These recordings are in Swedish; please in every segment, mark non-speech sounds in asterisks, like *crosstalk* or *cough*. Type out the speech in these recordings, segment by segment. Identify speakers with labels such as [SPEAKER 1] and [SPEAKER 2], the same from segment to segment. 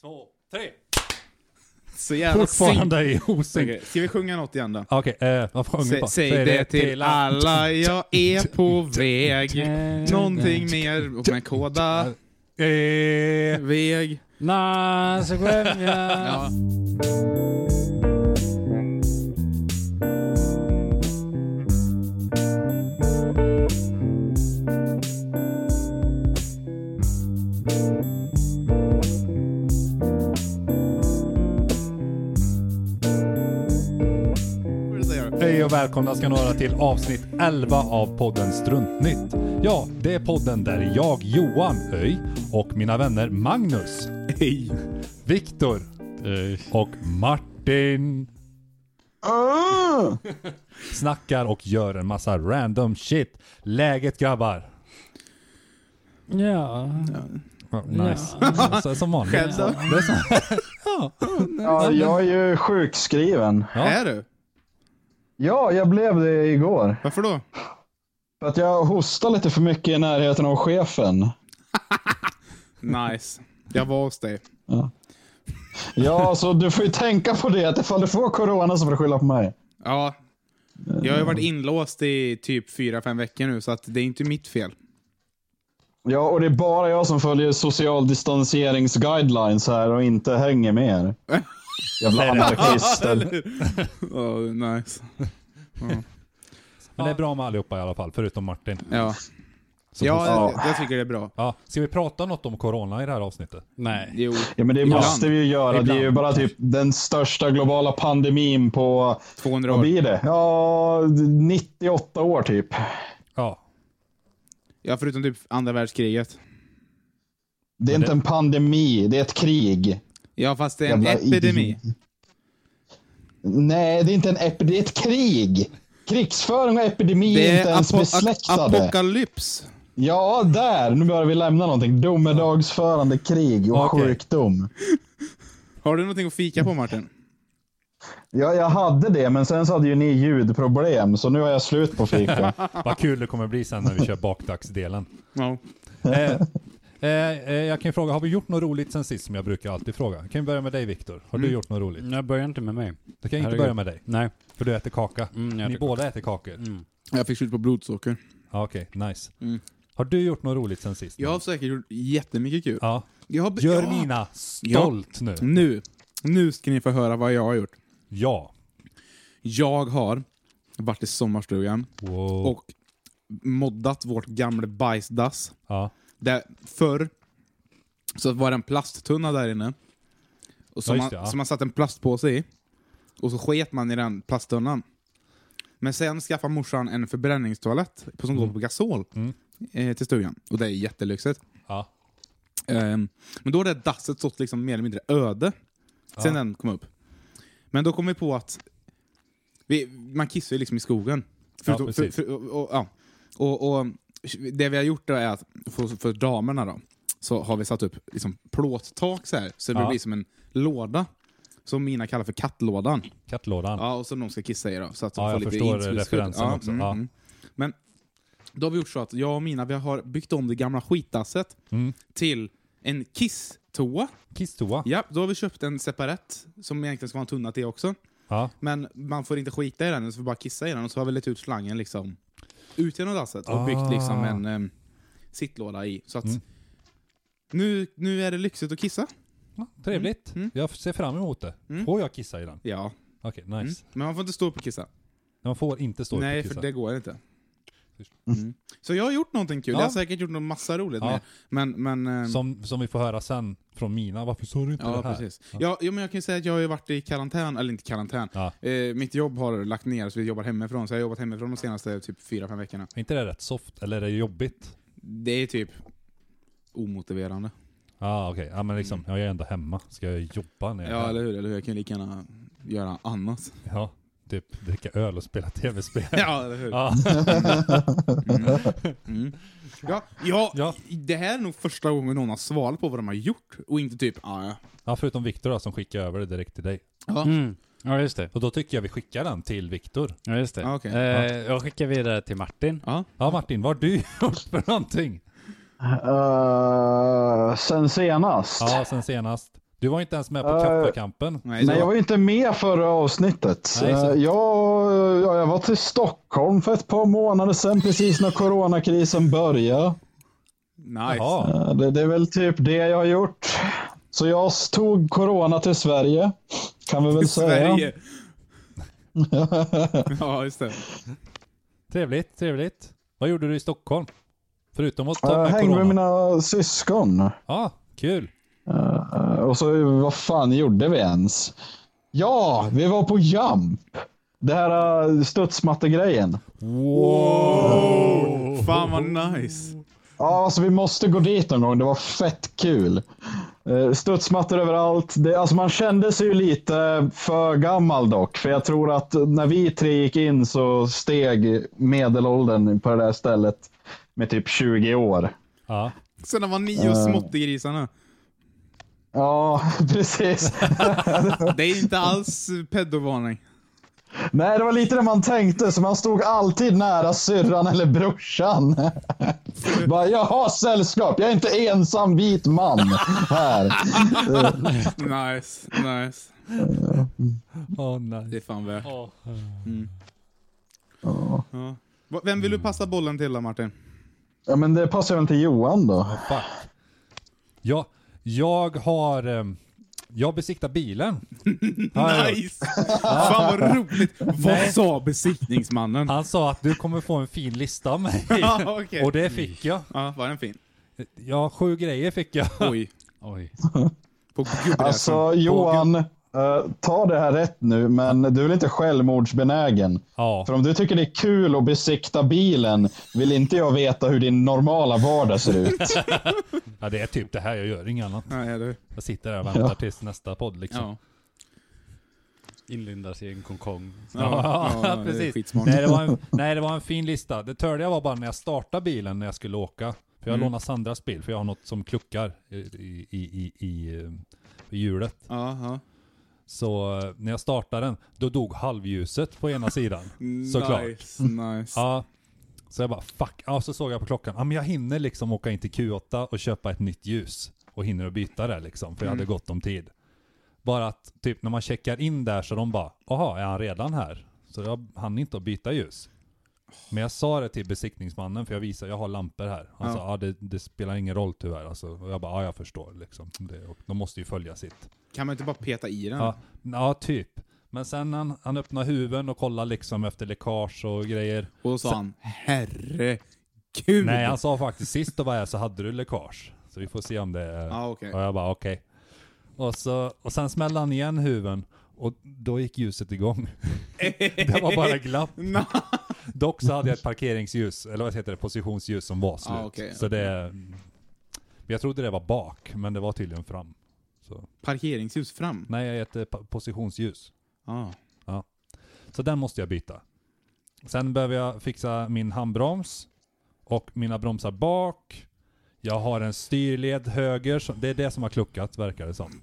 [SPEAKER 1] två, tre!
[SPEAKER 2] Så jävla
[SPEAKER 3] Fortfarande i osynk.
[SPEAKER 2] Okej, Ska vi sjunga något igen då?
[SPEAKER 3] Okej, eh, vad sjöng vi
[SPEAKER 2] Sä,
[SPEAKER 3] på?
[SPEAKER 2] säg det till alla, jag *laughs* är på väg. Någonting mer med koda.
[SPEAKER 3] Eh,
[SPEAKER 2] Väg.
[SPEAKER 3] na, så går jag-
[SPEAKER 2] Ja. Vad är det där?
[SPEAKER 3] Hej och välkomna ska några till avsnitt 11 av podden Struntnytt. Ja, det är podden där jag, Johan Öj och mina vänner Magnus, Viktor och Martin snackar och gör en massa random shit. Läget grabbar?
[SPEAKER 4] Ja.
[SPEAKER 3] Ja,
[SPEAKER 4] *laughs*
[SPEAKER 3] Nice. Så, som vanligt.
[SPEAKER 2] Själv då?
[SPEAKER 3] Det är så.
[SPEAKER 5] Ja, jag är ju sjukskriven.
[SPEAKER 3] Ja.
[SPEAKER 2] Är du?
[SPEAKER 5] Ja, jag blev det igår.
[SPEAKER 2] Varför då?
[SPEAKER 5] För att jag hostade lite för mycket i närheten av chefen.
[SPEAKER 2] Nice. Jag var hos dig.
[SPEAKER 5] *laughs* Ja, så du får ju tänka på det. Att ifall du får corona så får du skylla på mig.
[SPEAKER 2] Ja. Jag har ju varit inlåst i typ fyra fem veckor nu, så att det är inte mitt fel.
[SPEAKER 5] Ja, och det är bara jag som följer social distanseringsguidelines här och inte hänger med er. Jävla anarkister.
[SPEAKER 2] Oh, nice.
[SPEAKER 3] Men det är bra med allihopa i alla fall, förutom Martin.
[SPEAKER 2] Ja,
[SPEAKER 3] Som
[SPEAKER 2] ja
[SPEAKER 3] hostar.
[SPEAKER 2] jag, jag tycker det är bra.
[SPEAKER 3] ja. Ska vi prata något om corona i det här avsnittet?
[SPEAKER 4] Nej.
[SPEAKER 2] Jo.
[SPEAKER 5] Ja, men det
[SPEAKER 2] Ibland.
[SPEAKER 5] måste vi ju göra. Det är ju
[SPEAKER 3] Ibland.
[SPEAKER 5] bara typ den största globala pandemin på,
[SPEAKER 2] 200
[SPEAKER 5] vad
[SPEAKER 2] år.
[SPEAKER 5] blir det? Ja, 98 år typ.
[SPEAKER 3] Ja.
[SPEAKER 2] Ja, förutom typ andra världskriget.
[SPEAKER 5] Det är inte en pandemi, det är ett krig.
[SPEAKER 2] Ja, fast det är en
[SPEAKER 5] Jävla
[SPEAKER 2] epidemi.
[SPEAKER 5] idiot. Nej, det är inte en epidemi, det är ett krig. Krigsföring och epidemi
[SPEAKER 2] Det
[SPEAKER 5] är inte
[SPEAKER 2] är
[SPEAKER 5] ens
[SPEAKER 2] apo
[SPEAKER 5] besläktade.
[SPEAKER 2] apokalyps.
[SPEAKER 5] ja, där! Nu börjar vi lämna någonting. Domedagsförande krig och
[SPEAKER 3] Okej.
[SPEAKER 5] sjukdom.
[SPEAKER 2] Har du någonting att fika på, Martin?
[SPEAKER 5] Ja, jag hade det, men sen så hade ju ni ljudproblem, så nu har jag slut på fika.
[SPEAKER 2] *laughs*
[SPEAKER 3] Vad kul det kommer bli sen när vi kör bakdagsdelen.
[SPEAKER 2] Ja.
[SPEAKER 3] Eh, eh, eh, jag kan ju fråga, har vi gjort något roligt sen sist som jag brukar alltid fråga? Kan vi börja med dig Viktor? Har
[SPEAKER 2] Mm.
[SPEAKER 3] du gjort något roligt?
[SPEAKER 4] Nej, börja inte med mig.
[SPEAKER 3] Då kan jag inte
[SPEAKER 4] Herregud.
[SPEAKER 3] börja med dig,
[SPEAKER 4] Nej.
[SPEAKER 3] för du äter kaka.
[SPEAKER 4] Mm, jag
[SPEAKER 3] Ni
[SPEAKER 4] äter
[SPEAKER 3] båda äter kakor?
[SPEAKER 2] Jag fick slut på blodsocker.
[SPEAKER 3] Ja, Okej, nice.
[SPEAKER 2] Mm.
[SPEAKER 3] Har du gjort något roligt sen sist?
[SPEAKER 2] Jag har säkert gjort jättemycket kul.
[SPEAKER 3] Ja.
[SPEAKER 2] Jag har,
[SPEAKER 3] Gör
[SPEAKER 2] ja. Mm.
[SPEAKER 3] mina stolt nu.
[SPEAKER 2] Nu. Nu ska ni få höra vad jag har gjort.
[SPEAKER 3] Ja.
[SPEAKER 2] Jag har varit i sommarstugan
[SPEAKER 3] Wow.
[SPEAKER 2] och moddat vårt gamla bajsdass.
[SPEAKER 3] ja.
[SPEAKER 2] Där förr så var det en plasttunna där inne. Och som,
[SPEAKER 3] Ja,
[SPEAKER 2] man,
[SPEAKER 3] just det, ja.
[SPEAKER 2] som man satte en plastpåse i. Och så sket man i den plasttunnan. Men sen skaffade morsan en förbränningstoalett på- som
[SPEAKER 3] Mm.
[SPEAKER 2] går på gasol eh, till stugan. Och det är jättelyxigt.
[SPEAKER 3] ja.
[SPEAKER 2] Ehm, men då har det dasset stått liksom mer eller mindre öde. Sen den kom upp. Men då kom vi på att vi, man kissar ju liksom i skogen.
[SPEAKER 3] Ja,
[SPEAKER 2] Förutom-
[SPEAKER 3] precis.
[SPEAKER 2] för, och, och, ja. och, och Det vi har gjort då är att för, för damerna då, så har vi satt upp liksom plåttak så här, så det
[SPEAKER 3] Ja.
[SPEAKER 2] blir som en låda. Som mina kallar för kattlådan.
[SPEAKER 3] Kattlådan.
[SPEAKER 2] Ja, och som de ska kissa i då. Så att de
[SPEAKER 3] Ja,
[SPEAKER 2] får
[SPEAKER 3] jag
[SPEAKER 2] lite
[SPEAKER 3] förstår
[SPEAKER 2] inskudd.
[SPEAKER 3] referensen också. Ja.
[SPEAKER 2] mm. Men då har vi gjort så att jag och mina vi har byggt om det gamla skitdasset
[SPEAKER 3] Mm.
[SPEAKER 2] till en kisstoa.
[SPEAKER 3] Kisstoa.
[SPEAKER 2] Ja, då har vi köpt en separat som egentligen ska vara en tunna till också.
[SPEAKER 3] Ja.
[SPEAKER 2] Men man får inte skita i den, så får bara kissa i den. Och så har vi lagt ut slangen liksom ut genom dasset och byggt
[SPEAKER 3] Ah.
[SPEAKER 2] liksom en em, sittlåda i. Så att
[SPEAKER 3] Mm.
[SPEAKER 2] nu, nu är det lyxigt att kissa.
[SPEAKER 3] Ja,
[SPEAKER 2] Mm.
[SPEAKER 3] Trevligt. Jag ser fram emot det. Får jag kissa i den?
[SPEAKER 2] Ja,
[SPEAKER 3] Okej, nice.
[SPEAKER 2] men man får inte stå upp och kissa.
[SPEAKER 3] Man får inte stå upp
[SPEAKER 2] Mm. Nej,
[SPEAKER 3] och kissa.
[SPEAKER 2] för det går inte. Mm. Så jag har gjort någonting kul.
[SPEAKER 3] Ja.
[SPEAKER 2] Jag har säkert gjort någon massa roligt
[SPEAKER 3] Ja.
[SPEAKER 2] med. Men, men... eh,
[SPEAKER 3] Som, som vi får höra sen från mina. Varför sa du inte
[SPEAKER 2] Ja,
[SPEAKER 3] det här?
[SPEAKER 2] precis. Ja, jo, men jag kan ju säga att jag har ju varit i karantän, eller inte karantän.
[SPEAKER 3] Ja.
[SPEAKER 2] Eh, mitt jobb har lagt ner, så vi jobbar hemifrån. Så jag har jobbat hemifrån de senaste typ 4-5 veckorna.
[SPEAKER 3] Är inte det rätt soft? Eller är det jobbigt?
[SPEAKER 2] Det är typ omotiverande.
[SPEAKER 3] Ja ah, okej, ja men liksom, jag är ändå hemma. Ska jag jobba när jag är
[SPEAKER 2] Mm. Ja,
[SPEAKER 3] här?
[SPEAKER 2] eller hur? Eller hur? Jag kan ju lika gärna göra
[SPEAKER 3] *laughs*
[SPEAKER 2] annat.
[SPEAKER 3] Ja, typ dricka öl och spela tv-spel.
[SPEAKER 2] *laughs* Ja, eller hur?
[SPEAKER 3] Ja.
[SPEAKER 2] Ja, ja,
[SPEAKER 3] Ja.
[SPEAKER 2] det här är nog första gången någon har svarat på vad de har gjort. Och inte typ, ah, ja.
[SPEAKER 3] ja, förutom Viktor då, som skickar över det direkt till dig.
[SPEAKER 4] Mm. Ja, just det.
[SPEAKER 3] Och då tycker jag vi skickar den till Viktor.
[SPEAKER 4] Ja, just det.
[SPEAKER 2] Ah, okej.
[SPEAKER 4] eh, Jag skickar vidare till Martin.
[SPEAKER 2] Ja.
[SPEAKER 3] Ja Martin, vad har du *laughs* gjort för någonting?
[SPEAKER 5] Eh, sen senast?
[SPEAKER 3] Ja, sen senast. Du var inte ens med på
[SPEAKER 5] Eh,
[SPEAKER 3] kaffekampen.
[SPEAKER 2] Nej,
[SPEAKER 5] Nej,
[SPEAKER 2] så-
[SPEAKER 5] jag var ju inte med förra avsnittet.
[SPEAKER 3] Nej, så-
[SPEAKER 5] Eh, jag, ja, jag var till Stockholm för ett par månader sedan, precis när coronakrisen började.
[SPEAKER 2] Nice.
[SPEAKER 3] Jaha.
[SPEAKER 5] Eh, Det, det är väl typ det jag har gjort. Så jag s- tog corona till Sverige, kan vi väl
[SPEAKER 2] *laughs*
[SPEAKER 5] säga.
[SPEAKER 2] Sverige. ja, just det.
[SPEAKER 3] Trevligt, trevligt. Vad gjorde du i Stockholm? Förutom att ta
[SPEAKER 5] Jag
[SPEAKER 3] med
[SPEAKER 5] Eh, hängde
[SPEAKER 3] corona?
[SPEAKER 5] med mina syskon.
[SPEAKER 3] Ja, kul.
[SPEAKER 5] Eh, Och så, vad fan gjorde vi ens? Ja, vi var på jump. Det här eh, studsmattegrejen.
[SPEAKER 2] Wow! Fan vad nice.
[SPEAKER 5] Ja, alltså vi måste gå dit någon gång. Det var fett kul. Eh, Studsmattor överallt. Det, alltså man kände sig ju lite för gammal dock. För jag tror att när vi tre gick in så steg medelåldern på det där stället med typ 20 år.
[SPEAKER 3] Ja.
[SPEAKER 2] Sen när var nio småttegrisarna.
[SPEAKER 5] Ja, *laughs* precis.
[SPEAKER 2] Det är inte alls peddovarning.
[SPEAKER 5] Nej, det var lite det man tänkte. Så man stod alltid nära syrran eller brorsan. *laughs* Bara, jag har sällskap. Jag är inte ensam vit man här.
[SPEAKER 2] Nice, nice.
[SPEAKER 3] Åh nej.
[SPEAKER 2] Det är fan värt.
[SPEAKER 4] Åh.
[SPEAKER 2] Mm. Ja. Va- Vem vill du passa bollen till då Martin?
[SPEAKER 5] Ja, men det passar väl till Johan då.
[SPEAKER 3] Fuck. Jag, jag har... ehm, Jag besiktar
[SPEAKER 2] *laughs*
[SPEAKER 3] bilen. Har jag gjort.
[SPEAKER 2] Nice! Fan vad roligt. Vad
[SPEAKER 3] Nej.
[SPEAKER 2] sa besiktningsmannen?
[SPEAKER 3] Han sa att du kommer få en fin lista av mig.
[SPEAKER 2] *laughs* Ja, okej.
[SPEAKER 3] Och det fick jag.
[SPEAKER 2] Ja, var den fin?
[SPEAKER 3] Ja, sju grejer fick jag.
[SPEAKER 2] Oj.
[SPEAKER 4] Oj.
[SPEAKER 2] På gubbräsan.
[SPEAKER 5] Alltså Johan, eh, ta det här rätt nu, men du är väl inte självmordsbenägen?
[SPEAKER 3] Ja.
[SPEAKER 5] För om du tycker det är kul att besikta bilen vill inte jag veta hur din normala vardag ser ut.
[SPEAKER 3] ja, det är typ det här jag gör, inget annat.
[SPEAKER 2] Ja, eller hur?
[SPEAKER 3] Jag sitter där och väntar tills nästa podd liksom.
[SPEAKER 2] Ja.
[SPEAKER 4] Inlindas i en kongkong.
[SPEAKER 2] Ja, ja, det är
[SPEAKER 3] precis.
[SPEAKER 2] skitsmart.
[SPEAKER 3] nej, det var en, nej, det var en fin lista. Det törliga var bara när jag startade bilen när jag skulle åka. För jag
[SPEAKER 2] Mm.
[SPEAKER 3] lånade Sandras bil, för jag har något som kluckar i, i, i, i, eh, i hjulet.
[SPEAKER 2] Ja, ja.
[SPEAKER 3] Så eh, när jag startade den, då dog halvljuset på ena sidan. Såklart.
[SPEAKER 2] *laughs* Nice, nice.
[SPEAKER 3] Ja. Så jag bara fuck, ja, så såg jag på klockan, ja men jag hinner liksom åka in till Q8 och köpa ett nytt ljus. Och hinner att byta det liksom, för jag
[SPEAKER 2] Mm.
[SPEAKER 3] hade gott om tid. Bara att typ när man checkar in där så de bara, jaha är han redan här? Så jag hann inte att byta ljus. Men jag sa det till besiktningsmannen, för jag visade, jag har lampor här. Han
[SPEAKER 2] Ja.
[SPEAKER 3] sa, ja det, det spelar ingen roll tyvärr alltså. Och jag bara, ja jag förstår liksom. Det, och de måste ju följa sitt.
[SPEAKER 2] Kan man inte bara peta i den?
[SPEAKER 3] Ja, ja typ. Men sen han, han öppnade huven och kollade liksom efter läckage och grejer.
[SPEAKER 2] Och då sa han herregud.
[SPEAKER 3] Nej, alltså- han sa faktiskt sist då var jag så hade du läckage. Så vi får se om det är...
[SPEAKER 2] Ja, okej.
[SPEAKER 3] Och jag bara okej. Och, så, och sen smällde han igen huven och då gick ljuset igång. *laughs* det var bara
[SPEAKER 2] *laughs*
[SPEAKER 3] glapp.
[SPEAKER 2] Nej.
[SPEAKER 3] Dock så hade jag ett parkeringsljus, eller vad heter det, positionsljus som var slut.
[SPEAKER 2] Ja, okej.
[SPEAKER 3] Så det... Men Jag trodde det var bak, men det var tydligen fram. Så.
[SPEAKER 2] Parkeringshus fram.
[SPEAKER 3] Nej, ett eh, pa- positionsljus.
[SPEAKER 2] Ja.
[SPEAKER 3] Så den måste jag byta. Sen behöver jag fixa min handbroms och mina bromsar bak. Jag har en styrled höger, som, det är det som har kluckat verkar det som.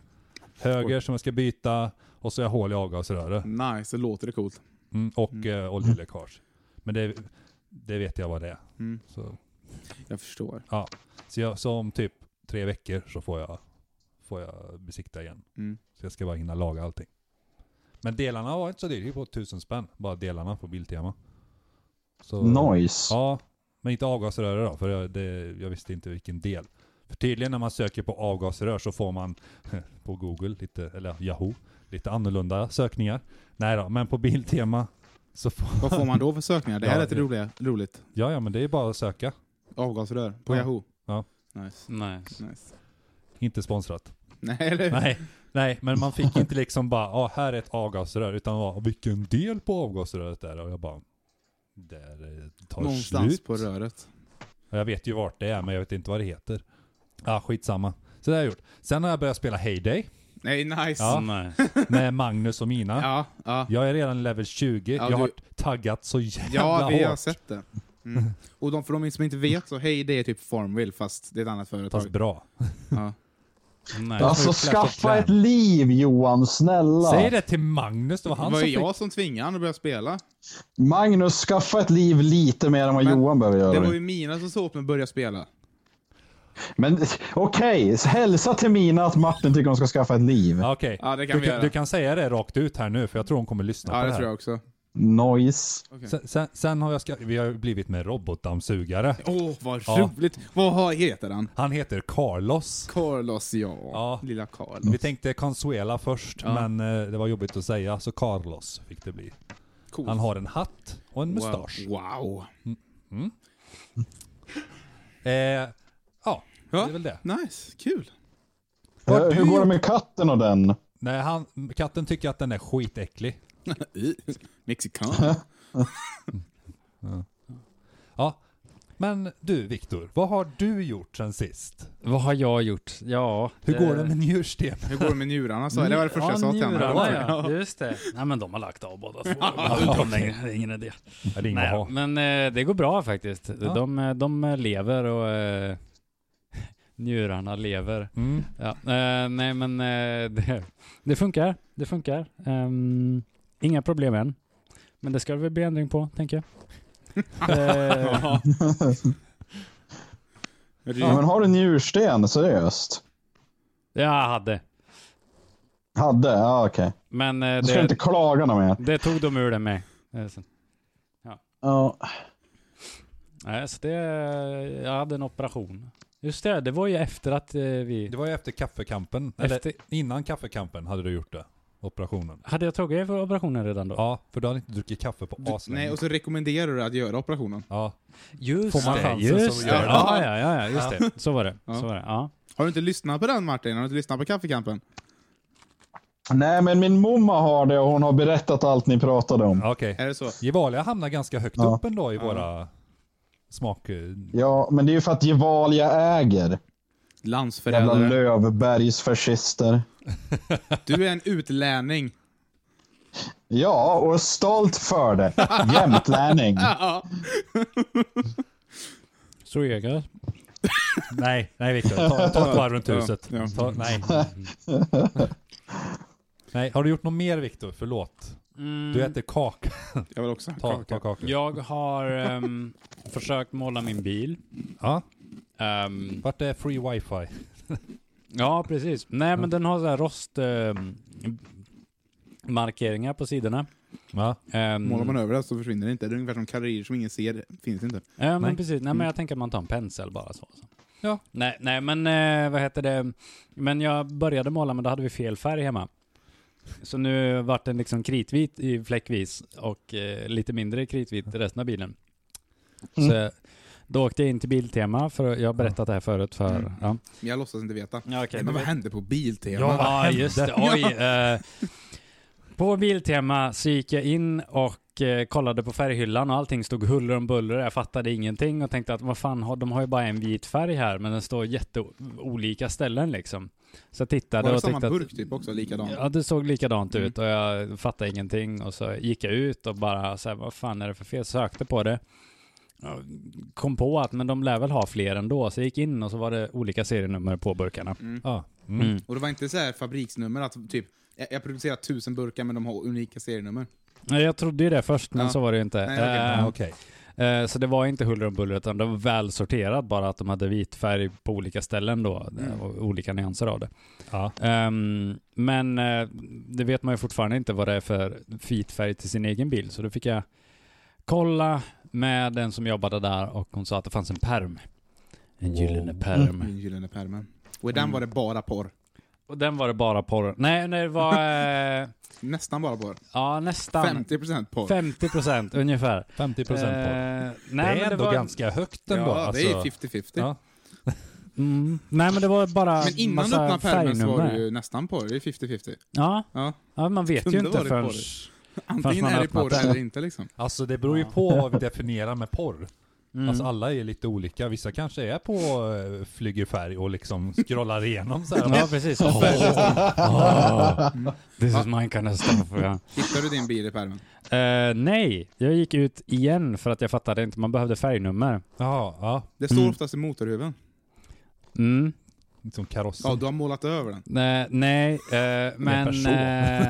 [SPEAKER 3] Höger som jag ska byta och så har jag hål i avgasröret
[SPEAKER 2] Nice, det låter det coolt.
[SPEAKER 3] mm, och eh, oljeläckage. Men det, det vet jag vad det är.
[SPEAKER 2] Mm.
[SPEAKER 3] Så,
[SPEAKER 2] Jag förstår.
[SPEAKER 3] ja. så, jag, så om typ tre veckor så får jag, får jag besikta igen.
[SPEAKER 2] Mm.
[SPEAKER 3] Så jag ska bara hinna laga allting. Men delarna var inte så dyrt, det gick på tusen spänn. Bara delarna på Biltema. Så,
[SPEAKER 5] Noise.
[SPEAKER 3] Ja, men inte avgasröret då, för jag, det, jag visste inte vilken del. För tydligen när man söker på avgasrör så får man *laughs* på Google, lite, eller Yahoo, lite annorlunda sökningar. Nej då, men på Biltema så får...
[SPEAKER 2] Vad får man då för sökningar? Det här
[SPEAKER 3] Ja,
[SPEAKER 2] är lite
[SPEAKER 3] det-
[SPEAKER 2] roliga, roligt.
[SPEAKER 3] Ja, ja, men det är bara att söka.
[SPEAKER 2] Avgasrör på
[SPEAKER 3] Ja.
[SPEAKER 2] Yahoo.
[SPEAKER 3] Ja.
[SPEAKER 2] Nice.
[SPEAKER 4] Nej.
[SPEAKER 2] nice.
[SPEAKER 3] Inte sponsrat.
[SPEAKER 2] Nej, eller
[SPEAKER 3] Nej, nej, men man fick inte liksom bara, ja här är ett avgasrör, utan var, vilken del på avgasröret är det? Och jag bara, där eh, tar
[SPEAKER 2] Någonstans
[SPEAKER 3] slut.
[SPEAKER 2] på röret.
[SPEAKER 3] Ja, Jag vet ju vart det är, men jag vet inte vad det heter. Ah, skitsamma. Så det har jag gjort. Sen har jag börjat spela Heyday
[SPEAKER 2] Nej, nice.
[SPEAKER 3] Ja.
[SPEAKER 4] Nej.
[SPEAKER 2] *laughs*
[SPEAKER 3] med Magnus och Mina.
[SPEAKER 2] ja. ja.
[SPEAKER 3] Jag är redan level 20.
[SPEAKER 2] Ja,
[SPEAKER 3] jag har
[SPEAKER 2] du-
[SPEAKER 3] taggat så jävla
[SPEAKER 2] Ja, vi har
[SPEAKER 3] hårt.
[SPEAKER 2] sett det. Mm. Och de, för de som inte vet så hej, det är typ Formville fast det är ett annat företag.
[SPEAKER 3] Fast bra.
[SPEAKER 2] Ja.
[SPEAKER 4] Nej.
[SPEAKER 5] Alltså
[SPEAKER 3] Clash of
[SPEAKER 5] skaffa
[SPEAKER 3] Clans.
[SPEAKER 5] ett liv Johan, snälla.
[SPEAKER 3] Säg det till Magnus, det var
[SPEAKER 2] Det
[SPEAKER 3] han
[SPEAKER 2] var
[SPEAKER 3] som
[SPEAKER 2] ju
[SPEAKER 3] fick...
[SPEAKER 2] jag som tvingade honom att börja spela.
[SPEAKER 5] Magnus, skaffa ett liv lite mer än vad
[SPEAKER 2] Men
[SPEAKER 5] Johan behöver
[SPEAKER 2] Det
[SPEAKER 5] göra.
[SPEAKER 2] var ju mina som såg upp mig och började spela.
[SPEAKER 5] Men okej, hälsa till Mina att Martin tycker hon ska skaffa ett liv.
[SPEAKER 3] Ja, Okej,
[SPEAKER 2] Ja, det kan
[SPEAKER 3] du,
[SPEAKER 2] vi
[SPEAKER 3] kan,
[SPEAKER 2] göra.
[SPEAKER 3] du kan säga det rakt ut här nu för jag tror hon kommer lyssna
[SPEAKER 2] Ja,
[SPEAKER 3] på
[SPEAKER 2] det
[SPEAKER 3] det här.
[SPEAKER 2] tror jag också.
[SPEAKER 5] Noise.
[SPEAKER 3] Sen, sen, sen har jag ska, vi har ju blivit med robotdammsugare.
[SPEAKER 2] Åh, vad
[SPEAKER 3] Ja.
[SPEAKER 2] roligt! Vad har- heter han?
[SPEAKER 3] Han heter Carlos.
[SPEAKER 2] Carlos, ja.
[SPEAKER 3] Ja.
[SPEAKER 2] Lilla Carlos.
[SPEAKER 3] Vi tänkte Consuela först, men eh, det var jobbigt att säga, så Carlos fick det bli.
[SPEAKER 2] Coolt.
[SPEAKER 3] Han har en hatt och en mustasch.
[SPEAKER 2] Wow. wow.
[SPEAKER 3] Eh, ja, det är väl det.
[SPEAKER 2] Nice, kul.
[SPEAKER 3] Vad
[SPEAKER 5] Hur, Eh, hur
[SPEAKER 3] du
[SPEAKER 5] går det
[SPEAKER 3] gjort?
[SPEAKER 5] med katten och den?
[SPEAKER 3] Nej, han, katten tycker att den är skitäcklig.
[SPEAKER 2] Mexikan.
[SPEAKER 3] Ja. Men du, Viktor, vad har du gjort sen sist?
[SPEAKER 1] Vad har jag gjort? Ja... eh,
[SPEAKER 3] Hur går det med njursten?
[SPEAKER 2] Hur går det med njurarna? Så, det var det första
[SPEAKER 1] ja,
[SPEAKER 2] jag sa till henne.
[SPEAKER 1] njurarna, ja. Just det. Nej men de har lagt av
[SPEAKER 2] *laughs*
[SPEAKER 1] båda två. De längre, det är ingen idé.
[SPEAKER 3] Ja, det är inget att
[SPEAKER 1] Nej,
[SPEAKER 3] ha.
[SPEAKER 1] men eh, det går bra faktiskt.
[SPEAKER 3] Ja.
[SPEAKER 1] De, eh, de lever och eh, *laughs* njurarna lever.
[SPEAKER 3] Mm.
[SPEAKER 1] Ja. Eh, nej men eh, *laughs* det, det funkar. Det funkar. Ehm, inga problem än. Men det ska det väl bli ändring på, tänker jag.
[SPEAKER 2] *laughs*
[SPEAKER 1] Eh,
[SPEAKER 2] Ry-
[SPEAKER 5] Ja, men har du njursten? Seriöst?
[SPEAKER 1] jag hade.
[SPEAKER 5] Hade? Ja, okej.
[SPEAKER 1] Men eh,
[SPEAKER 5] Du ska inte
[SPEAKER 1] det,
[SPEAKER 5] klaga någon mer.
[SPEAKER 1] det tog de ur det med. Eh, så-
[SPEAKER 5] Ja.
[SPEAKER 1] Nej, så det, jag hade en operation. Just det, det var ju efter att eh, vi...
[SPEAKER 3] Det var ju efter kaffekampen, eller
[SPEAKER 1] Efter-
[SPEAKER 3] innan kaffekampen hade du gjort det. Operationen.
[SPEAKER 1] Hade jag tagit för operationen redan då?
[SPEAKER 3] Ja, för du hade inte druckit kaffe på aslänge.
[SPEAKER 2] Nej, och så rekommenderar du att göra operationen.
[SPEAKER 3] Ja.
[SPEAKER 1] Just
[SPEAKER 3] Får man
[SPEAKER 1] det,
[SPEAKER 3] chansen
[SPEAKER 1] just
[SPEAKER 3] så
[SPEAKER 1] det.
[SPEAKER 3] gör man.
[SPEAKER 1] Ja, ja, ja, ja, just det. Så var det.
[SPEAKER 2] Ja.
[SPEAKER 1] Så var det. Ja.
[SPEAKER 2] Har du inte lyssnat på den Martin? Har du inte lyssnat på Kaffekampen?
[SPEAKER 5] Nej, men min mamma har det och hon har berättat allt ni pratade om.
[SPEAKER 3] Ja, Okej.
[SPEAKER 2] Är det så?
[SPEAKER 3] Gevalia hamnar ganska högt
[SPEAKER 5] Ja.
[SPEAKER 3] upp ändå i våra smak...
[SPEAKER 5] Ja, men det är ju för att Gevalia äger. Jävla
[SPEAKER 2] Landsförrädare.
[SPEAKER 5] Lövbergsfascister.
[SPEAKER 2] Du är en utlänning. *laughs*
[SPEAKER 5] Ja, och stolt för det. Jämtlänning.
[SPEAKER 1] Så är jag.
[SPEAKER 3] Nej, nej Viktor. Ta, ta ett varv runt
[SPEAKER 2] Ja,
[SPEAKER 3] huset.
[SPEAKER 2] ja.
[SPEAKER 3] Ta, nej. nej, har du gjort något mer Viktor? Förlåt. Du
[SPEAKER 1] Mm.
[SPEAKER 3] äter kaka.
[SPEAKER 2] Jag vill också ha
[SPEAKER 3] Ta,
[SPEAKER 2] kaka.
[SPEAKER 3] ta kaka.
[SPEAKER 1] Jag har ehm, försökt måla min bil.
[SPEAKER 3] Ja.
[SPEAKER 1] Ehm,
[SPEAKER 3] Vart är free wifi?
[SPEAKER 1] ja, precis. Nej, men den har så här rost... ehm, markeringar på sidorna.
[SPEAKER 3] Ja.
[SPEAKER 1] Ehm,
[SPEAKER 2] Målar man över det så försvinner det inte. Det är ungefär som kalorier som ingen ser. Finns inte.
[SPEAKER 1] Ja, men
[SPEAKER 3] Nej.
[SPEAKER 1] precis.
[SPEAKER 2] Mm.
[SPEAKER 1] Nej, men jag tänker att man tar en pensel bara så. så.
[SPEAKER 3] Ja.
[SPEAKER 1] Nej, nej, men eh, vad heter det? Men jag började måla, men då hade vi fel färg hemma. Så nu vart den liksom kritvit i fläckvis och eh, lite mindre kritvit i resten av bilen.
[SPEAKER 2] Mm.
[SPEAKER 1] Så eh, då åkte jag in till Biltema, för jag har berättat det här förut för... Ja,
[SPEAKER 2] Men jag låtsas inte veta.
[SPEAKER 1] ja okej.
[SPEAKER 2] Mm. Men vad hände på Biltema?
[SPEAKER 3] Ja, vad
[SPEAKER 1] Ja,
[SPEAKER 3] hände?
[SPEAKER 1] just det. Oj. eh, på Biltema så gick jag in och eh, kollade på färghyllan och allting stod huller om buller. Jag fattade ingenting och tänkte att vad fan, har, de har ju bara en vit färg här men den står jätteolika ställen liksom. Så jag tittade
[SPEAKER 2] Var det
[SPEAKER 1] och
[SPEAKER 2] samma
[SPEAKER 1] tyckte att... Mm,
[SPEAKER 2] burk typ också? Likadan?
[SPEAKER 1] Ja, det såg likadant
[SPEAKER 3] Mm.
[SPEAKER 1] ut och jag fattade ingenting och så gick jag ut och bara så här, vad fan är det för fel? Sökte på det. Jag Kom på att men de lär väl ha fler ändå, så jag gick in och så var det olika serienummer på burkarna.
[SPEAKER 3] Ja. Mm.
[SPEAKER 1] Mm.
[SPEAKER 2] Och det var inte så här fabriksnummer att typ jag jag producerar tusen burkar men de har unika serienummer.
[SPEAKER 1] Nej, Jag trodde ju det först, men
[SPEAKER 2] Ja.
[SPEAKER 1] så var det ju inte.
[SPEAKER 2] Nej, okej.
[SPEAKER 1] Eh,
[SPEAKER 3] Ja, Okej.
[SPEAKER 1] eh, så det var inte huller om buller, utan det var väl sorterat, bara att de hade vit färg på olika ställen då, eh,
[SPEAKER 2] Mm.
[SPEAKER 1] och olika nyanser av det.
[SPEAKER 3] Ja.
[SPEAKER 1] Ehm, men eh, det vet man ju fortfarande inte vad det är för vit färg till sin egen bil, så då fick jag kolla med den som jobbade där och hon sa att det fanns en perm. En gyllene
[SPEAKER 3] Wow. Mm.
[SPEAKER 1] perm.
[SPEAKER 2] Min gyllene pärmen. Och i
[SPEAKER 1] Mm.
[SPEAKER 2] den var det bara porr.
[SPEAKER 1] Och den var det bara porr. Nej, nej,
[SPEAKER 3] *laughs*
[SPEAKER 1] det var... Eh,
[SPEAKER 2] Nästan bara porr.
[SPEAKER 1] ja, nästan.
[SPEAKER 2] 50% porr.
[SPEAKER 1] 50% ungefär.
[SPEAKER 3] 50% på.
[SPEAKER 1] Eh,
[SPEAKER 3] det
[SPEAKER 1] nej,
[SPEAKER 3] är
[SPEAKER 1] men
[SPEAKER 3] ändå
[SPEAKER 1] var-
[SPEAKER 3] ganska högt ändå.
[SPEAKER 2] Ja, det är
[SPEAKER 3] alltså.
[SPEAKER 2] 50-50.
[SPEAKER 3] Ja.
[SPEAKER 1] Mm. Nej men det var bara
[SPEAKER 2] Men innan du
[SPEAKER 1] massa
[SPEAKER 2] öppnade pärmen så var
[SPEAKER 1] färgnummer.
[SPEAKER 2] det ju nästan porr. Det är 50-50.
[SPEAKER 1] Ja,
[SPEAKER 2] Ja.
[SPEAKER 1] ja man vet ju
[SPEAKER 2] Kunde
[SPEAKER 1] inte
[SPEAKER 2] varit
[SPEAKER 1] förrän...
[SPEAKER 2] porr. Antingen
[SPEAKER 1] man
[SPEAKER 2] är det
[SPEAKER 1] öppnat
[SPEAKER 2] porr
[SPEAKER 1] den.
[SPEAKER 2] eller inte liksom.
[SPEAKER 3] Alltså det beror ju på vad vi definierar med porr.
[SPEAKER 1] Mm.
[SPEAKER 3] Alltså alla är lite olika. Vissa kanske är på eh, flygerfärg och liksom scrollar igenom så här.
[SPEAKER 1] Ja precis. Oh. This is my kind of stuff. Ja.
[SPEAKER 2] Hittar du din bil i pärmen?
[SPEAKER 1] Eh, nej, jag gick ut igen för att jag fattade inte, man behövde färgnummer.
[SPEAKER 3] Jaha, ja.
[SPEAKER 2] Det står
[SPEAKER 1] Mm.
[SPEAKER 2] oftast i motorhuven.
[SPEAKER 1] Mm.
[SPEAKER 3] Som karossen.
[SPEAKER 2] Ja, du har målat över den.
[SPEAKER 1] Eh, nej, eh, men
[SPEAKER 3] person.
[SPEAKER 1] eh,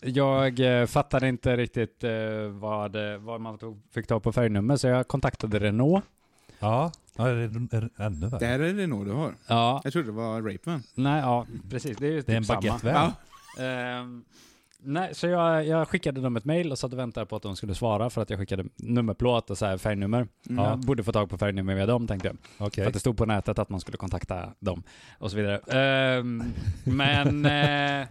[SPEAKER 1] jag eh, fattade inte riktigt eh, vad, eh, vad man tog, fick ta på färgnummer så jag kontaktade Renault
[SPEAKER 3] ja. Ja, är det, är det ännu värre?
[SPEAKER 2] Där är det nog du har.
[SPEAKER 1] Ja,
[SPEAKER 2] Jag trodde det var Rapeman.
[SPEAKER 1] nej, ja, precis. Det är ju
[SPEAKER 3] Det är en
[SPEAKER 1] typ samma.
[SPEAKER 3] baguettevän.
[SPEAKER 2] Ja.
[SPEAKER 1] Ehm, nej, så jag, jag skickade dem ett mail och satt och väntade på att de skulle svara för att jag skickade nummerplåt och så här färgnummer.
[SPEAKER 2] Mm.
[SPEAKER 1] Jag borde få tag på färgnummer med dem tänkte jag.
[SPEAKER 3] Okej.
[SPEAKER 1] För att det stod på nätet att man skulle kontakta dem och så vidare. Ehm, men eh,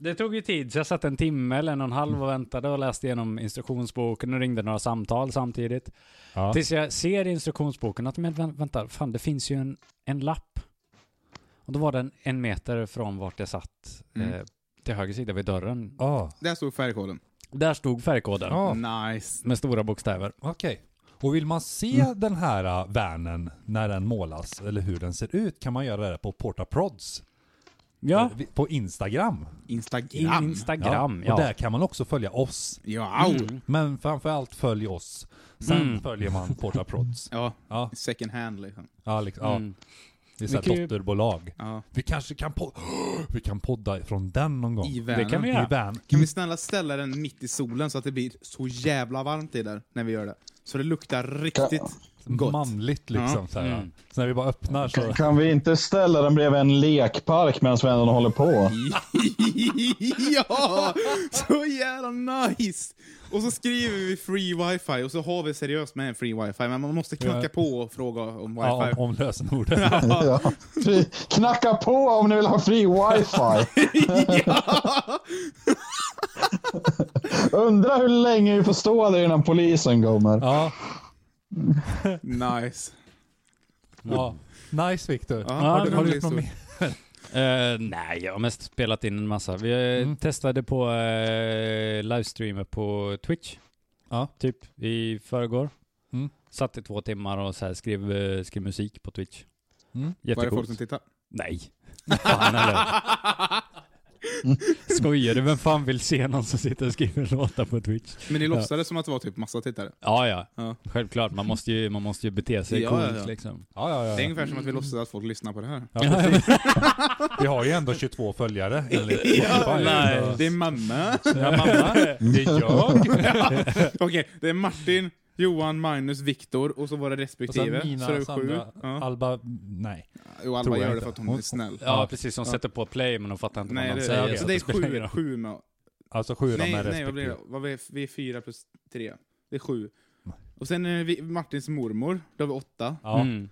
[SPEAKER 1] det tog ju tid, så jag satt en timme eller en och en halv och väntade och läste igenom instruktionsboken och ringde några samtal samtidigt.
[SPEAKER 3] Ja.
[SPEAKER 1] Tills jag ser i instruktionsboken att men vä- vänta, fan det finns ju en, en lapp. Och då var den en meter från vart jag satt
[SPEAKER 2] Mm.
[SPEAKER 1] eh, till höger sida vid dörren.
[SPEAKER 3] Ah,
[SPEAKER 2] Där stod färgkoden.
[SPEAKER 1] Där stod färgkoden
[SPEAKER 3] Ja.
[SPEAKER 2] Nice.
[SPEAKER 1] med stora bokstäver.
[SPEAKER 3] Okej. Och vill man se
[SPEAKER 1] Mm.
[SPEAKER 3] den här uh, vanen när den målas eller hur den ser ut kan man göra det på Porta Prods.
[SPEAKER 1] Ja,
[SPEAKER 3] Eh, vi- På Instagram.
[SPEAKER 2] Instagram.
[SPEAKER 1] Instagram. Ja.
[SPEAKER 3] Och där kan man också följa oss.
[SPEAKER 2] ja, au.
[SPEAKER 3] Men framförallt följ oss. Sen
[SPEAKER 1] Mm.
[SPEAKER 3] följer man Porta Prods.
[SPEAKER 2] Ja,
[SPEAKER 3] Ja,
[SPEAKER 2] second hand liksom.
[SPEAKER 3] ja, liksom, ja.
[SPEAKER 1] Mm.
[SPEAKER 3] Det är så här
[SPEAKER 1] Vi kan ju-
[SPEAKER 3] dotterbolag.
[SPEAKER 2] Ja.
[SPEAKER 3] Vi kanske kan podda, *gasps* vi kan podda från den någon gång.
[SPEAKER 2] I
[SPEAKER 1] Det kan vi
[SPEAKER 2] vi
[SPEAKER 1] göra.
[SPEAKER 3] I van.
[SPEAKER 2] Kan vi snälla ställa den mitt i solen så att det blir så jävla varmt i där när vi gör det? Så det luktar riktigt *laughs* gott.
[SPEAKER 3] Manligt liksom. Så, här.
[SPEAKER 1] Mm.
[SPEAKER 3] så när vi bara öppnar så...
[SPEAKER 5] Kan vi inte ställa den bredvid en lekpark medan vi ändå håller på?
[SPEAKER 2] ja! Så jävla nice! Och så skriver vi free wifi och så har vi seriöst med en free wifi men man måste knacka
[SPEAKER 3] Ja.
[SPEAKER 2] på och fråga om wifi.
[SPEAKER 3] Ja, om, om lösenordet. Ja.
[SPEAKER 5] *laughs* Ja. Fri, knacka på om ni vill ha fri wifi. Undrar hur länge vi får stå där innan polisen kommer.
[SPEAKER 3] Ja.
[SPEAKER 2] Nice.
[SPEAKER 3] Nice Viktor.
[SPEAKER 2] Ja,
[SPEAKER 3] har du,
[SPEAKER 2] det
[SPEAKER 3] har du
[SPEAKER 2] blir
[SPEAKER 3] gjort något
[SPEAKER 2] så.
[SPEAKER 3] mer?
[SPEAKER 1] Eh, nej, jag har mest spelat in en massa. Vi eh,
[SPEAKER 3] Mm.
[SPEAKER 1] testade på uh, livestreamer på Twitch.
[SPEAKER 3] Ja.
[SPEAKER 1] Typ i förrgår.
[SPEAKER 3] Mm.
[SPEAKER 1] Satt i två timmar och så här skrev, eh, skrev musik på Twitch.
[SPEAKER 3] Mm.
[SPEAKER 2] Vad är det folk
[SPEAKER 1] Jättecoolt.
[SPEAKER 2] som tittar?
[SPEAKER 1] Nej. Fan eller? Mm. Skojar du? Vem fan vill se någon som sitter och skriver låtar på Twitch?
[SPEAKER 2] Men ni låtsades som att det var typ massa tittare.
[SPEAKER 1] Ja, ja.
[SPEAKER 2] Ja.
[SPEAKER 1] Självklart. Man måste ju, man måste ju bete sig
[SPEAKER 2] Ja,
[SPEAKER 1] coolt
[SPEAKER 2] ja, ja.
[SPEAKER 1] liksom.
[SPEAKER 3] Ja, ja, ja.
[SPEAKER 2] Det är ungefär som att vi låtsas att folk lyssnar på det här.
[SPEAKER 3] Ja, precis. Vi har ju ändå 22 följare enligt Spotify.
[SPEAKER 1] nej.
[SPEAKER 3] Så-
[SPEAKER 2] Det är mamma.
[SPEAKER 1] Ja, mamma.
[SPEAKER 3] Det är jag.
[SPEAKER 2] Okej, det är Martin, Johan, Magnus, Viktor och så våra
[SPEAKER 3] Och sen
[SPEAKER 2] respektive.
[SPEAKER 3] Mina,
[SPEAKER 2] så det är sju.
[SPEAKER 3] Sandra,
[SPEAKER 2] Ja.
[SPEAKER 3] Alba, nej.
[SPEAKER 2] Jo,
[SPEAKER 3] tror
[SPEAKER 2] Alba
[SPEAKER 3] jag
[SPEAKER 2] gör det
[SPEAKER 3] inte.
[SPEAKER 2] för att hon
[SPEAKER 3] Hon-
[SPEAKER 2] är snäll.
[SPEAKER 1] Ja, precis. Som sätter på play men de fattar inte
[SPEAKER 2] Nej,
[SPEAKER 1] vad
[SPEAKER 2] det,
[SPEAKER 1] man
[SPEAKER 2] så
[SPEAKER 1] säger.
[SPEAKER 2] alltså, det är
[SPEAKER 1] spelar ingen
[SPEAKER 2] sju,
[SPEAKER 1] roll.
[SPEAKER 2] sju med
[SPEAKER 3] Alltså sju
[SPEAKER 2] Nej,
[SPEAKER 3] med
[SPEAKER 2] nej vad blir
[SPEAKER 3] respektive.
[SPEAKER 2] det? Vad är, vi är fyra plus tre. Det är sju. Och sen är det vi, Martins mormor, då har vi åtta.
[SPEAKER 3] Ja.
[SPEAKER 1] Mm.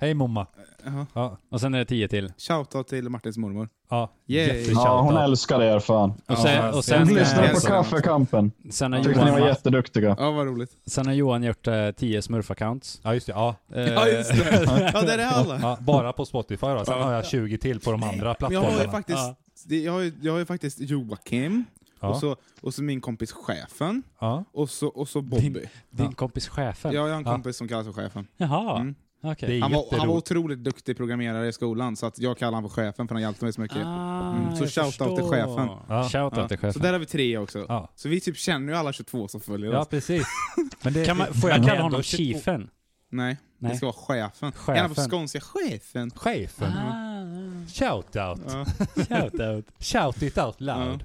[SPEAKER 3] Hej mamma.
[SPEAKER 2] Jaha.
[SPEAKER 3] Ja,
[SPEAKER 1] Och sen är det tio till.
[SPEAKER 2] Shoutout till Martins mormor.
[SPEAKER 3] ja.
[SPEAKER 2] Yay.
[SPEAKER 3] Jätteshoutout.
[SPEAKER 5] Ja, hon älskar er fan.
[SPEAKER 1] Och
[SPEAKER 3] Ja,
[SPEAKER 1] sen, och
[SPEAKER 3] jag
[SPEAKER 1] sen,
[SPEAKER 5] Hon
[SPEAKER 3] Men,
[SPEAKER 5] lyssnar
[SPEAKER 2] eh,
[SPEAKER 5] på
[SPEAKER 2] så-
[SPEAKER 5] kaffekampen.
[SPEAKER 1] sen, har
[SPEAKER 5] Tyckte ni var
[SPEAKER 1] Johan,
[SPEAKER 5] jätteduktiga.
[SPEAKER 2] Ja, vad roligt.
[SPEAKER 1] sen har Johan gjort eh, tio smurf-accounts.
[SPEAKER 3] Ja, just det. Ja.
[SPEAKER 1] Eh,
[SPEAKER 2] Ja, just det.
[SPEAKER 3] *laughs*
[SPEAKER 2] Ja, där är alla.
[SPEAKER 3] Ja, bara på Spotify då. Sen har jag 20 till på de andra
[SPEAKER 2] Men Jag har ju
[SPEAKER 3] plattformarna.
[SPEAKER 2] faktiskt, det- jag har ju, jag har ju faktiskt Joakim, och,
[SPEAKER 3] Ja,
[SPEAKER 2] så, och så min kompis Chefen,
[SPEAKER 3] ja.
[SPEAKER 2] och så, och så Bobby.
[SPEAKER 1] Din- Din
[SPEAKER 3] Ja.
[SPEAKER 1] kompis chefen?
[SPEAKER 2] Jag har en
[SPEAKER 3] Ja.
[SPEAKER 2] kompis som kallas för Chefen.
[SPEAKER 1] Jaha,
[SPEAKER 2] Mm.
[SPEAKER 1] okej.
[SPEAKER 3] Det är
[SPEAKER 2] Han var, han var
[SPEAKER 3] jätteroligt.
[SPEAKER 2] otroligt duktig programmerare i skolan, så att jag kallar honom för Chefen för han hjälpte mig så mycket.
[SPEAKER 1] Ah,
[SPEAKER 2] Mm, så
[SPEAKER 1] jag
[SPEAKER 2] shout out till
[SPEAKER 1] förstår.
[SPEAKER 2] chefen.
[SPEAKER 3] Ja.
[SPEAKER 1] Shout out
[SPEAKER 2] Ja.
[SPEAKER 1] till chefen.
[SPEAKER 2] Så där har vi tre också.
[SPEAKER 3] Ja.
[SPEAKER 2] Så vi typ känner ju alla 22 som följer
[SPEAKER 3] Ja,
[SPEAKER 2] oss.
[SPEAKER 3] precis. Men det,
[SPEAKER 1] kan man,
[SPEAKER 3] det-
[SPEAKER 1] får jag
[SPEAKER 3] men det
[SPEAKER 1] kalla
[SPEAKER 3] är
[SPEAKER 1] honom
[SPEAKER 3] ändå 22
[SPEAKER 1] chiefen?
[SPEAKER 2] Nej,
[SPEAKER 1] Nej.
[SPEAKER 2] det ska vara chefen.
[SPEAKER 1] Chefen.
[SPEAKER 2] Gärna på skånska. Chefen.
[SPEAKER 3] Chefen.
[SPEAKER 1] Ah.
[SPEAKER 3] Shout out.
[SPEAKER 2] Ja,
[SPEAKER 1] Shout out.
[SPEAKER 3] *laughs* Shout it out *laughs* loud.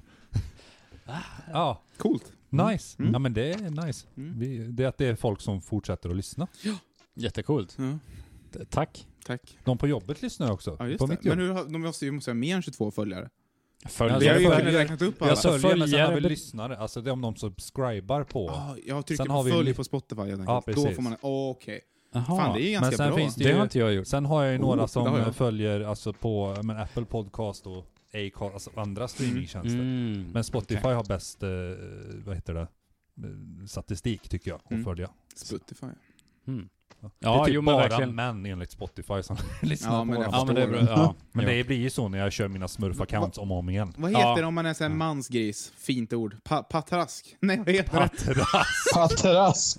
[SPEAKER 3] Ah, Ja,
[SPEAKER 2] coolt.
[SPEAKER 3] nice.
[SPEAKER 2] Mm.
[SPEAKER 3] Ja men det är nice.
[SPEAKER 2] Mm.
[SPEAKER 3] Vi, det är att det är folk som fortsätter att lyssna.
[SPEAKER 1] Jättecoolt.
[SPEAKER 2] Ja,
[SPEAKER 1] T- Tack.
[SPEAKER 2] tack.
[SPEAKER 3] De på jobbet lyssnar ju också.
[SPEAKER 2] Ja, just
[SPEAKER 3] på
[SPEAKER 2] det.
[SPEAKER 3] mitt jobb.
[SPEAKER 2] Men hur, har- de måste ju måste ha mer än 22 följare.
[SPEAKER 1] Följ
[SPEAKER 3] Alltså,
[SPEAKER 2] Vi har ju
[SPEAKER 3] jag
[SPEAKER 2] kunnat
[SPEAKER 3] följer-
[SPEAKER 2] räknat upp alla.
[SPEAKER 3] Jag följer men sen
[SPEAKER 1] följare
[SPEAKER 3] har vi
[SPEAKER 1] be-
[SPEAKER 3] lyssnare. Alltså det är om de subscribar på.
[SPEAKER 2] Ah, jag trycker
[SPEAKER 3] Sen
[SPEAKER 2] på
[SPEAKER 3] har vi
[SPEAKER 2] följ
[SPEAKER 3] li-
[SPEAKER 2] på Spotify helt
[SPEAKER 3] Ja,
[SPEAKER 2] enkelt. Då
[SPEAKER 3] precis.
[SPEAKER 2] får man... Oh, Okej.
[SPEAKER 1] Jaha.
[SPEAKER 2] Fan, det är ju
[SPEAKER 3] men
[SPEAKER 2] ganska
[SPEAKER 3] sen
[SPEAKER 2] bra. Oh,
[SPEAKER 3] finns det
[SPEAKER 1] Det
[SPEAKER 3] ju...
[SPEAKER 1] har inte jag gjort.
[SPEAKER 3] Sen har jag ju några som
[SPEAKER 2] det har jag.
[SPEAKER 3] eh, följer alltså på eh, men Apple Podcast och Acast, alltså andra streamingtjänster.
[SPEAKER 1] Mm.
[SPEAKER 3] Men Spotify har bäst, eh, vad heter det, Eh, statistik tycker jag att
[SPEAKER 2] Mm.
[SPEAKER 3] följa.
[SPEAKER 2] Spotify.
[SPEAKER 1] Mm.
[SPEAKER 3] Ja. det
[SPEAKER 1] Ja,
[SPEAKER 3] är typ
[SPEAKER 1] jo, men
[SPEAKER 3] bara
[SPEAKER 1] verkligen.
[SPEAKER 3] män enligt Spotify som *laughs* lyssnar
[SPEAKER 2] Ja,
[SPEAKER 3] på
[SPEAKER 2] men
[SPEAKER 3] våra
[SPEAKER 2] jag
[SPEAKER 1] Ja, men det är bra.
[SPEAKER 2] förstår
[SPEAKER 1] Ja.
[SPEAKER 3] Men det blir ju så när jag kör mina smurf-accounts om och om igen.
[SPEAKER 2] Vad heter
[SPEAKER 1] Ja.
[SPEAKER 2] det om man är en mansgris? Fint ord. Pa patrask? *laughs* Nej, vad heter det?
[SPEAKER 3] *laughs* Patrask!
[SPEAKER 5] Patrask.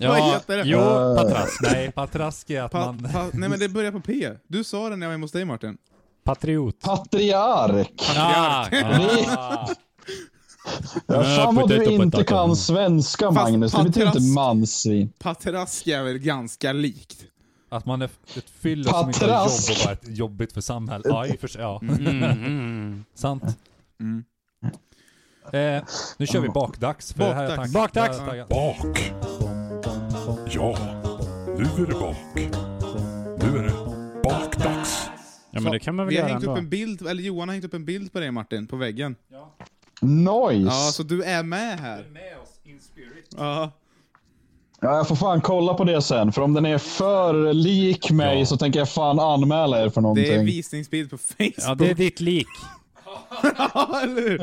[SPEAKER 2] *laughs* Vad
[SPEAKER 1] Ja,
[SPEAKER 2] heter det?
[SPEAKER 1] jo,
[SPEAKER 5] Eh,
[SPEAKER 1] patrask.
[SPEAKER 3] Nej, patrask är att
[SPEAKER 2] Pa
[SPEAKER 3] man...
[SPEAKER 2] pa nej, men det börjar på P. Du sa det när jag var hemma hos dig, Martin.
[SPEAKER 1] Patriot.
[SPEAKER 5] Patriark.
[SPEAKER 1] Ah,
[SPEAKER 5] Vi-
[SPEAKER 3] Ah,
[SPEAKER 5] Ja,
[SPEAKER 1] Nej,
[SPEAKER 5] fan vad du
[SPEAKER 1] potato,
[SPEAKER 5] inte
[SPEAKER 1] potato.
[SPEAKER 5] kan svenska
[SPEAKER 2] Fast
[SPEAKER 5] Magnus. Det betyder inte
[SPEAKER 2] patrask.
[SPEAKER 5] mansvin.
[SPEAKER 2] Patrask är väl ganska likt?
[SPEAKER 3] att man är f- ett fyllo som inte har jobb
[SPEAKER 5] Patrask.
[SPEAKER 3] och bara är jobbigt för samhället. Ja, i och för sig. Ja,
[SPEAKER 1] mm, mm.
[SPEAKER 3] sant.
[SPEAKER 2] Mm.
[SPEAKER 3] Eh, nu kör vi bakdags. För Det här är
[SPEAKER 2] Bakdags.
[SPEAKER 1] Bakdags.
[SPEAKER 3] Tack.
[SPEAKER 6] Bak! Ja, nu är det bak. Nu
[SPEAKER 1] Ja
[SPEAKER 2] Så,
[SPEAKER 1] men det kan man väl
[SPEAKER 2] Vi har
[SPEAKER 1] göra
[SPEAKER 2] hängt upp
[SPEAKER 1] ändå.
[SPEAKER 2] en bild, eller Johan har hängt upp en bild på dig Martin, på väggen.
[SPEAKER 5] Nice!
[SPEAKER 2] Ja, så du är med här.
[SPEAKER 1] Med oss in spirit.
[SPEAKER 2] Ja.
[SPEAKER 5] Ja, jag får fan kolla på det sen, för om den är för lik mig så tänker jag fan anmäla er för någonting.
[SPEAKER 2] Det är en visningsbild på Facebook.
[SPEAKER 1] Ja det är ditt lik.
[SPEAKER 2] *laughs* Ja, eller hur?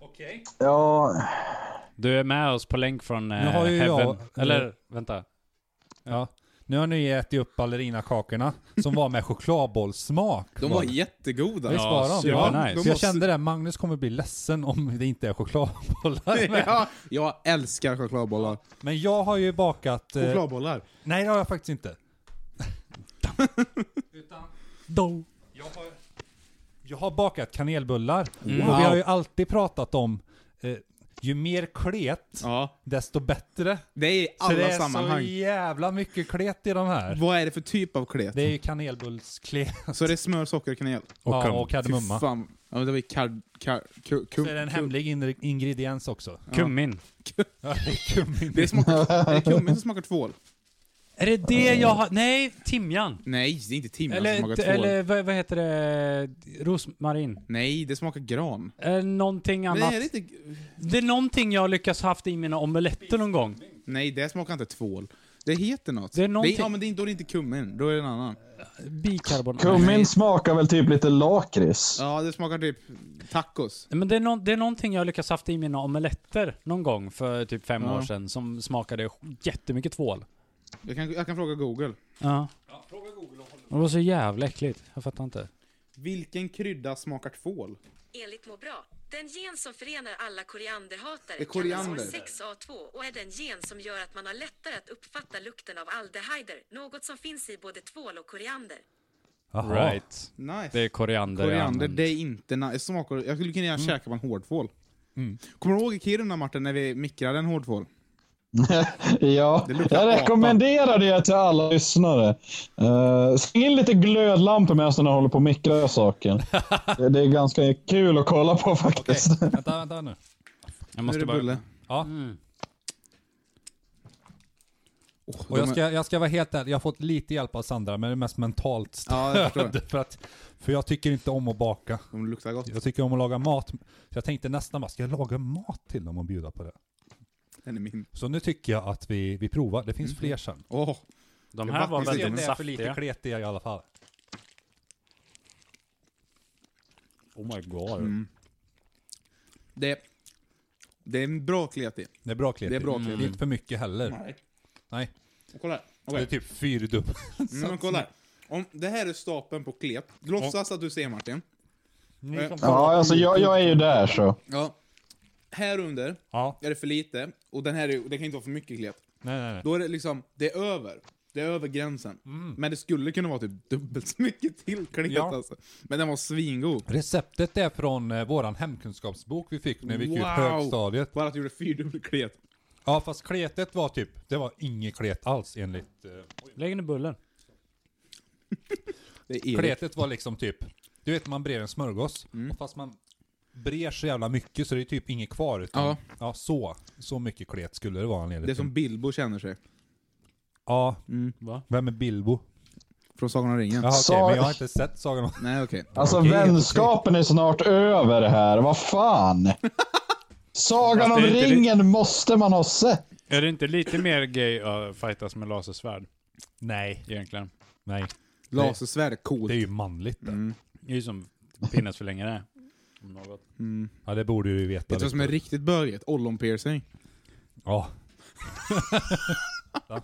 [SPEAKER 4] Okej.
[SPEAKER 5] Ja,
[SPEAKER 1] Du är med oss på länk från eh,
[SPEAKER 3] Nu har ju
[SPEAKER 1] Heaven.
[SPEAKER 3] jag-
[SPEAKER 1] Eller vänta.
[SPEAKER 3] Ja. Nu har ni ätit upp ballerinakakorna som var med chokladbollssmak.
[SPEAKER 2] De var jättegoda.
[SPEAKER 3] Visst var de?
[SPEAKER 1] Ja,
[SPEAKER 3] Ja,
[SPEAKER 1] supernice.
[SPEAKER 3] Så
[SPEAKER 2] De
[SPEAKER 3] jag
[SPEAKER 2] måste-
[SPEAKER 3] kände det, Magnus kommer bli ledsen om det inte är chokladbollar med.
[SPEAKER 2] *laughs* *laughs* Ja, jag älskar chokladbollar.
[SPEAKER 3] Men jag har ju bakat... eh,
[SPEAKER 2] Chokladbollar?
[SPEAKER 3] Nej, det har jag faktiskt
[SPEAKER 2] *laughs*
[SPEAKER 3] inte. Utan
[SPEAKER 1] Då.
[SPEAKER 3] jag har, jag har bakat kanelbullar.
[SPEAKER 1] Mm.
[SPEAKER 3] Och vi har
[SPEAKER 2] Wow.
[SPEAKER 3] ju alltid pratat om eh, ju mer klet,
[SPEAKER 2] Ja,
[SPEAKER 3] desto bättre.
[SPEAKER 2] det är i
[SPEAKER 3] så det
[SPEAKER 2] alla
[SPEAKER 3] är så
[SPEAKER 2] sammanhang.
[SPEAKER 3] jävla mycket klet i de här.
[SPEAKER 2] Vad är det för typ av klet?
[SPEAKER 3] Det är ju kanelbullsklet
[SPEAKER 2] Så det är smör, socker, kanel?
[SPEAKER 1] Och
[SPEAKER 3] ja,
[SPEAKER 1] kum.
[SPEAKER 3] och
[SPEAKER 2] Fy
[SPEAKER 3] kardemumma.
[SPEAKER 2] fan. Ja, men det var ju kard... kard ku,
[SPEAKER 3] Så
[SPEAKER 2] ku,
[SPEAKER 3] är det en
[SPEAKER 2] ku-
[SPEAKER 3] hemlig inre- ingrediens också.
[SPEAKER 1] Kummin.
[SPEAKER 3] Ja, det är kummin.
[SPEAKER 2] Det smakar... det är kummin som smakar tvål.
[SPEAKER 1] Är det det jag har? Nej, timjan.
[SPEAKER 2] Nej, det är inte timjan som
[SPEAKER 1] Eller,
[SPEAKER 2] smakar tvål.
[SPEAKER 1] eller vad, vad heter det? Rosmarin.
[SPEAKER 2] Nej, det smakar gran.
[SPEAKER 1] Eh, någonting annat.
[SPEAKER 2] Nej, det är inte...
[SPEAKER 1] Det är någonting jag har lyckats haft i mina omeletter någon gång.
[SPEAKER 2] Nej, det smakar inte tvål. Det heter något.
[SPEAKER 1] Det är någonting-
[SPEAKER 2] ja, men det är, då är det inte kummin. Då är det en annan.
[SPEAKER 1] Bikarbonat.
[SPEAKER 5] kummin smakar väl typ lite lakrits.
[SPEAKER 2] Ja, det smakar typ tacos.
[SPEAKER 1] Men det är, nå- det är någonting jag har lyckats haft i mina omeletter någon gång för typ fem
[SPEAKER 2] Ja.
[SPEAKER 1] år sedan som smakade jättemycket tvål.
[SPEAKER 2] Jag kan, jag kan fråga Google.
[SPEAKER 1] Ja. Det var så jävla äckligt. Jag fattar inte.
[SPEAKER 2] Vilken krydda smakar tvål?
[SPEAKER 6] Enligt Må bra, den gen som förenar alla korianderhatare
[SPEAKER 2] är koriander.
[SPEAKER 6] kallas för 6A2 och är den gen som gör att man har lättare att uppfatta lukten av aldehyder, något som finns i både tvål och koriander.
[SPEAKER 3] Jaha.
[SPEAKER 1] Right.
[SPEAKER 2] Nice.
[SPEAKER 1] Det är koriander. jag
[SPEAKER 2] Koriander,
[SPEAKER 1] använder.
[SPEAKER 2] det är inte nice. Smakar, jag skulle kunna mm. käka på en hårdtvål. Kommer du ihåg i Kiruna Martin, när vi mikrade en hårdtvål?
[SPEAKER 5] *laughs* Ja,
[SPEAKER 2] Det luktar
[SPEAKER 5] jag
[SPEAKER 2] apa.
[SPEAKER 5] rekommenderar det till alla lyssnare. Uh, Släng in lite glödlampor medan den håller på att mikra saken. det, det är ganska kul att kolla på faktiskt.
[SPEAKER 3] Vänta, vänta nu.
[SPEAKER 1] Jag
[SPEAKER 2] Nu är
[SPEAKER 1] måste
[SPEAKER 2] det
[SPEAKER 1] bara...
[SPEAKER 2] bulle.
[SPEAKER 3] Ja.
[SPEAKER 1] Mm.
[SPEAKER 2] Åh,
[SPEAKER 3] Och
[SPEAKER 2] *laughs* de
[SPEAKER 3] jag
[SPEAKER 2] är-
[SPEAKER 3] ska, jag ska vara helt ärlig, jag har fått lite hjälp av Sandra, men det är mest mentalt
[SPEAKER 2] Ja, jag förstår.
[SPEAKER 3] stöd. *laughs* för, att, för jag tycker inte om att baka.
[SPEAKER 2] De luktar gott.
[SPEAKER 3] Jag tycker om att laga mat. Så jag tänkte nästan bara, ska jag laga mat till dem och bjuda på det?
[SPEAKER 2] Den är min.
[SPEAKER 3] Så nu tycker jag att vi, vi provar. Det
[SPEAKER 2] Mhm.
[SPEAKER 3] finns fler sen.
[SPEAKER 2] Åh,
[SPEAKER 1] De
[SPEAKER 2] Det
[SPEAKER 1] här var
[SPEAKER 2] vattnet
[SPEAKER 3] Se om
[SPEAKER 1] väldigt
[SPEAKER 3] det är för lite
[SPEAKER 1] saftiga.
[SPEAKER 3] kletiga i alla fall.
[SPEAKER 1] Oh my god.
[SPEAKER 2] Mm. det, det är en bra klet i.
[SPEAKER 3] Det är bra kletigt.
[SPEAKER 2] Det är bra kletigt.
[SPEAKER 3] Det är inte för mycket heller.
[SPEAKER 2] Nej.
[SPEAKER 3] Nej.
[SPEAKER 2] Och Kolla här.
[SPEAKER 3] Det
[SPEAKER 2] Okej.
[SPEAKER 3] är typ fyrdubbelt.
[SPEAKER 2] Mm, men kolla här. Om det här är stapeln på klet. Låtsas att du ser Martin. Eh,
[SPEAKER 5] *laughs* Ja, alltså jag, jag är ju där så.
[SPEAKER 2] Ja. Här under
[SPEAKER 3] Ja,
[SPEAKER 2] är det för lite och den här är, det kan inte vara för mycket klet.
[SPEAKER 3] nej nej nej.
[SPEAKER 2] Då är det liksom, det är över. Det är över gränsen. Men det skulle kunna vara typ dubbelt så mycket till klet
[SPEAKER 3] Mm. Ja.
[SPEAKER 2] alltså. Men den var svingod.
[SPEAKER 3] Receptet är från eh, våran hemkunskapsbok vi fick när vi gick ut
[SPEAKER 2] Wow.
[SPEAKER 3] högstadiet.
[SPEAKER 2] Bara att du gjorde fyrdubbel klet.
[SPEAKER 3] Ja fast kletet var typ, det var inget klet alls enligt... Eh,
[SPEAKER 1] Lägg ner bullen.
[SPEAKER 2] Det är Erik.
[SPEAKER 3] Kletet var liksom typ, du vet man brer en smörgås,
[SPEAKER 2] Mm.
[SPEAKER 3] och fast man brer så jävla mycket så det är typ inget kvar. Utan, ja.
[SPEAKER 2] Ja.
[SPEAKER 3] så, så mycket klet skulle det vara enligt.
[SPEAKER 2] Det är som Mm. Bilbo känner sig.
[SPEAKER 3] Ja,
[SPEAKER 1] Va?
[SPEAKER 3] vem är Bilbo?
[SPEAKER 2] Från Sagan om ringen.
[SPEAKER 3] Jaha okej,
[SPEAKER 5] Sa-
[SPEAKER 3] men jag har inte sett Sagan om...
[SPEAKER 2] Nej okej.
[SPEAKER 5] Alltså
[SPEAKER 3] Okej,
[SPEAKER 5] vänskapen är snart över här. Vad fan? Sagan om
[SPEAKER 1] Fast det är inte
[SPEAKER 5] ringen måste man ha sett.
[SPEAKER 1] Är det inte lite mer gay att fightas med lasersvärd
[SPEAKER 3] Nej.
[SPEAKER 1] egentligen?
[SPEAKER 3] Nej.
[SPEAKER 2] Lasersvärd är
[SPEAKER 3] Det är
[SPEAKER 2] coolt.
[SPEAKER 3] ju manligt det.
[SPEAKER 2] Mm.
[SPEAKER 1] Det är ju som pinnas för länge det. Om något.
[SPEAKER 3] Ja det borde du ju veta.
[SPEAKER 2] Vet du vad som är
[SPEAKER 3] Viktor.
[SPEAKER 2] riktigt bögigt? Ollonpiercing.
[SPEAKER 3] Ja.
[SPEAKER 2] *laughs*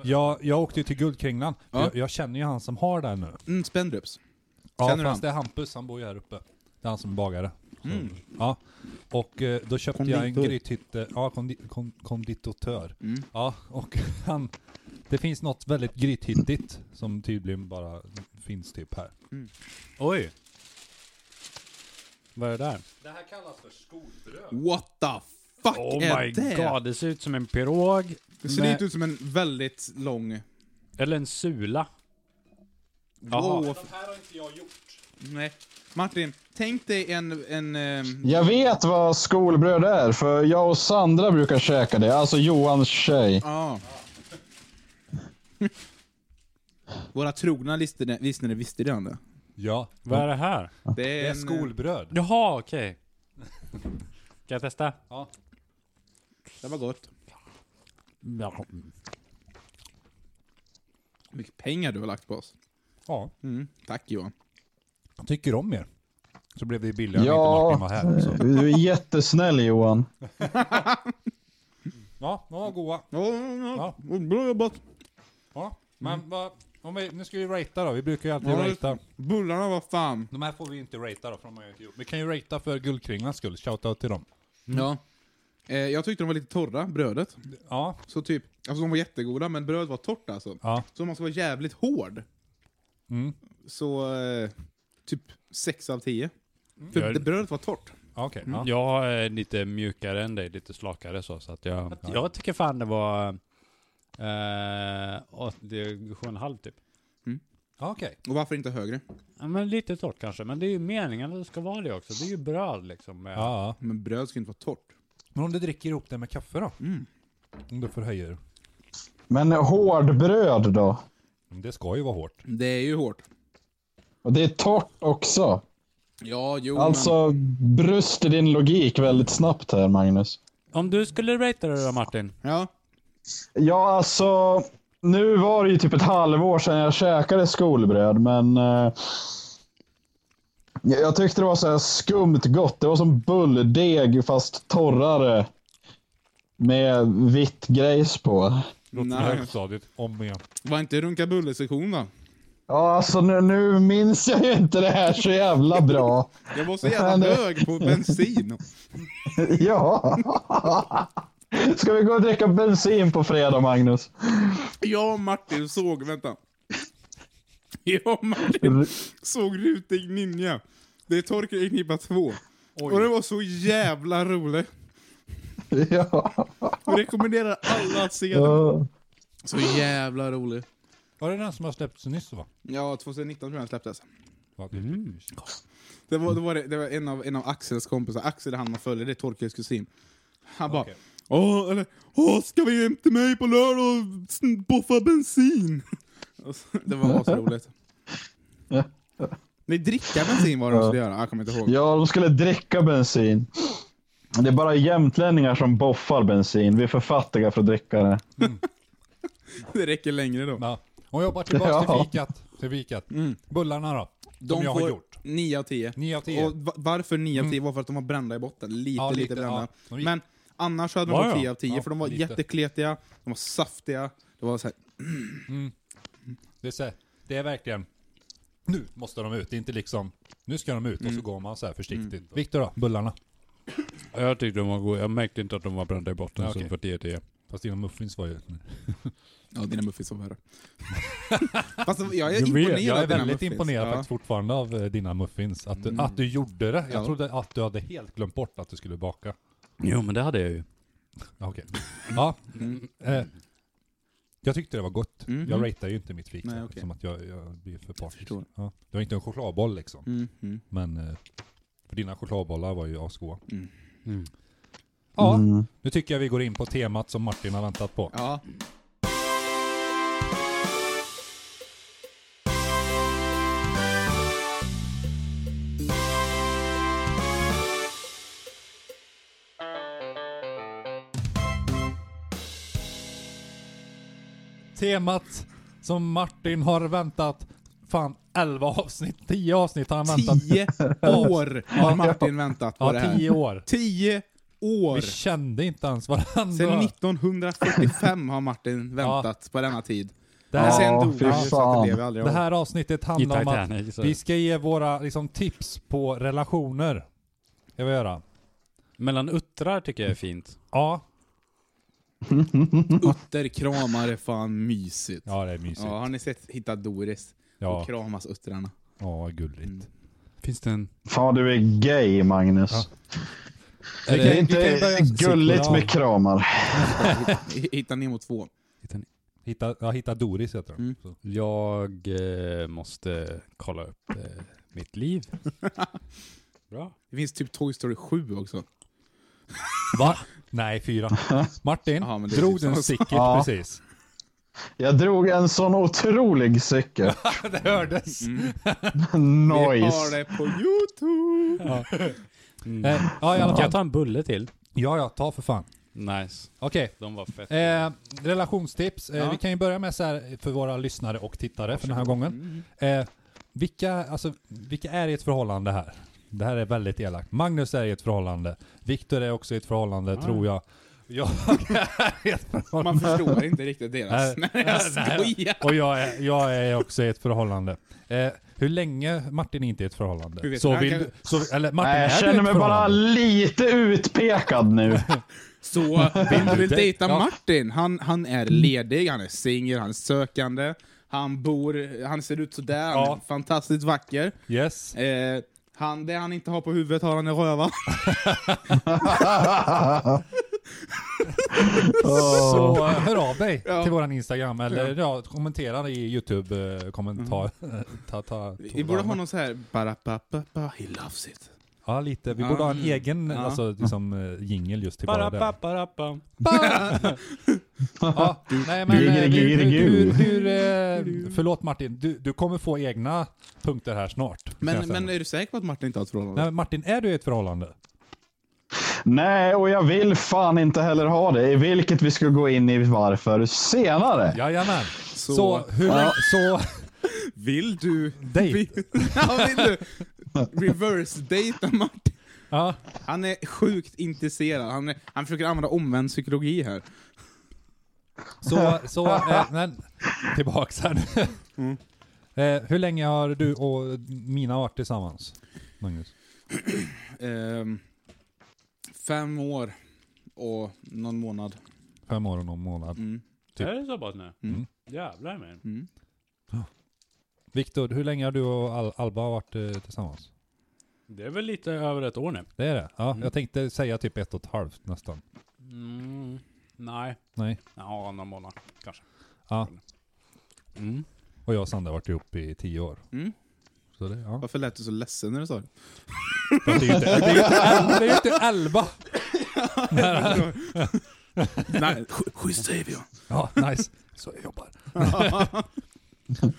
[SPEAKER 3] Ja. jag, jag åkte ju till Guldkringlan.
[SPEAKER 2] Ja.
[SPEAKER 3] Jag, jag känner ju han som har den nu.
[SPEAKER 2] Mm, Spendrups.
[SPEAKER 3] Ja,
[SPEAKER 2] Känner du
[SPEAKER 3] fast
[SPEAKER 2] han? Mm.
[SPEAKER 3] det är Hampus, han bor ju här uppe. Det är han som är bagare. Så, Ja. Och eh, då köpte jag en
[SPEAKER 2] Konditor. Mm.
[SPEAKER 3] grythytte, ja kondi, kon, konditotör. Ja, och *laughs* han, det finns något väldigt grythyttigt som tydligen bara finns typ här.
[SPEAKER 1] Oj! Vad är det där?
[SPEAKER 3] Det här kallas för skolbröd.
[SPEAKER 2] What the fuck
[SPEAKER 1] Oh
[SPEAKER 2] är
[SPEAKER 1] my
[SPEAKER 2] det?
[SPEAKER 1] god, det ser ut som en pirog.
[SPEAKER 2] Det ser
[SPEAKER 1] med-
[SPEAKER 2] lite ut som en väldigt lång...
[SPEAKER 1] Eller en sula.
[SPEAKER 2] Wow,
[SPEAKER 3] här
[SPEAKER 2] vad
[SPEAKER 3] har inte jag gjort.
[SPEAKER 2] Nej. Martin, tänk dig en... en ehm,
[SPEAKER 5] Jag vet vad skolbröd är, för jag och Sandra brukar käka det. Alltså Johans tjej.
[SPEAKER 2] ja. Våra trogna lyssnare lyssnare visste redan det.
[SPEAKER 3] Ja,
[SPEAKER 1] Vad är det här?
[SPEAKER 2] Det
[SPEAKER 3] det är
[SPEAKER 2] en,
[SPEAKER 3] skolbröd.
[SPEAKER 1] Jaha, okej. *laughs* Ska jag testa?
[SPEAKER 2] eh, Det var gott.
[SPEAKER 1] Ja.
[SPEAKER 2] Mycket pengar du har lagt på oss.
[SPEAKER 3] Ja,
[SPEAKER 2] Mm, tack Johan.
[SPEAKER 3] jag tycker om er. Så blev det billigare
[SPEAKER 5] Ja.
[SPEAKER 3] när inte Martin var här. Så.
[SPEAKER 5] Du är jättesnäll Johan.
[SPEAKER 3] Ja, de var goa.
[SPEAKER 2] Ja, bra jobbat.
[SPEAKER 3] Ja, men vad... Om vi, nu ska vi ratea då, vi brukar ju alltid
[SPEAKER 2] Ja,
[SPEAKER 3] ratea.
[SPEAKER 2] Bullarna var fan.
[SPEAKER 3] De här får vi inte ratea då, för de har ju inte gjort. Vi kan ju ratea för Guldkringlans skull, shoutout till dem.
[SPEAKER 2] Ja. Eh, jag tyckte de var lite torra, brödet.
[SPEAKER 3] Ja,
[SPEAKER 2] Så typ, alltså de var jättegoda, men brödet var torrt alltså.
[SPEAKER 3] ja.
[SPEAKER 2] Så man ska vara jävligt hård.
[SPEAKER 3] Mm.
[SPEAKER 2] Så eh, typ 6 av 10.
[SPEAKER 3] Mm.
[SPEAKER 2] För
[SPEAKER 1] Jag-
[SPEAKER 2] det brödet var torrt.
[SPEAKER 3] ja okej. ja.
[SPEAKER 1] Mm. Jag är lite mjukare än dig, lite slakare så, så att jag... Jag tycker fan det var... Eh, åt- det är sju och en halv typ.
[SPEAKER 3] Ja, okej.
[SPEAKER 2] Och varför inte högre?
[SPEAKER 1] Ja, men lite torrt kanske, men det är ju meningen att det ska vara det också. Det är ju bröd liksom. med-
[SPEAKER 3] Ja, ja.
[SPEAKER 2] Men bröd ska inte vara torrt.
[SPEAKER 3] Men om du dricker ihop det med kaffe då? Om du förhöjer du.
[SPEAKER 5] Men hårdbröd då?
[SPEAKER 3] Det ska ju vara hårt.
[SPEAKER 2] Det är ju hårt.
[SPEAKER 5] Och det är torrt också.
[SPEAKER 2] Ja, jo men...
[SPEAKER 5] Alltså, bröst i din logik väldigt snabbt här Magnus.
[SPEAKER 1] Om du skulle ratea det då Martin?
[SPEAKER 2] Ja.
[SPEAKER 5] Ja, alltså. Nu var det ju typ ett halvår sedan jag käkade skolbröd, men eh, jag tyckte det var så här skumt gott. Det var som bulldeg fast torrare med vitt grejs på.
[SPEAKER 2] Nej.
[SPEAKER 3] Högstadiet, om igen.
[SPEAKER 2] Var inte runka bulle-sektion va?
[SPEAKER 5] Ja, alltså nu, nu minns jag ju inte det här så jävla bra.
[SPEAKER 2] Jag var så
[SPEAKER 5] *laughs*
[SPEAKER 2] jävla
[SPEAKER 5] Nej.
[SPEAKER 2] hög på bensin.
[SPEAKER 5] Ja. Ska vi gå och dricka bensin på fredag, Magnus?
[SPEAKER 2] Jag och Martin såg, vänta. Jag och Martin såg Rutig Ninja. Det är Torkel i Knippa 2. Och det var så jävla roligt.
[SPEAKER 5] Ja.
[SPEAKER 2] Jag rekommenderar alla att se den.
[SPEAKER 5] Ja.
[SPEAKER 2] Så jävla rolig.
[SPEAKER 3] Var det den som har släppts nyss va?
[SPEAKER 2] Ja, 2019 tror jag den släpptes.
[SPEAKER 3] Va, det-
[SPEAKER 2] Det var, det var, det, det var en, av, en av Axels kompisar, Axel är han man följer, det är Torkels kusin. Han bara
[SPEAKER 3] Okej.
[SPEAKER 2] Åh, eller, Åh, ska vi hem till mig på lördag och sn- boffa bensin? Och så- det var asroligt. Nej, dricka bensin var det de skulle göra, jag kommer inte ihåg.
[SPEAKER 5] Ja, de skulle dricka bensin. Det är bara jämtlänningar som boffar bensin. Vi är för fattiga för att dricka det.
[SPEAKER 2] Det räcker längre då.
[SPEAKER 3] Ja. Om jag hoppar tillbaka
[SPEAKER 5] Ja.
[SPEAKER 3] till fikat. Till fikat. Bullarna då? De som jag har gjort.
[SPEAKER 2] 9 av 10.
[SPEAKER 3] 9 av 10.
[SPEAKER 2] Och va- varför 9 av 10 var för att de var brända i botten. Lite,
[SPEAKER 3] Ja,
[SPEAKER 2] lite,
[SPEAKER 3] lite,
[SPEAKER 2] brända.
[SPEAKER 3] ja. De gick-
[SPEAKER 2] Men annars hade de
[SPEAKER 3] Ja,
[SPEAKER 2] varit
[SPEAKER 3] ja.
[SPEAKER 2] 10 av 10
[SPEAKER 3] Ja,
[SPEAKER 2] för de var
[SPEAKER 3] lite.
[SPEAKER 2] jättekletiga, de var saftiga, det var så här,
[SPEAKER 3] Det är, så här, det är verkligen... Nu måste de ut, det är inte liksom... Nu ska de ut och
[SPEAKER 2] Mm.
[SPEAKER 3] så går man så här försiktigt. Viktor då? Bullarna?
[SPEAKER 1] Jag tyckte de var goda. Jag märkte inte att de var brända i botten
[SPEAKER 3] Ja,
[SPEAKER 1] så
[SPEAKER 3] okej.
[SPEAKER 1] för 10 10.
[SPEAKER 3] Fast dina muffins var ju...
[SPEAKER 2] Ja, dina muffins var värre. *laughs* Fast jag är
[SPEAKER 3] Jag,
[SPEAKER 2] imponerad
[SPEAKER 3] vet, jag
[SPEAKER 2] av
[SPEAKER 3] är
[SPEAKER 2] dina
[SPEAKER 3] väldigt
[SPEAKER 2] muffins.
[SPEAKER 3] imponerad
[SPEAKER 2] Ja. Mm.
[SPEAKER 3] faktiskt fortfarande av eh, dina muffins. Att du, att du gjorde det. Jag
[SPEAKER 2] Ja.
[SPEAKER 3] trodde att du hade helt glömt bort att du skulle baka.
[SPEAKER 1] Jo men det hade jag ju.
[SPEAKER 3] Ja, Okej.
[SPEAKER 2] Mm.
[SPEAKER 3] Ja. Eh, jag tyckte det var gott.
[SPEAKER 2] Mhm.
[SPEAKER 3] Jag ratear ju inte mitt fik.
[SPEAKER 2] Nej,
[SPEAKER 3] så,
[SPEAKER 2] okej.
[SPEAKER 3] Som att jag, jag blir för partisk.
[SPEAKER 2] förstår.
[SPEAKER 3] Ja. Det var inte en chokladboll liksom.
[SPEAKER 2] Mm, mm.
[SPEAKER 3] Men eh, för dina chokladbollar var ju asgoda.
[SPEAKER 2] Mm.
[SPEAKER 1] Mm.
[SPEAKER 3] Ja,
[SPEAKER 5] Mm.
[SPEAKER 3] nu tycker jag vi går in på temat som Martin har väntat på.
[SPEAKER 2] Ja.
[SPEAKER 3] Temat som Martin har väntat Fan, 11 avsnitt, 10 avsnitt har han väntat.
[SPEAKER 2] Tio år har Martin väntat på det
[SPEAKER 3] Ja,
[SPEAKER 2] här.
[SPEAKER 3] 10 år.
[SPEAKER 2] Tio år!
[SPEAKER 3] Vi kände inte ens
[SPEAKER 2] Sen
[SPEAKER 3] varandra.
[SPEAKER 2] 1945 har Martin väntat på denna tid.
[SPEAKER 3] Det
[SPEAKER 2] Men
[SPEAKER 3] här,
[SPEAKER 2] sen
[SPEAKER 5] Ja,
[SPEAKER 2] dog
[SPEAKER 5] fy
[SPEAKER 2] han ju, så att
[SPEAKER 5] fan.
[SPEAKER 2] det blev aldrig
[SPEAKER 3] det
[SPEAKER 2] av.
[SPEAKER 3] här avsnittet
[SPEAKER 1] I
[SPEAKER 3] handlar om att
[SPEAKER 1] Titanic. Så.
[SPEAKER 3] vi ska ge våra liksom, tips på relationer. Ska vi göra?
[SPEAKER 1] Mellan uttrar tycker jag är fint.
[SPEAKER 3] Ja.
[SPEAKER 2] Utterkramar är fan mysigt. Ja.
[SPEAKER 3] Ja, det är mysigt. Ja,
[SPEAKER 2] har ni sett Hitta Doris?
[SPEAKER 3] Ja.
[SPEAKER 2] Och kramas uttrarna.
[SPEAKER 3] vad gulligt.
[SPEAKER 2] Mm.
[SPEAKER 1] Finns det en...
[SPEAKER 5] Fan, du är gay, Magnus.
[SPEAKER 3] Ja.
[SPEAKER 5] Det
[SPEAKER 3] Vi kan-
[SPEAKER 5] är
[SPEAKER 3] vi kan ju
[SPEAKER 5] inte
[SPEAKER 3] börja-
[SPEAKER 5] gulligt med kramar.
[SPEAKER 2] Hitta Nemo 2.
[SPEAKER 3] Hitta, ja, hitta Doris heter den.
[SPEAKER 2] Mm.
[SPEAKER 3] Så.
[SPEAKER 1] Jag eh, måste kolla upp eh, mitt liv. Bra.
[SPEAKER 2] Det finns typ Toy Story 7 också.
[SPEAKER 3] Va? Nej, fyra. Martin,
[SPEAKER 2] *laughs* Jaha, men det är
[SPEAKER 3] drog
[SPEAKER 2] typ
[SPEAKER 3] du en
[SPEAKER 2] samma
[SPEAKER 3] sticket
[SPEAKER 5] Ja.
[SPEAKER 3] precis?
[SPEAKER 5] Jag drog en sån otrolig cykel.
[SPEAKER 3] *laughs*
[SPEAKER 5] Mm.
[SPEAKER 3] det hördes.
[SPEAKER 5] *laughs*
[SPEAKER 2] Vi har
[SPEAKER 5] Noise.
[SPEAKER 2] det på Youtube! Mm.
[SPEAKER 3] Eh, ja, i alla
[SPEAKER 1] Kan
[SPEAKER 3] fall.
[SPEAKER 1] jag ta en bulle till?
[SPEAKER 3] Ja, ja, ta för fan.
[SPEAKER 1] Nice.
[SPEAKER 3] Okej.
[SPEAKER 1] De var fett.
[SPEAKER 3] Eh, relationstips. Eh, Vi kan ju börja med så här för våra lyssnare och tittare för den här gången. Eh, vilka, alltså, vilka är i ett förhållande här? Det här är väldigt elakt. Magnus är i ett förhållande. Viktor är också i ett förhållande, tror
[SPEAKER 2] *laughs*
[SPEAKER 3] jag. Jag är i ett förhållande.
[SPEAKER 2] Man förstår inte riktigt deras... *laughs* Nej, jag skojar!
[SPEAKER 3] Och jag är, jag är också i ett förhållande. Eh, hur länge Martin är inte är i ett
[SPEAKER 2] Hur
[SPEAKER 3] förhållande?
[SPEAKER 2] vet
[SPEAKER 3] Så
[SPEAKER 2] man?
[SPEAKER 3] vill
[SPEAKER 2] Kan-
[SPEAKER 3] du, så, eller Martin,
[SPEAKER 5] Nej,
[SPEAKER 3] är
[SPEAKER 5] jag
[SPEAKER 3] du i
[SPEAKER 5] känner
[SPEAKER 3] ett
[SPEAKER 5] mig bara
[SPEAKER 3] förhållande?
[SPEAKER 5] lite utpekad nu.
[SPEAKER 2] Så vill du vill
[SPEAKER 3] dej-
[SPEAKER 2] dejta Mm.
[SPEAKER 3] ja.
[SPEAKER 2] Martin? Han, han är ledig, han är singel, han är sökande. Han bor, han ser ut sådär, han
[SPEAKER 3] Ja.
[SPEAKER 2] är fantastiskt vacker.
[SPEAKER 3] Yes.
[SPEAKER 2] Eh, han, det han inte har på huvudet har han i *laughs* röva.
[SPEAKER 3] Så eh, hör av dig
[SPEAKER 2] Ja.
[SPEAKER 3] till våran Instagram eller ja, kommentera i YouTube-kommentar. *laughs* ta, ta,
[SPEAKER 2] Mm. Vi borde ha någon så här... Bara, ba, ba, ba, he loves it.
[SPEAKER 3] Ja, lite. Vi borde ha en egen
[SPEAKER 2] Ja.
[SPEAKER 3] alltså, liksom, eh, jingle just till bara det.
[SPEAKER 1] Parapaparapam.
[SPEAKER 3] Ja, nej, men, eh, du, du, du,
[SPEAKER 5] Girigirig.
[SPEAKER 3] du, eh, förlåt Martin, du, du kommer få egna punkter här snart. kan jag
[SPEAKER 2] Men,
[SPEAKER 3] säga.
[SPEAKER 2] men är du säker på att Martin inte har ett förhållande?
[SPEAKER 3] nej, men Martin, är du i ett förhållande?
[SPEAKER 5] Nej, och jag vill fan inte heller ha det, i vilket vi ska gå in i varför senare.
[SPEAKER 3] Jajamän. Så,
[SPEAKER 2] Så-
[SPEAKER 3] hur, så
[SPEAKER 2] Vill du...
[SPEAKER 3] dejt.
[SPEAKER 2] *laughs* ja, vill du reverse-dejta Martin?
[SPEAKER 3] Ja.
[SPEAKER 2] Han är sjukt intresserad. Han, är, han försöker använda omvänd psykologi här.
[SPEAKER 3] Så, så eh, men, tillbaks här nu. Eh, hur länge har du och mina varit tillsammans? Magnus?
[SPEAKER 2] Ehm, fem år och någon månad.
[SPEAKER 3] Fem år och någon månad.
[SPEAKER 2] Mm.
[SPEAKER 3] Typ.
[SPEAKER 1] Är det så pass nu?
[SPEAKER 2] Mm.
[SPEAKER 1] Jävlar men.
[SPEAKER 3] Viktor, hur länge har du och Al- Alba varit eh, tillsammans?
[SPEAKER 1] Det är väl lite över ett år nu.
[SPEAKER 3] Det är det? Ja, jag tänkte säga typ ett och ett halvt nästan.
[SPEAKER 1] Mm. Nej.
[SPEAKER 3] Nej.
[SPEAKER 1] Ja, någon månad kanske.
[SPEAKER 3] Ja.
[SPEAKER 1] Mm.
[SPEAKER 3] Och jag och Sandra har varit ihop i tio år.
[SPEAKER 2] Mm.
[SPEAKER 3] Så det, ja.
[SPEAKER 2] Varför lät du så ledsen när du sa det?
[SPEAKER 3] Det är ju inte, det är ju inte, elva, det är ju inte elva!
[SPEAKER 2] Nej, sch- schysst säger vi.
[SPEAKER 3] Ja, nice. Så jag
[SPEAKER 2] *laughs*
[SPEAKER 3] jobbar.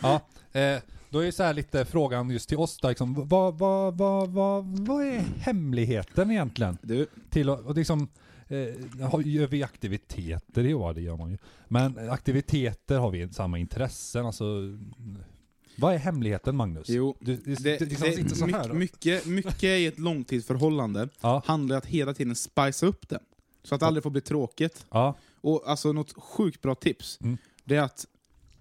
[SPEAKER 3] ja, eh, då är ju så här lite frågan just till oss där, liksom, vad, vad, vad, vad, vad är hemligheten egentligen?
[SPEAKER 2] Du,
[SPEAKER 3] Till att, och liksom, eh, har- gör vi aktiviteter? Ja, det gör man ju. Men eh, aktiviteter har vi samma intressen, alltså. mm. Vad är hemligheten Magnus?
[SPEAKER 2] Jo,
[SPEAKER 3] du, du,
[SPEAKER 2] det,
[SPEAKER 3] du, liksom sitter så här då.
[SPEAKER 2] mycket, mycket, mycket i ett långtidsförhållande
[SPEAKER 3] Ja.
[SPEAKER 2] handlar om att hela tiden spicea upp det. Så att det aldrig får bli tråkigt.
[SPEAKER 3] Ja,
[SPEAKER 2] Och alltså något sjukt bra tips,
[SPEAKER 3] Mm.
[SPEAKER 2] det är att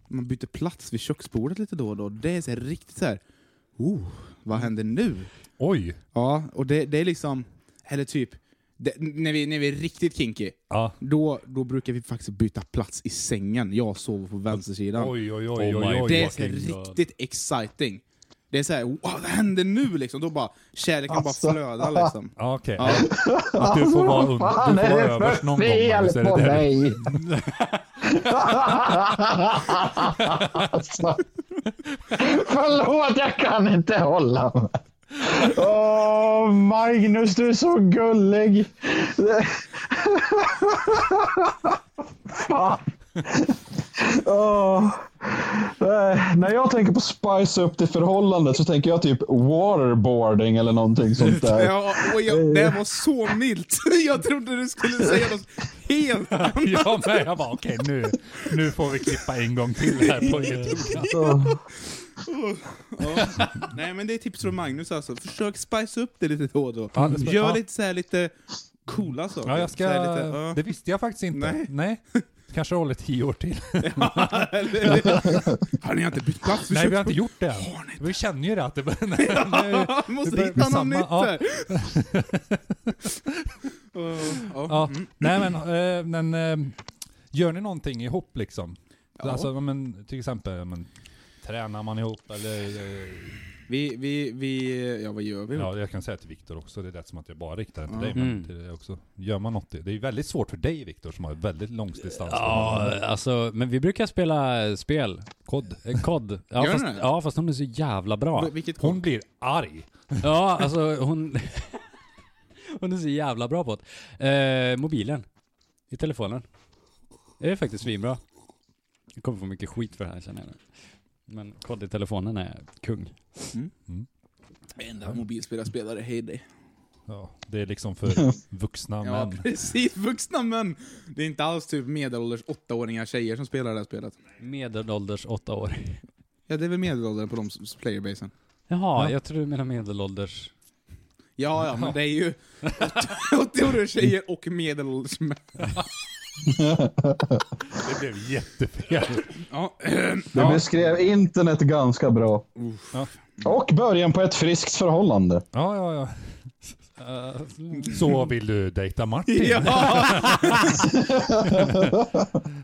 [SPEAKER 2] man byter plats vid köksbordet lite då och då. Det är så här, riktigt så här. Oh, vad händer nu?
[SPEAKER 3] oj.
[SPEAKER 2] Ja, och det, det är liksom, eller typ, det, när, vi, när vi är riktigt kinky,
[SPEAKER 3] Ja.
[SPEAKER 2] då, då brukar vi faktiskt byta plats i sängen. Jag sover på vänstersidan.
[SPEAKER 3] Oj, oj, oj,
[SPEAKER 1] Oh my
[SPEAKER 3] oj, oj.
[SPEAKER 2] det är så här
[SPEAKER 1] fucking god.
[SPEAKER 2] riktigt exciting. Det är såhär, wow, vad händer nu liksom? Då bara, kärleken
[SPEAKER 5] Alltså.
[SPEAKER 2] bara flödar liksom.
[SPEAKER 3] Ja, okej.
[SPEAKER 2] Ja.
[SPEAKER 3] Att du får vara under,
[SPEAKER 5] Fan
[SPEAKER 3] du får
[SPEAKER 5] är
[SPEAKER 3] vara
[SPEAKER 5] det
[SPEAKER 3] överst
[SPEAKER 5] för
[SPEAKER 3] någon gång. Magnus,
[SPEAKER 5] fel
[SPEAKER 3] är det
[SPEAKER 5] på
[SPEAKER 3] det du-
[SPEAKER 5] mig? alltså. *laughs* Förlåt, jag kan inte hålla mig. Åh, Magnus, du är så gullig. Fan. Åh. Eh, När jag tänker på spice upp till förhållandet så tänker jag typ waterboarding eller någonting sånt där.
[SPEAKER 2] *laughs* Ja, och jag, det var så milt. *laughs* Jag trodde du skulle säga något
[SPEAKER 3] *laughs*
[SPEAKER 2] helt annat.
[SPEAKER 3] Jag med, jag bara okej nu, nu får vi klippa en gång till
[SPEAKER 2] *laughs*
[SPEAKER 3] här på youtube.
[SPEAKER 5] Så.
[SPEAKER 2] Ja. Nej men det är tips från Magnus alltså. Försök spice upp det lite då och då.
[SPEAKER 3] Ja, det ska- ja.
[SPEAKER 2] Gör lite såhär lite coola saker.
[SPEAKER 3] Ja, jag ska,
[SPEAKER 2] Så här lite, ja.
[SPEAKER 3] *laughs* det visste jag faktiskt inte. Nej.
[SPEAKER 2] Nej.
[SPEAKER 3] Kanske håller tio år till.
[SPEAKER 2] Har ni inte bytt plats?
[SPEAKER 3] Nej, vi har inte gjort det än.
[SPEAKER 2] Har ni inte?
[SPEAKER 3] Vi känner ju det att det börjar... *laughs* Nej,
[SPEAKER 2] *laughs*
[SPEAKER 3] nu-
[SPEAKER 2] Vi måste
[SPEAKER 3] Det börjar bli
[SPEAKER 2] hitta något
[SPEAKER 3] samma,
[SPEAKER 2] nytt
[SPEAKER 3] ja.
[SPEAKER 2] här. Eh, *laughs* ja.
[SPEAKER 3] Ja, nej men, eh, men eh, gör ni någonting ihop liksom?
[SPEAKER 2] Ja.
[SPEAKER 3] Alltså, ja, men, till exempel, ja, men, tränar man ihop eller? eh,
[SPEAKER 2] Vi, vi, vi, ja vad gör vi?
[SPEAKER 3] Ja, jag kan säga till Viktor också, det lät som att jag bara riktar den till dig,
[SPEAKER 1] Mm.
[SPEAKER 3] men till dig också. Gör man något, det är ju väldigt svårt för dig Viktor som har ett väldigt långdistans.
[SPEAKER 1] Ja, alltså, men vi brukar spela eh, spel. Kod. Eh, Kod. Ja,
[SPEAKER 2] Gör ni
[SPEAKER 1] fast,
[SPEAKER 2] det?
[SPEAKER 1] ja, fast hon är så jävla bra.
[SPEAKER 2] V- Vilket
[SPEAKER 3] Hon blir arg.
[SPEAKER 1] Ja, alltså hon... *laughs* hon är så jävla bra på det. Eh, mobilen. I telefonen. Det är faktiskt svinbra. Jag kommer få mycket skit för det här känner jag nu. Men kod i telefonen är kung.
[SPEAKER 2] Enda mobilspelarspelare, hej dig.
[SPEAKER 3] Ja, det är liksom
[SPEAKER 2] *laughs*
[SPEAKER 3] för vuxna
[SPEAKER 2] Ja,
[SPEAKER 3] män.
[SPEAKER 2] precis. Vuxna män. Det är inte alls typ medelålders åttaåringar tjejer som spelar det här spelet.
[SPEAKER 1] Medelålders åtta år.
[SPEAKER 2] Ja, det är väl medelåldern på de s- playerbasen.
[SPEAKER 1] Jaha, jag tror du menar medelålders.
[SPEAKER 2] Ja, ja, men det är ju 80-åriga tjejer och medelålders män.
[SPEAKER 3] Det blev jättefel.
[SPEAKER 2] Ja.
[SPEAKER 5] Du beskrev internet ganska bra. Och början på ett friskt förhållande.
[SPEAKER 3] Ja, ja, ja. Så vill du dejta Martin?
[SPEAKER 2] *laughs* ja.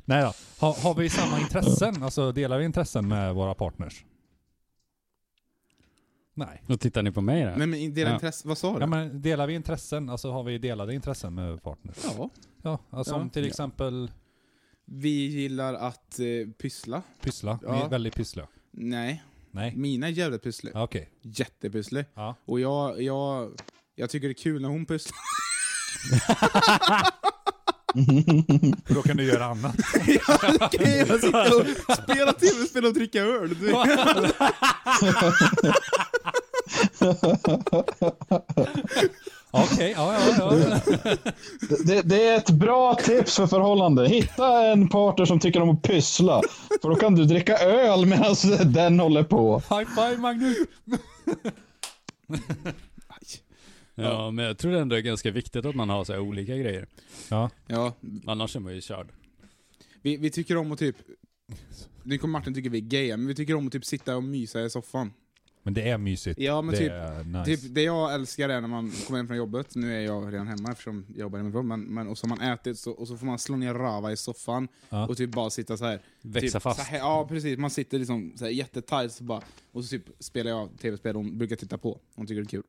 [SPEAKER 3] Nej då. Ha, har vi samma intressen? Alltså delar vi intressen med våra partners? Nej.
[SPEAKER 1] Nu tittar ni på mig där.
[SPEAKER 2] Nej, men deras
[SPEAKER 1] Ja.
[SPEAKER 2] intresse, vad sa
[SPEAKER 3] Ja,
[SPEAKER 2] du?
[SPEAKER 3] men delar vi intressen? Alltså har vi delade intressen med partners?
[SPEAKER 2] Ja,
[SPEAKER 3] Ja, alltså,
[SPEAKER 2] Ja.
[SPEAKER 3] som till exempel
[SPEAKER 2] vi gillar att eh, pyssla.
[SPEAKER 3] pyssla. Vi
[SPEAKER 2] Ja.
[SPEAKER 3] är väldigt pyssliga.
[SPEAKER 2] Nej,
[SPEAKER 3] Nej.
[SPEAKER 2] mina är jävligt pysslig.
[SPEAKER 3] Ja, Okej.
[SPEAKER 2] Jättepysslig.
[SPEAKER 3] Ja.
[SPEAKER 2] Och jag, jag, jag tycker det är kul när hon pysslar.
[SPEAKER 3] Då kan du göra annat.
[SPEAKER 2] *laughs* Okej, jag sitter och spelar tv-spel och dricka öl. Du.
[SPEAKER 3] Okej, ja, ja, ja.
[SPEAKER 5] Det, det är ett bra tips för förhållande. Hitta en partner som tycker om att pyssla. För då kan du dricka öl medan den håller på.
[SPEAKER 3] High five Magnus!
[SPEAKER 1] Ja, men jag tror ändå det är ganska viktigt att man har så här olika grejer.
[SPEAKER 3] Ja.
[SPEAKER 2] Ja,
[SPEAKER 1] Annars är man ju körd.
[SPEAKER 2] vi, vi tycker om att typ... Nu kommer Martin tycker vi är gaya, men vi tycker om att typ sitta och mysa i soffan.
[SPEAKER 3] Men det är mysigt.
[SPEAKER 2] Ja, men
[SPEAKER 3] det
[SPEAKER 2] typ-
[SPEAKER 3] är nice.
[SPEAKER 2] Typ, det jag älskar är när man kommer hem från jobbet, nu är jag redan hemma eftersom jag jobbar hemifrån, men, men, och så har man ätit så, och så får man slå ner rava i soffan
[SPEAKER 3] Ja.
[SPEAKER 2] och typ bara sitta så här.
[SPEAKER 1] Växa
[SPEAKER 2] typ,
[SPEAKER 1] fast.
[SPEAKER 2] Så här, ja, precis. Man sitter liksom så här jättetajt så bara, och så typ spelar jag tv-spel hon brukar titta på. Hon tycker det är kul.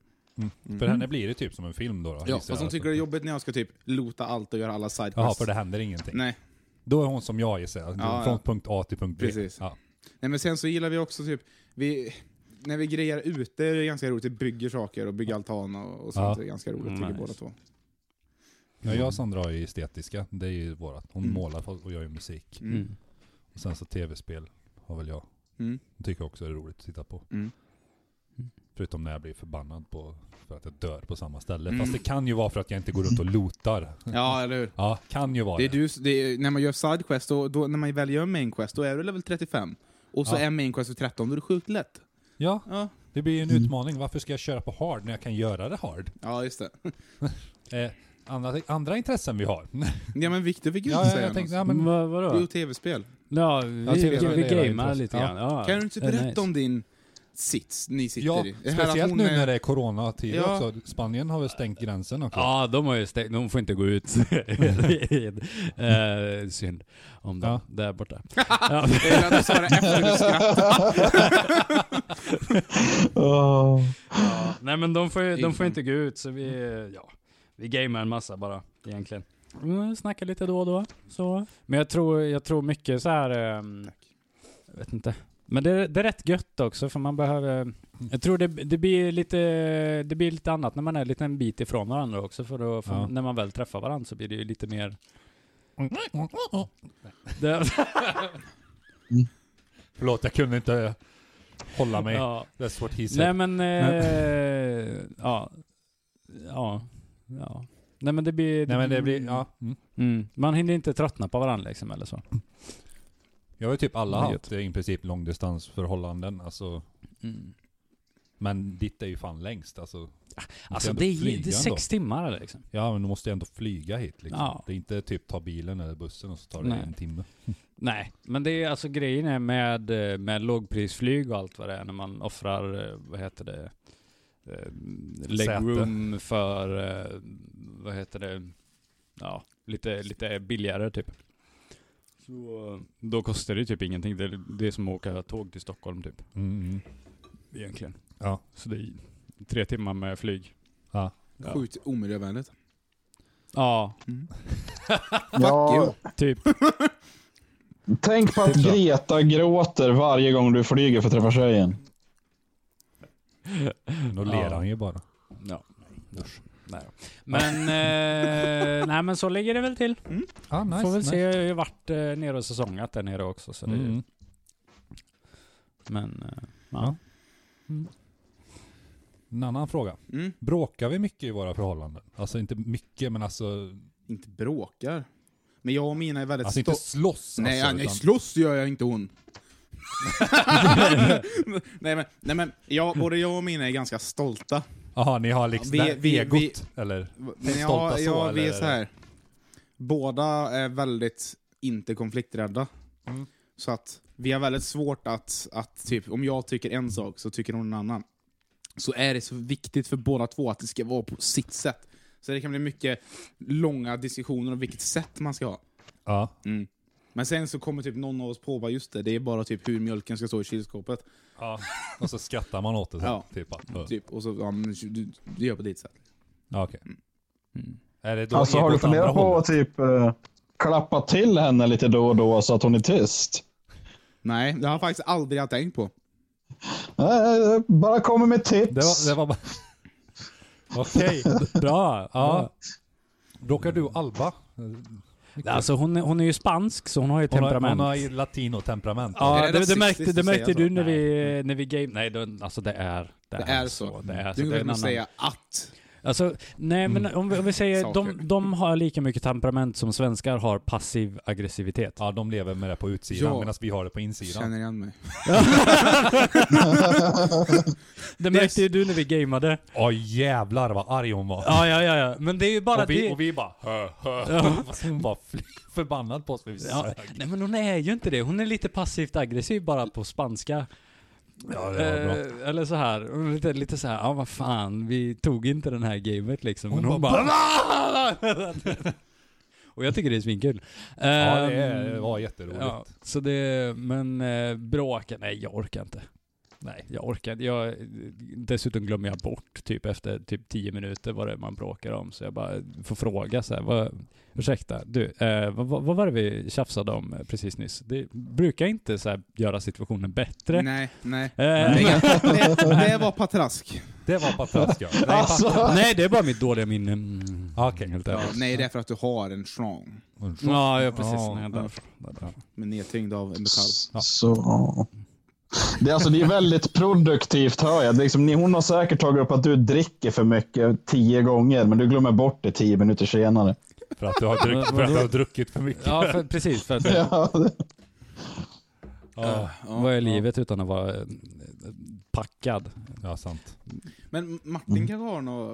[SPEAKER 3] För henne blir det typ som en film då. då
[SPEAKER 2] Mm. Ja,
[SPEAKER 3] gissar
[SPEAKER 2] fast hon
[SPEAKER 3] jag.
[SPEAKER 2] tycker det är jobbigt när jag ska typ lota allt och göra alla sidequests.
[SPEAKER 3] alltså, Jaha, för det händer ingenting.
[SPEAKER 2] Nej.
[SPEAKER 3] Då är hon som jag gissar jag.
[SPEAKER 2] Ja,
[SPEAKER 3] Från
[SPEAKER 2] ja.
[SPEAKER 3] punkt A till punkt B.
[SPEAKER 2] Precis.
[SPEAKER 3] Ja.
[SPEAKER 2] Nej men sen så gillar vi också typ, vi, när vi grejar ute är det ganska roligt. Vi bygger saker och bygger altan och, och sånt.
[SPEAKER 3] Ja.
[SPEAKER 2] Det är ganska roligt
[SPEAKER 1] Mm,
[SPEAKER 2] tycker
[SPEAKER 1] nice.
[SPEAKER 2] båda två.
[SPEAKER 3] Ja,
[SPEAKER 2] Mm.
[SPEAKER 3] jag och Sandra är ju estetiska. Det är ju vårat. Hon målar och jag gör musik.
[SPEAKER 1] Mm.
[SPEAKER 3] Och sen så tv-spel har väl jag.
[SPEAKER 2] Mm.
[SPEAKER 3] Hon tycker också det är roligt att titta på.
[SPEAKER 2] Mm.
[SPEAKER 3] Förutom när jag blir förbannad på för att jag dör på samma ställe.
[SPEAKER 2] Mm.
[SPEAKER 3] Fast det kan ju vara för att jag inte går runt och lotar.
[SPEAKER 2] Ja, eller hur?
[SPEAKER 3] Ja, kan ju vara
[SPEAKER 2] Det
[SPEAKER 3] det.
[SPEAKER 2] är du, det är, när man gör sidequest, då, då, när man väl gör mainquest, då är du level 35. Och så
[SPEAKER 3] Ja.
[SPEAKER 2] är mainquest för 13, då är det sjukt lätt.
[SPEAKER 3] Ja,
[SPEAKER 2] Ja,
[SPEAKER 3] det blir ju
[SPEAKER 2] Mm.
[SPEAKER 3] en utmaning. Varför ska jag köra på hard när jag kan göra det hard?
[SPEAKER 2] ja just det. *laughs*
[SPEAKER 3] Eh, andra, andra intressen vi har. *laughs* ja,
[SPEAKER 2] Ja men Viktor fick ju inte
[SPEAKER 3] ja,
[SPEAKER 2] säga
[SPEAKER 3] jag
[SPEAKER 2] något.
[SPEAKER 3] tänkte, ja,
[SPEAKER 1] Men
[SPEAKER 3] men,
[SPEAKER 1] vad,
[SPEAKER 2] Det är ju
[SPEAKER 1] vadå?
[SPEAKER 2] tv-spel.
[SPEAKER 1] Ja, typ vi,
[SPEAKER 3] Ja,
[SPEAKER 1] vi,
[SPEAKER 3] tv-spel är
[SPEAKER 1] vi
[SPEAKER 3] ju
[SPEAKER 1] gamar
[SPEAKER 3] intressant.
[SPEAKER 1] lite
[SPEAKER 3] Ja.
[SPEAKER 1] grann. Ja.
[SPEAKER 2] Kan du inte
[SPEAKER 1] Det är
[SPEAKER 2] berätta
[SPEAKER 1] nice.
[SPEAKER 2] om din sits ni sitter
[SPEAKER 3] ja,
[SPEAKER 2] i? Det här att
[SPEAKER 3] speciellt
[SPEAKER 2] hon
[SPEAKER 3] nu
[SPEAKER 2] är- *laughs*
[SPEAKER 3] när det är coronatid
[SPEAKER 2] Ja.
[SPEAKER 3] också. Spanien har väl stängt gränsen också.
[SPEAKER 1] Ja, de har ju stängt, de får inte gå ut. *laughs* eh, synd om dem,
[SPEAKER 3] Ja.
[SPEAKER 1] där borta.
[SPEAKER 2] Jag gillar att du sa det efter du skrattade.
[SPEAKER 5] Åh.
[SPEAKER 1] Nej men de får, ju, de får
[SPEAKER 2] Ingen.
[SPEAKER 1] inte gå ut så vi, ja, vi gamer en massa bara egentligen. Mm, snackar lite då och då. Så. Men jag tror, jag tror mycket så här, ehm, jag vet inte. Men det, det är rätt gött också för man behöver, jag tror det, det, blir lite, det blir lite annat när man är en liten bit ifrån varandra också för, att, för
[SPEAKER 3] Ja.
[SPEAKER 1] när man väl träffar varandra så blir det ju
[SPEAKER 3] *laughs*
[SPEAKER 1] lite mer... Det,
[SPEAKER 3] Förlåt, jag kunde inte hålla mig.
[SPEAKER 1] ja.
[SPEAKER 3] That's what he
[SPEAKER 1] Typ. Nej
[SPEAKER 3] said.
[SPEAKER 1] men, eh, ja. Ja. Ja. Nej men det blir...
[SPEAKER 3] Nej men det blir, ja. Mm.
[SPEAKER 1] Mm. Man hinner inte tröttna på varandra liksom eller så.
[SPEAKER 3] Jag har ju typ alla
[SPEAKER 1] Det är
[SPEAKER 3] haft eh, i princip långdistansförhållanden. Alltså,
[SPEAKER 1] Mm.
[SPEAKER 3] men ditt är ju fan längst. Alltså, Du måste
[SPEAKER 1] Alltså
[SPEAKER 3] ändå
[SPEAKER 1] det är,
[SPEAKER 3] flyga
[SPEAKER 1] det är
[SPEAKER 3] ändå.
[SPEAKER 1] sex timmar eller liksom.
[SPEAKER 3] Ja men du måste ju ändå flyga hit liksom.
[SPEAKER 1] Ja.
[SPEAKER 3] Det är inte typ ta bilen eller bussen och så tar det
[SPEAKER 1] Nej.
[SPEAKER 3] en timme.
[SPEAKER 1] Nej, men det är alltså grejen är med, eh, med lågprisflyg och allt vad det är när man offrar, eh, vad heter det, eh, legroom för, eh, vad heter det, ja, lite, lite billigare typ. Så eh, då kostar det ju typ ingenting. Det är, det är som att åka tåg till Stockholm typ,
[SPEAKER 3] Mm.
[SPEAKER 1] egentligen.
[SPEAKER 3] Ja.
[SPEAKER 1] Så det är tre timmar med flyg.
[SPEAKER 3] Ja.
[SPEAKER 1] Ja.
[SPEAKER 2] Sjukt omiljövänligt.
[SPEAKER 1] Ja,
[SPEAKER 5] Ja,
[SPEAKER 1] typ.
[SPEAKER 5] tänk på att Greta gråter varje gång du flyger för att träffa tjejen.
[SPEAKER 3] Då
[SPEAKER 1] Ja.
[SPEAKER 3] mm. ler han ju bara.
[SPEAKER 1] Ja. Nej. Men, eh, nej, men så ligger det väl till.
[SPEAKER 3] Ah, nice,
[SPEAKER 1] Får väl
[SPEAKER 3] nice.
[SPEAKER 1] se, jag har ju varit eh, nere och säsongat där nere också. Så det, är ju-
[SPEAKER 3] Mm.
[SPEAKER 1] Men, eh, ja.
[SPEAKER 3] En annan fråga.
[SPEAKER 2] Mm.
[SPEAKER 3] Bråkar vi mycket i våra förhållanden? Alltså inte mycket, men alltså...
[SPEAKER 2] Inte bråkar. Men jag och mina är väldigt
[SPEAKER 3] Alltså
[SPEAKER 2] sto-
[SPEAKER 3] inte slåss
[SPEAKER 2] Nej,
[SPEAKER 3] alltså,
[SPEAKER 2] nej slåss gör jag inte hon. *laughs* nej, men, nej men, jag, både jag och mina är ganska stolta.
[SPEAKER 3] Jaha, ni har liksom
[SPEAKER 2] Vi-
[SPEAKER 3] det här
[SPEAKER 2] vi-
[SPEAKER 3] egot,
[SPEAKER 2] vi-
[SPEAKER 3] eller?
[SPEAKER 2] Men
[SPEAKER 3] Stolta
[SPEAKER 2] jag,
[SPEAKER 3] så,
[SPEAKER 2] jag, vi är
[SPEAKER 3] eller?
[SPEAKER 2] så här. Båda är väldigt inte konflikträdda.
[SPEAKER 3] Mm.
[SPEAKER 2] Så att vi har väldigt svårt att, att typ, om jag tycker en sak så tycker hon en annan. Så är det så viktigt för båda två att det ska vara på sitt sätt. Så det kan bli mycket långa diskussioner om vilket sätt man ska ha.
[SPEAKER 3] Ja.
[SPEAKER 2] Men sen så kommer typ någon av oss på bara just det, det är bara typ hur mjölken ska stå i kylskåpet.
[SPEAKER 3] ja. Och så skrattar man åt det sen,
[SPEAKER 2] Ja.
[SPEAKER 3] typ. att, uh.
[SPEAKER 2] Typ, och så, ja men du, du gör på ditt sätt.
[SPEAKER 3] Ja, okej.
[SPEAKER 2] Mm.
[SPEAKER 3] Mm. Är det då
[SPEAKER 5] Alltså har du
[SPEAKER 3] egot andra
[SPEAKER 5] funderat på
[SPEAKER 3] hållet?
[SPEAKER 5] att typ eh, klappa till henne lite då och då så att hon är tyst?
[SPEAKER 2] Nej, det har jag faktiskt aldrig jag tänkt på.
[SPEAKER 5] Nej, bara kommer med tips.
[SPEAKER 3] Det var, det var bara... Okej, bra. Ja. Bråkar du och Alba?
[SPEAKER 1] Alltså hon, är- hon är ju spansk så hon har ju
[SPEAKER 3] Hon har,
[SPEAKER 1] temperament.
[SPEAKER 3] hon har ju latinotemperament.
[SPEAKER 1] Ja,
[SPEAKER 2] Är
[SPEAKER 1] det,
[SPEAKER 2] det
[SPEAKER 1] det, märkte,
[SPEAKER 2] rasistiskt
[SPEAKER 1] det
[SPEAKER 2] att
[SPEAKER 1] märkte
[SPEAKER 2] säga
[SPEAKER 1] du
[SPEAKER 2] så?
[SPEAKER 1] när vi, när vi game... Nej, det, alltså det är... Det,
[SPEAKER 2] Det är så.
[SPEAKER 1] Det är så.
[SPEAKER 2] du
[SPEAKER 1] Det är en
[SPEAKER 2] kan
[SPEAKER 1] annan-
[SPEAKER 2] väl säga att.
[SPEAKER 1] Alltså, nej men
[SPEAKER 3] Mm.
[SPEAKER 1] om vi, om vi säger,
[SPEAKER 2] Saker.
[SPEAKER 1] de, de har lika mycket temperament som svenskar har passiv aggressivitet.
[SPEAKER 3] Ja, de lever med det på utsidan
[SPEAKER 2] Ja.
[SPEAKER 3] medan vi har det på insidan.
[SPEAKER 2] Känner igen mig.
[SPEAKER 1] Det märkte ju du när vi gameade.
[SPEAKER 3] Ja jävlar vad arg hon var.
[SPEAKER 1] Ja, ja, ja, ja. Men det är ju bara
[SPEAKER 3] och, vi,
[SPEAKER 1] det...
[SPEAKER 3] och vi bara hö, hö. *laughs* Hon var fly- förbannad på oss. när vi
[SPEAKER 1] Ja,
[SPEAKER 3] sög.
[SPEAKER 1] nej men hon är ju inte det. Hon är lite passivt aggressiv bara på spanska.
[SPEAKER 3] Ja, det var bra.
[SPEAKER 1] Eh, eller så här. Hon är lite, lite så här, ja vad fan, vi tog inte den här gamet liksom. men hon bara... *laughs* och jag tycker det är svinkul. Ehm,
[SPEAKER 3] Ja, det är- det var jätteroligt.
[SPEAKER 1] Ja, så det, men eh, bråka, nej jag orkar inte. Nej, jag orkar inte. Jag, dessutom glömmer jag bort typ efter typ 10 minuter vad det är man bråkar om. Så jag bara får fråga så här, vad, ursäkta, du, eh, vad, vad, vad var det vi tjafsade om eh, precis nyss? Det brukar inte så här göra situationen bättre.
[SPEAKER 2] Nej, nej.
[SPEAKER 1] Eh,
[SPEAKER 2] Det, det, det var patrask.
[SPEAKER 3] Det var patrask ja. Nej,
[SPEAKER 5] Alltså,
[SPEAKER 1] nej, det är bara mitt dåliga minne. Mm,
[SPEAKER 3] Ah, okej.
[SPEAKER 1] helt
[SPEAKER 2] Ja,
[SPEAKER 1] ärligt.
[SPEAKER 2] nej, det är för att du har en strong.
[SPEAKER 1] Ja, ja precis.
[SPEAKER 3] Ja,
[SPEAKER 1] nej, därför, därför.
[SPEAKER 2] Men nedtyngd av metall.
[SPEAKER 5] så. Det, är alltså, det är väldigt produktivt hör jag. Det är Liksom, ni- hon har säkert tagit upp att du dricker för mycket tio gånger, men du glömmer bort det tio minuter senare.
[SPEAKER 3] För att du har, druck, för att du har druckit för mycket.
[SPEAKER 1] Ja, för, precis. För att,
[SPEAKER 5] Ja, det-
[SPEAKER 3] Ja,
[SPEAKER 1] vad är livet utan att vara eh, packad?
[SPEAKER 3] ja sant.
[SPEAKER 2] Men Martin kanske har nå...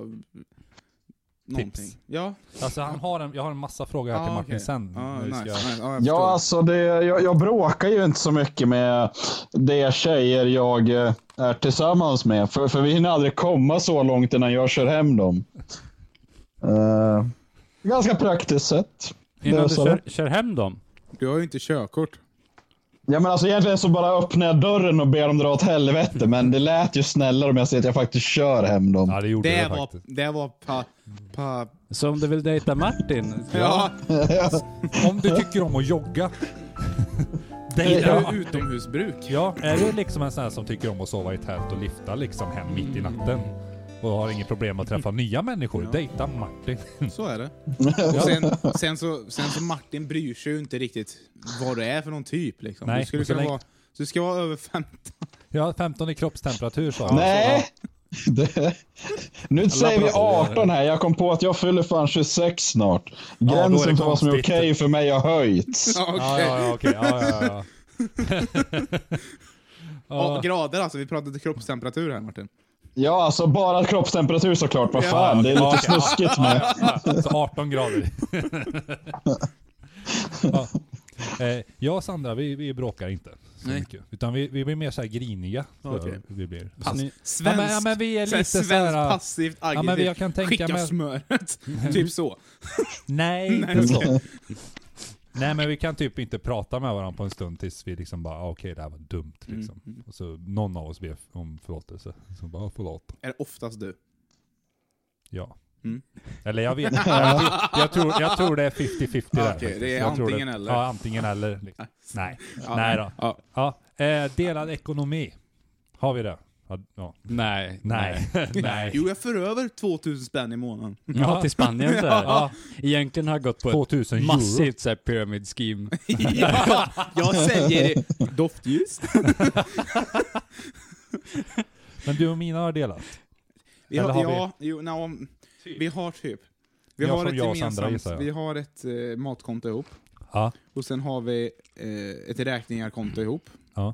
[SPEAKER 2] någonting? Ja,
[SPEAKER 3] Alltså, han har en, jag har en massa frågor här till
[SPEAKER 2] Ah,
[SPEAKER 3] Martin
[SPEAKER 2] okej.
[SPEAKER 3] sen.
[SPEAKER 2] Ah,
[SPEAKER 3] när vi
[SPEAKER 2] nice,
[SPEAKER 3] ska-
[SPEAKER 2] nice. Ja, jag
[SPEAKER 5] Ja,
[SPEAKER 2] förstår.
[SPEAKER 5] alltså det, jag, jag bråkar ju inte så mycket med de tjejer jag eh, är tillsammans med. För, för vi hinner aldrig komma så långt innan jag kör hem dem. Eh, ganska praktiskt sett.
[SPEAKER 1] Innan du
[SPEAKER 5] Lösa det.
[SPEAKER 1] kör, kör hem dem?
[SPEAKER 2] Du har ju inte körkort.
[SPEAKER 5] Ja, men alltså egentligen så bara öppnar jag dörren och ber dem dra åt helvete. Men det lät ju snällare om jag säger att jag faktiskt kör hem dem.
[SPEAKER 3] Ja, det gjorde
[SPEAKER 2] Det
[SPEAKER 3] det
[SPEAKER 2] var,
[SPEAKER 3] faktiskt.
[SPEAKER 2] det var pa... pa
[SPEAKER 1] Så om du vill dejta Martin?
[SPEAKER 2] ja,
[SPEAKER 3] Om du tycker om att *laughs* jogga.
[SPEAKER 2] det
[SPEAKER 3] Dejta
[SPEAKER 2] är
[SPEAKER 3] Martin.
[SPEAKER 2] ju utomhusbruk.
[SPEAKER 3] Ja, är du liksom en sån här som tycker om att sova i tält och lifta liksom hem mitt i natten? Och har inget problem att träffa nya människor? Dejta Martin.
[SPEAKER 2] Så är det. Mm. Och sen, sen, så, sen så Martin bryr sig ju inte riktigt vad du är för någon typ. Liksom.
[SPEAKER 3] Nej,
[SPEAKER 2] du, skulle
[SPEAKER 3] och så
[SPEAKER 2] kunna
[SPEAKER 3] länge-
[SPEAKER 2] vara, du ska vara över 50.
[SPEAKER 3] Ja, 15 i kroppstemperatur sa
[SPEAKER 5] Nej! *laughs* Det, nu säger vi 18 här. Jag kom på att jag fyller fan 26 snart.
[SPEAKER 3] då är det
[SPEAKER 5] Gränsen för vad som är
[SPEAKER 3] konstigt.
[SPEAKER 5] okej för mig har höjts.
[SPEAKER 2] Ja,
[SPEAKER 3] Ja,
[SPEAKER 2] okej.
[SPEAKER 3] ja, ja, okej. Ja, ja, ja.
[SPEAKER 2] Ja, grader alltså, vi pratade kroppstemperatur här Martin.
[SPEAKER 5] Ja, alltså bara kroppstemperatur såklart. Vad
[SPEAKER 2] Ja.
[SPEAKER 5] fan, det är
[SPEAKER 3] Ja,
[SPEAKER 5] lite
[SPEAKER 3] okej.
[SPEAKER 5] snuskigt med.
[SPEAKER 3] Så 18 grader. ja. Eh, jag och Sandra, vi, vi bråkar inte så
[SPEAKER 2] Nej.
[SPEAKER 3] mycket. Utan vi, vi blir mer så här griniga. tror jag
[SPEAKER 2] Okej.
[SPEAKER 3] Vi blir.
[SPEAKER 1] Sny-
[SPEAKER 2] Svensk,
[SPEAKER 3] Ja, men- ja, men vi är
[SPEAKER 2] så här
[SPEAKER 3] lite så här-
[SPEAKER 2] svenskt passivt aggressivt.
[SPEAKER 3] men jag kan tänka
[SPEAKER 2] Skicka
[SPEAKER 3] mig- *laughs*
[SPEAKER 2] smöret. typ så.
[SPEAKER 3] Nej,
[SPEAKER 2] Nej,
[SPEAKER 3] inte så.
[SPEAKER 2] okej.
[SPEAKER 3] Nej, men vi kan typ inte prata med varandra på en stund tills vi liksom bara, ah, okej det här var dumt
[SPEAKER 2] Mm,
[SPEAKER 3] liksom. Och så någon av oss ber om förlåtelse. Så bara, ah, förlåt.
[SPEAKER 2] Är det oftast du?
[SPEAKER 3] Ja.
[SPEAKER 2] Mm.
[SPEAKER 3] Eller jag
[SPEAKER 2] *laughs*
[SPEAKER 3] vet jag, jag, tror, jag tror det är 50-50 där.
[SPEAKER 2] Okej,
[SPEAKER 3] faktiskt.
[SPEAKER 2] det är
[SPEAKER 3] jag tror
[SPEAKER 2] antingen eller.
[SPEAKER 3] Ja, antingen eller.
[SPEAKER 2] *laughs*
[SPEAKER 3] Liksom. Nej. Nej då.
[SPEAKER 2] Ja.
[SPEAKER 3] Ja, eh, delad ekonomi. Har vi det? Ja, ja.
[SPEAKER 1] *laughs* Nej.
[SPEAKER 3] Nej. Nej.
[SPEAKER 2] Jo, jag för över 2000 spänn i månaden. *laughs*
[SPEAKER 1] Ja, till Spanien så här. ja. Egentligen har jag gått på ett
[SPEAKER 3] 2000 euro.
[SPEAKER 1] massivt så här pyramid scheme.
[SPEAKER 2] ja, jag säljer doftljus.
[SPEAKER 3] Men du och mina har delat.
[SPEAKER 2] Ja,
[SPEAKER 3] Eller har vi-
[SPEAKER 2] ja, Jo, no, vi har typ. Vi
[SPEAKER 3] Ja,
[SPEAKER 2] har,
[SPEAKER 3] som
[SPEAKER 2] ett
[SPEAKER 3] jag och Sandra
[SPEAKER 2] gemensamt,
[SPEAKER 3] gissar jag.
[SPEAKER 2] vi har ett eh, matkonto ihop.
[SPEAKER 3] Ja.
[SPEAKER 2] Och sen har vi eh, ett räkningarkonto ihop.
[SPEAKER 3] Ja.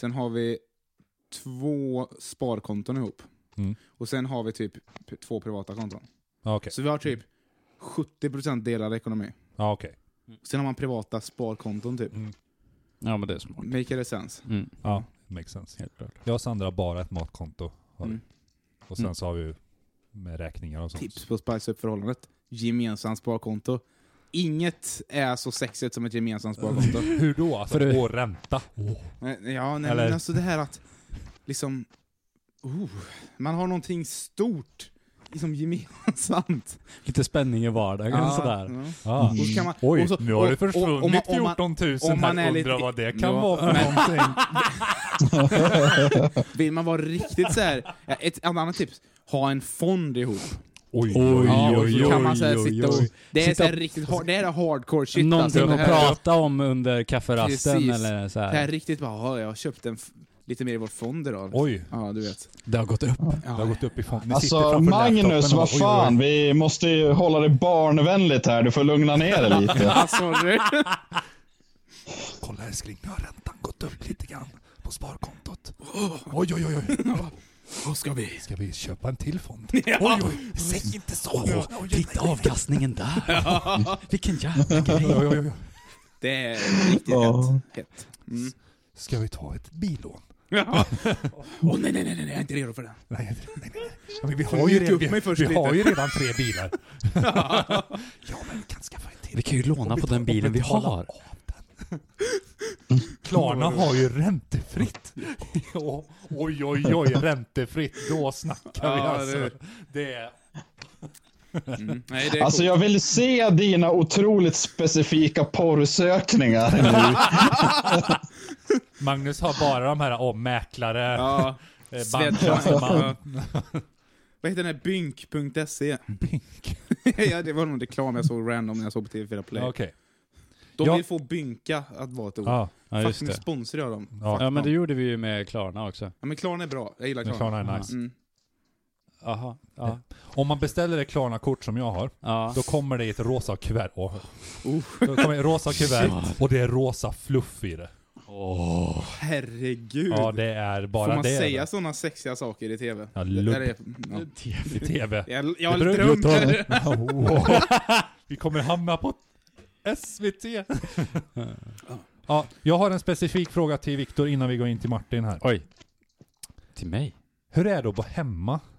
[SPEAKER 2] Sen har vi två sparkonton ihop.
[SPEAKER 3] Mm.
[SPEAKER 2] Och sen har vi typ p- två privata konton.
[SPEAKER 3] Ja, Okej.
[SPEAKER 2] Så vi har typ 70% delad ekonomi.
[SPEAKER 3] Ja, okej.
[SPEAKER 2] Sen har man privata sparkonton
[SPEAKER 3] Mm.
[SPEAKER 2] typ.
[SPEAKER 1] Ja, men det är smart.
[SPEAKER 2] Make it sense.
[SPEAKER 1] Mm.
[SPEAKER 3] Ja, makes sense.
[SPEAKER 1] Helt klart.
[SPEAKER 3] Jag och Sandra har bara ett matkonto. Har vi.
[SPEAKER 2] Mm.
[SPEAKER 3] Och sen så har vi ju med räkningar och sånt.
[SPEAKER 2] Tips på att spice upp förhållandet. Gemensamt sparkonto. Inget är så sexigt som ett gemensamt sparkonto.
[SPEAKER 3] Hur då? Alltså,
[SPEAKER 1] För det-
[SPEAKER 3] och ränta.
[SPEAKER 2] Men, Ja, nej,
[SPEAKER 3] Eller-
[SPEAKER 2] men alltså det här att liksom... Oh, man har någonting stort liksom gemensamt.
[SPEAKER 1] Lite spänning i vardagen sådär.
[SPEAKER 2] ja.
[SPEAKER 3] Ah.
[SPEAKER 2] Och så kan man-
[SPEAKER 3] Oj,
[SPEAKER 2] och så-
[SPEAKER 3] nu har
[SPEAKER 2] och-
[SPEAKER 3] det försvunnit
[SPEAKER 2] och- om man- om man-
[SPEAKER 3] 14 000
[SPEAKER 2] om man
[SPEAKER 3] här.
[SPEAKER 2] är lite-
[SPEAKER 3] Undrar vad det kan
[SPEAKER 2] Ja,
[SPEAKER 3] vara för
[SPEAKER 2] *laughs*
[SPEAKER 3] någonting.
[SPEAKER 2] Vill man vara riktigt så här, ja, ett ett annat tips, ha en fond ihop.
[SPEAKER 3] Oj,
[SPEAKER 2] Ja, och
[SPEAKER 1] oj,
[SPEAKER 2] så kan man
[SPEAKER 1] oj,
[SPEAKER 2] så här
[SPEAKER 1] oj,
[SPEAKER 2] sitta
[SPEAKER 1] oj.
[SPEAKER 2] och... Det är,
[SPEAKER 1] Sitta-
[SPEAKER 2] så här riktigt, har- det här är hardcore shit
[SPEAKER 1] Någonting
[SPEAKER 2] alltså. Det
[SPEAKER 1] att
[SPEAKER 2] här,
[SPEAKER 1] prata om under kafferasten
[SPEAKER 2] Precis.
[SPEAKER 1] eller så
[SPEAKER 2] det här är
[SPEAKER 1] här.
[SPEAKER 2] riktigt bara, "Ja, jag har köpt en f- lite mer i vår fond idag.
[SPEAKER 3] Oj,
[SPEAKER 2] Ja, du vet.
[SPEAKER 1] Det har gått upp.
[SPEAKER 3] det har gått upp i fond. Ni sitter
[SPEAKER 5] Alltså
[SPEAKER 3] framför
[SPEAKER 5] Magnus,
[SPEAKER 3] laptopen och
[SPEAKER 5] vad
[SPEAKER 3] bara, oj, oj, oj.
[SPEAKER 5] fan. Vi måste ju hålla det barnvänligt här. Du får lugna ner dig lite.
[SPEAKER 2] Alltså, *laughs* du-
[SPEAKER 3] Kolla älskling, nu har räntan gått upp lite grann på sparkontot. Oj, oj, oj, oj.
[SPEAKER 2] vad ska vi?
[SPEAKER 3] Ska vi köpa en till fond? Oj, oj, säg inte så! Oj,
[SPEAKER 1] Titta avkastningen där. Vilken jävla grej.
[SPEAKER 3] oj, oj, oj.
[SPEAKER 2] Det är riktigt
[SPEAKER 5] Ja.
[SPEAKER 2] hett. hett. Mm.
[SPEAKER 3] Ska vi ta ett bilån?
[SPEAKER 2] Ja. *laughs* Åh nej, nej, nej, nej, jag är inte redo för det.
[SPEAKER 3] Nej, nej, nej, nej. Ja, men vi
[SPEAKER 2] Mjuka
[SPEAKER 3] har ju redan,
[SPEAKER 2] upp mig
[SPEAKER 3] vi,
[SPEAKER 2] först
[SPEAKER 3] vi har
[SPEAKER 2] lite.
[SPEAKER 3] ju redan tre
[SPEAKER 2] *laughs*
[SPEAKER 3] bilar. ja, men vi kan skaffa en till.
[SPEAKER 1] Vi kan ju låna på den bilen vi har.
[SPEAKER 3] Klarna
[SPEAKER 2] Mm.
[SPEAKER 3] har ju räntefritt. Ja, oj, oj, oj, räntefritt. Då snackar vi
[SPEAKER 2] Ja,
[SPEAKER 3] alltså.
[SPEAKER 2] det-
[SPEAKER 3] Det är...
[SPEAKER 2] Nej, det är
[SPEAKER 5] Alltså jag vill se dina otroligt specifika porrsökningar nu.
[SPEAKER 3] Magnus har bara de här, åh, mäklare, *laughs*
[SPEAKER 2] Ja.
[SPEAKER 3] eh, banktjänsteman.
[SPEAKER 2] Swedbank.
[SPEAKER 3] *laughs*
[SPEAKER 2] Vad heter den här? Bynk.se?
[SPEAKER 3] Bink.
[SPEAKER 2] *laughs* ja, det var någon reklam jag såg random när jag såg på TV4 Play.
[SPEAKER 3] Okej.
[SPEAKER 2] De
[SPEAKER 3] Ja.
[SPEAKER 2] vill få bynka att vara ett ord.
[SPEAKER 3] Ja,
[SPEAKER 1] Ja,
[SPEAKER 2] Fast
[SPEAKER 1] just
[SPEAKER 2] nu
[SPEAKER 1] det.
[SPEAKER 2] sponsrar jag dem.
[SPEAKER 3] Ja.
[SPEAKER 2] Ja.
[SPEAKER 1] Ja, men det gjorde vi ju med Klarna också.
[SPEAKER 2] ja, men Klarna är bra. Jag gillar
[SPEAKER 3] men
[SPEAKER 2] Klarna.
[SPEAKER 3] Klarna är nice.
[SPEAKER 2] Mm.
[SPEAKER 1] Jaha. Ja.
[SPEAKER 3] Om man beställer ett Klarna-kort som jag har,
[SPEAKER 1] Ja.
[SPEAKER 3] då kommer det i ett rosa kuvert. Åh.
[SPEAKER 2] Oh.
[SPEAKER 3] Då kommer ett rosa kuvert och det är rosa fluff i det.
[SPEAKER 2] Herregud.
[SPEAKER 3] Ja, det är bara
[SPEAKER 2] Får man
[SPEAKER 3] det.
[SPEAKER 2] säga sådana sexiga saker i TV?
[SPEAKER 3] Ja,
[SPEAKER 2] Det-
[SPEAKER 3] lubb.
[SPEAKER 2] det är- ja.
[SPEAKER 3] I TV.
[SPEAKER 2] Jag, jag har
[SPEAKER 3] beror-
[SPEAKER 2] drömt det.
[SPEAKER 3] Wow. Vi kommer hamna på SVT. ja, jag har en specifik fråga till Viktor innan vi går in till Martin här.
[SPEAKER 1] Oj. Till mig?
[SPEAKER 3] Hur är det att vara hemma?
[SPEAKER 2] *laughs*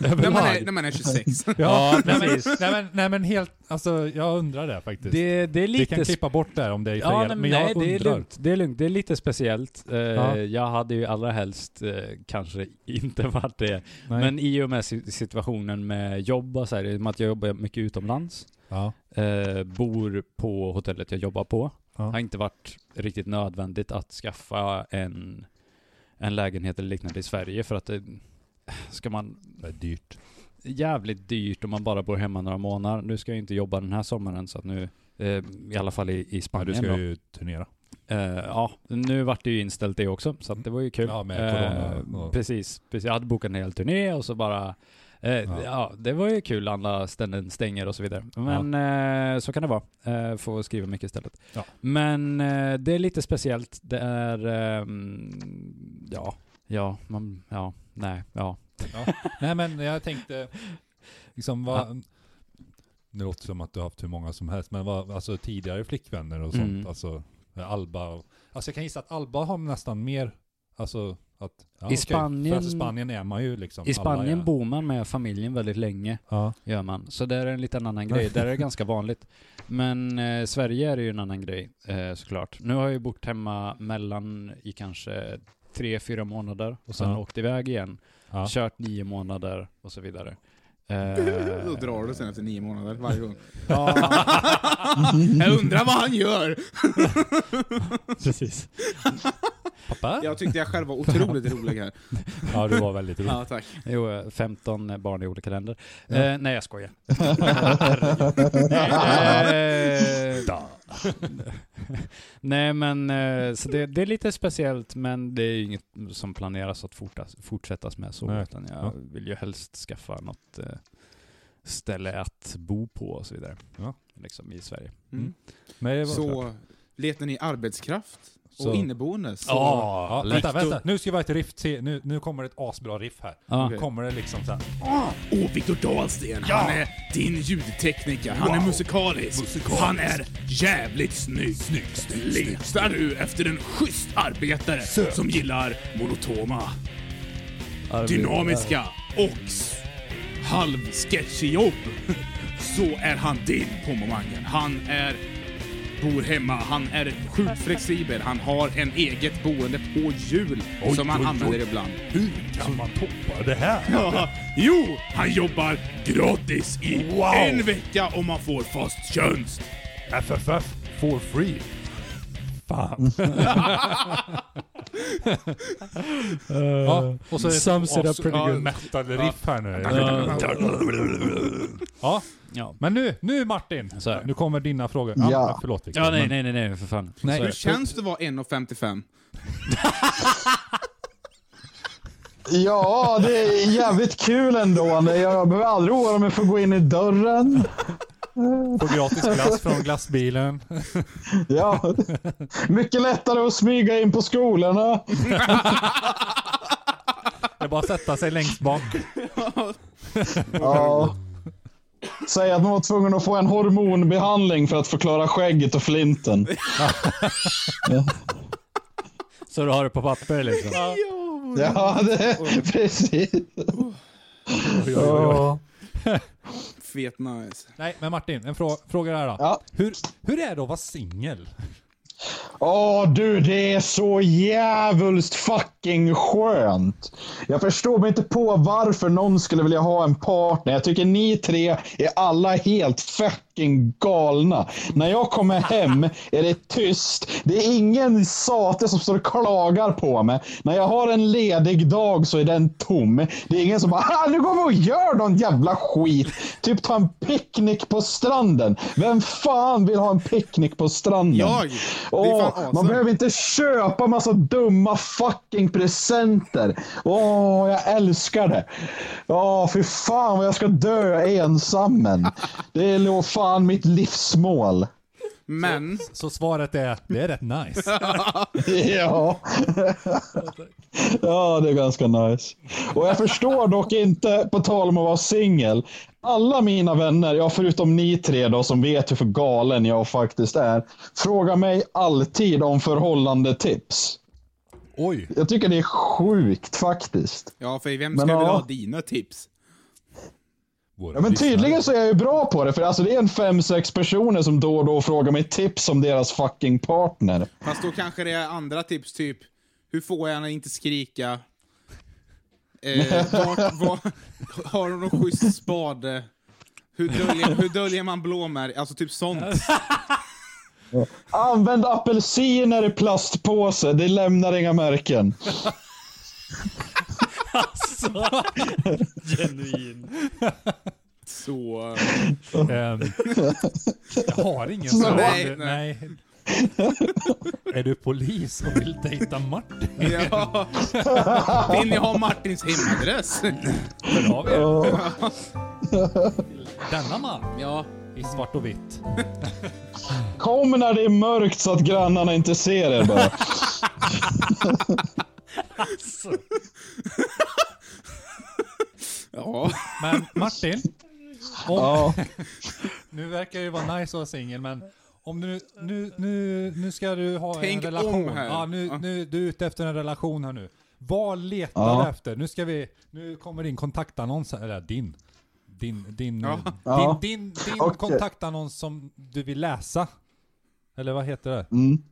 [SPEAKER 2] När man
[SPEAKER 3] Överlag.
[SPEAKER 2] är, när man är 26.
[SPEAKER 3] Ja, nej, men, nej, men, nej men helt, alltså jag undrar det faktiskt.
[SPEAKER 1] Det, det
[SPEAKER 3] Vi
[SPEAKER 1] är lite...
[SPEAKER 3] kan klippa bort det här om det är fel,
[SPEAKER 1] Ja, nej,
[SPEAKER 3] men
[SPEAKER 1] men
[SPEAKER 3] jag
[SPEAKER 1] nej, det är
[SPEAKER 3] undrar.
[SPEAKER 1] lugnt. Det är lugnt. Det är lite speciellt. Eh,
[SPEAKER 3] Ja.
[SPEAKER 1] Jag hade ju allra helst eh, kanske inte *laughs* varit det.
[SPEAKER 3] Nej.
[SPEAKER 1] Men i och med si- situationen med jobb och så här, i och med att jag jobbar mycket utomlands,
[SPEAKER 3] Ja.
[SPEAKER 1] eh, bor på hotellet jag jobbar på,
[SPEAKER 3] Ja.
[SPEAKER 1] har inte varit riktigt nödvändigt att skaffa en, en lägenhet eller liknande i Sverige för att det ska man
[SPEAKER 3] Det är dyrt.
[SPEAKER 1] jävligt dyrt om man bara bor hemma några månader. Nu ska jag ju inte jobba den här sommaren så att nu, eh, i alla fall i, i
[SPEAKER 3] Ja,
[SPEAKER 1] Spanien
[SPEAKER 3] du
[SPEAKER 1] då.
[SPEAKER 3] ska ju turnera.
[SPEAKER 1] Eh, ja, nu vart det ju inställt det också, så att det var ju kul.
[SPEAKER 3] Ja, med corona
[SPEAKER 1] Eh,
[SPEAKER 3] och-
[SPEAKER 1] precis, precis, jag hade bokat en hel turné och så bara eh, ja. det var ju kul, alla ställen stänger och så vidare. Men eh, så kan det vara, eh, får skriva mycket istället.
[SPEAKER 3] Ja.
[SPEAKER 1] Men eh, det är lite speciellt, det är, ehm, ja, ja, man, ja, nej, ja.
[SPEAKER 3] Nej men jag tänkte, liksom vad... Det låter som att du har haft hur många som helst, men vad, alltså tidigare flickvänner och sånt,
[SPEAKER 1] Mm.
[SPEAKER 3] alltså Alba och, Alltså jag kan gissa att Alba har nästan mer, alltså att... Ja,
[SPEAKER 1] I
[SPEAKER 3] okej,
[SPEAKER 1] Spanien-
[SPEAKER 3] För att i Spanien är man ju liksom...
[SPEAKER 1] I Spanien
[SPEAKER 3] alla är,
[SPEAKER 1] bor man med familjen väldigt länge.
[SPEAKER 3] Ja,
[SPEAKER 1] gör man. Så där är en liten annan grej. Där är det ganska vanligt. Men eh, Sverige är det ju en annan grej eh, såklart. Nu har jag ju bott hemma mellan i kanske tre, fyra månader och sen
[SPEAKER 3] Ja.
[SPEAKER 1] åkt iväg igen.
[SPEAKER 3] ja.
[SPEAKER 1] Kört nio månader och så vidare.
[SPEAKER 2] Då
[SPEAKER 1] Eh,
[SPEAKER 2] drar du sen efter nio månader varje gång. *laughs*
[SPEAKER 1] ja,
[SPEAKER 2] Jag undrar vad han gör!
[SPEAKER 1] precis. Pappa?
[SPEAKER 2] Jag tyckte jag själv var otroligt rolig här.
[SPEAKER 1] Ja, du var väldigt rolig.
[SPEAKER 2] Ja, tack.
[SPEAKER 1] Jo, 15 barn i olika länder. Eh, nej, jag skojar. eh, *laughs* nej, men eh, så det, det är lite speciellt, men det är inget som planeras att fortas, fortsättas med så,
[SPEAKER 3] Nej.
[SPEAKER 1] utan jag
[SPEAKER 3] Ja.
[SPEAKER 1] vill ju helst skaffa något eh, ställe att bo på och så vidare.
[SPEAKER 3] Ja.
[SPEAKER 1] Liksom i Sverige.
[SPEAKER 2] Mm.
[SPEAKER 3] Men det var klart.
[SPEAKER 2] Så letar ni arbetskraft
[SPEAKER 3] Så-
[SPEAKER 2] och inneboende? Så,
[SPEAKER 1] Ja,
[SPEAKER 3] Ja, vänta,
[SPEAKER 1] Victor-
[SPEAKER 3] vänta. Nu ska vi ha ett riff till. Nu, nu kommer det ett asbra riff här.
[SPEAKER 1] Ja.
[SPEAKER 3] Nu kommer det liksom så här.
[SPEAKER 2] Åh, Viktor Dahlsten! Han är din ljudtekniker. Han är musikalisk. Han är jävligt snygg. Letar du efter en schysst arbetare som gillar monotoma, dynamiska och s- halvsketchjobb *laughs* så är han din på momangen. Han är bor hemma, han är sjukt flexibel, han har en eget boende på hjul som han
[SPEAKER 3] oj, oj.
[SPEAKER 2] använder ibland.
[SPEAKER 3] Hur kan man toppa det här?
[SPEAKER 2] Ja, jo, han jobbar gratis i en vecka om man får fast tjänst.
[SPEAKER 3] Äh, FFF for free. Fan. ja, och så
[SPEAKER 1] Sums it up pretty
[SPEAKER 3] ja,
[SPEAKER 1] good.
[SPEAKER 3] metal riff här nu. Ja,
[SPEAKER 1] Ja.
[SPEAKER 3] men nu, nu Martin.
[SPEAKER 1] Så här.
[SPEAKER 3] Nu kommer dina frågor.
[SPEAKER 5] Ja.
[SPEAKER 3] Ja, förlåt Victor.
[SPEAKER 1] Ja, nej,
[SPEAKER 3] Men-
[SPEAKER 1] nej, nej, nej, för fan.
[SPEAKER 3] Nej.
[SPEAKER 1] Så
[SPEAKER 2] Hur
[SPEAKER 1] är det.
[SPEAKER 2] känns det att vara 1,55?
[SPEAKER 5] *laughs* Ja, det är jävligt kul ändå. Jag behöver aldrig oroa mig för att gå in i dörren.
[SPEAKER 3] Får gratis glass från glassbilen.
[SPEAKER 5] Ja. Mycket lättare att smyga in på skolorna.
[SPEAKER 3] Det är bara att sätta sig längst bak.
[SPEAKER 5] Ja. Säg att man var tvungen att få en hormonbehandling för att förklara skägget och flinten.
[SPEAKER 1] Så du har det på papper liksom?
[SPEAKER 5] Ja, det,
[SPEAKER 2] Mm.
[SPEAKER 5] precis. Ja.
[SPEAKER 2] Fet nice.
[SPEAKER 3] Nej, men Martin, en frå fråga här då.
[SPEAKER 5] Ja.
[SPEAKER 3] Hur, hur är det att vara singel?
[SPEAKER 5] Åh du, det är så jävulst fucking skönt. Jag förstår mig inte på varför någon skulle vilja ha en partner. Jag tycker ni tre är alla helt fucking galna. När jag kommer hem är det tyst. Det är ingen sate som står och klagar på mig. När jag har en ledig dag så är den tom. Det är ingen som bara "Ah, nu går vi och gör någon jävla skit. Typ ta en picknick på stranden. Vem fan vill ha en picknick på stranden?
[SPEAKER 2] Jag! Det är
[SPEAKER 5] Åh,
[SPEAKER 2] fan
[SPEAKER 5] man
[SPEAKER 2] awesome.
[SPEAKER 5] behöver inte köpa massa dumma fucking presenter. Åh, jag älskar det. Åh, fy fan vad jag ska dö ensammen. Det är nog fan mitt livsmål. *laughs*
[SPEAKER 2] Men,
[SPEAKER 3] Så svaret är, det är rätt nice.
[SPEAKER 5] Ja. ja, det är ganska nice. Och jag förstår dock inte, på tal om att vara singel, alla mina vänner, ja förutom ni tre då som vet hur för galen jag faktiskt är, frågar mig alltid om förhållandetips. *laughs*
[SPEAKER 3] Oj.
[SPEAKER 5] Jag tycker det är sjukt faktiskt.
[SPEAKER 2] ja för vem
[SPEAKER 5] Men
[SPEAKER 2] skulle vilja
[SPEAKER 5] ja.
[SPEAKER 2] ha dina tips?
[SPEAKER 3] Våra
[SPEAKER 5] Ja, men
[SPEAKER 3] lyssnare.
[SPEAKER 5] tydligen så är jag ju bra på det, för alltså det är en fem, sex personer som då och då frågar mig tips om deras fucking partner.
[SPEAKER 2] Fast då kanske det är andra tips, typ hur får jag henne att inte skrika? Eh, vart, var, har hon någon schysst spade? Hur döljer, hur döljer man blåmärken? Alltså typ sånt.
[SPEAKER 5] Använd apelsiner i plastpåse, det lämnar inga märken.
[SPEAKER 1] Genuin.
[SPEAKER 2] Så... eh,
[SPEAKER 3] Ehm, jag har ingen
[SPEAKER 5] Så-
[SPEAKER 3] fråga.
[SPEAKER 2] Nej,
[SPEAKER 3] nej. Är du polis och vill dejta Martin?
[SPEAKER 2] Ja. Vill ni ha Martins hemadress?
[SPEAKER 3] Hör av er. Denna man
[SPEAKER 2] Ja.
[SPEAKER 3] i svart och vitt.
[SPEAKER 5] Kom när det är mörkt så att grannarna inte ser
[SPEAKER 3] *laughs*
[SPEAKER 5] er bara.
[SPEAKER 2] Ja.
[SPEAKER 3] Men Martin,
[SPEAKER 5] *laughs* Ja.
[SPEAKER 3] nu verkar det ju vara nice att vara singel, men om du nu, nu, nu ska du ha
[SPEAKER 2] Tänk
[SPEAKER 3] en relation.
[SPEAKER 2] om här.
[SPEAKER 3] Ja, nu,
[SPEAKER 2] Ja.
[SPEAKER 3] nu, du är ute efter en relation här nu. Vad letar
[SPEAKER 5] Ja.
[SPEAKER 3] du efter? Nu ska vi, nu kommer din kontaktannons här, eller din. Din, din,
[SPEAKER 2] Ja.
[SPEAKER 3] eh, din,
[SPEAKER 5] Ja.
[SPEAKER 3] din, din
[SPEAKER 5] Okej.
[SPEAKER 3] kontaktannons som du vill läsa. Eller vad heter det?
[SPEAKER 5] Mm.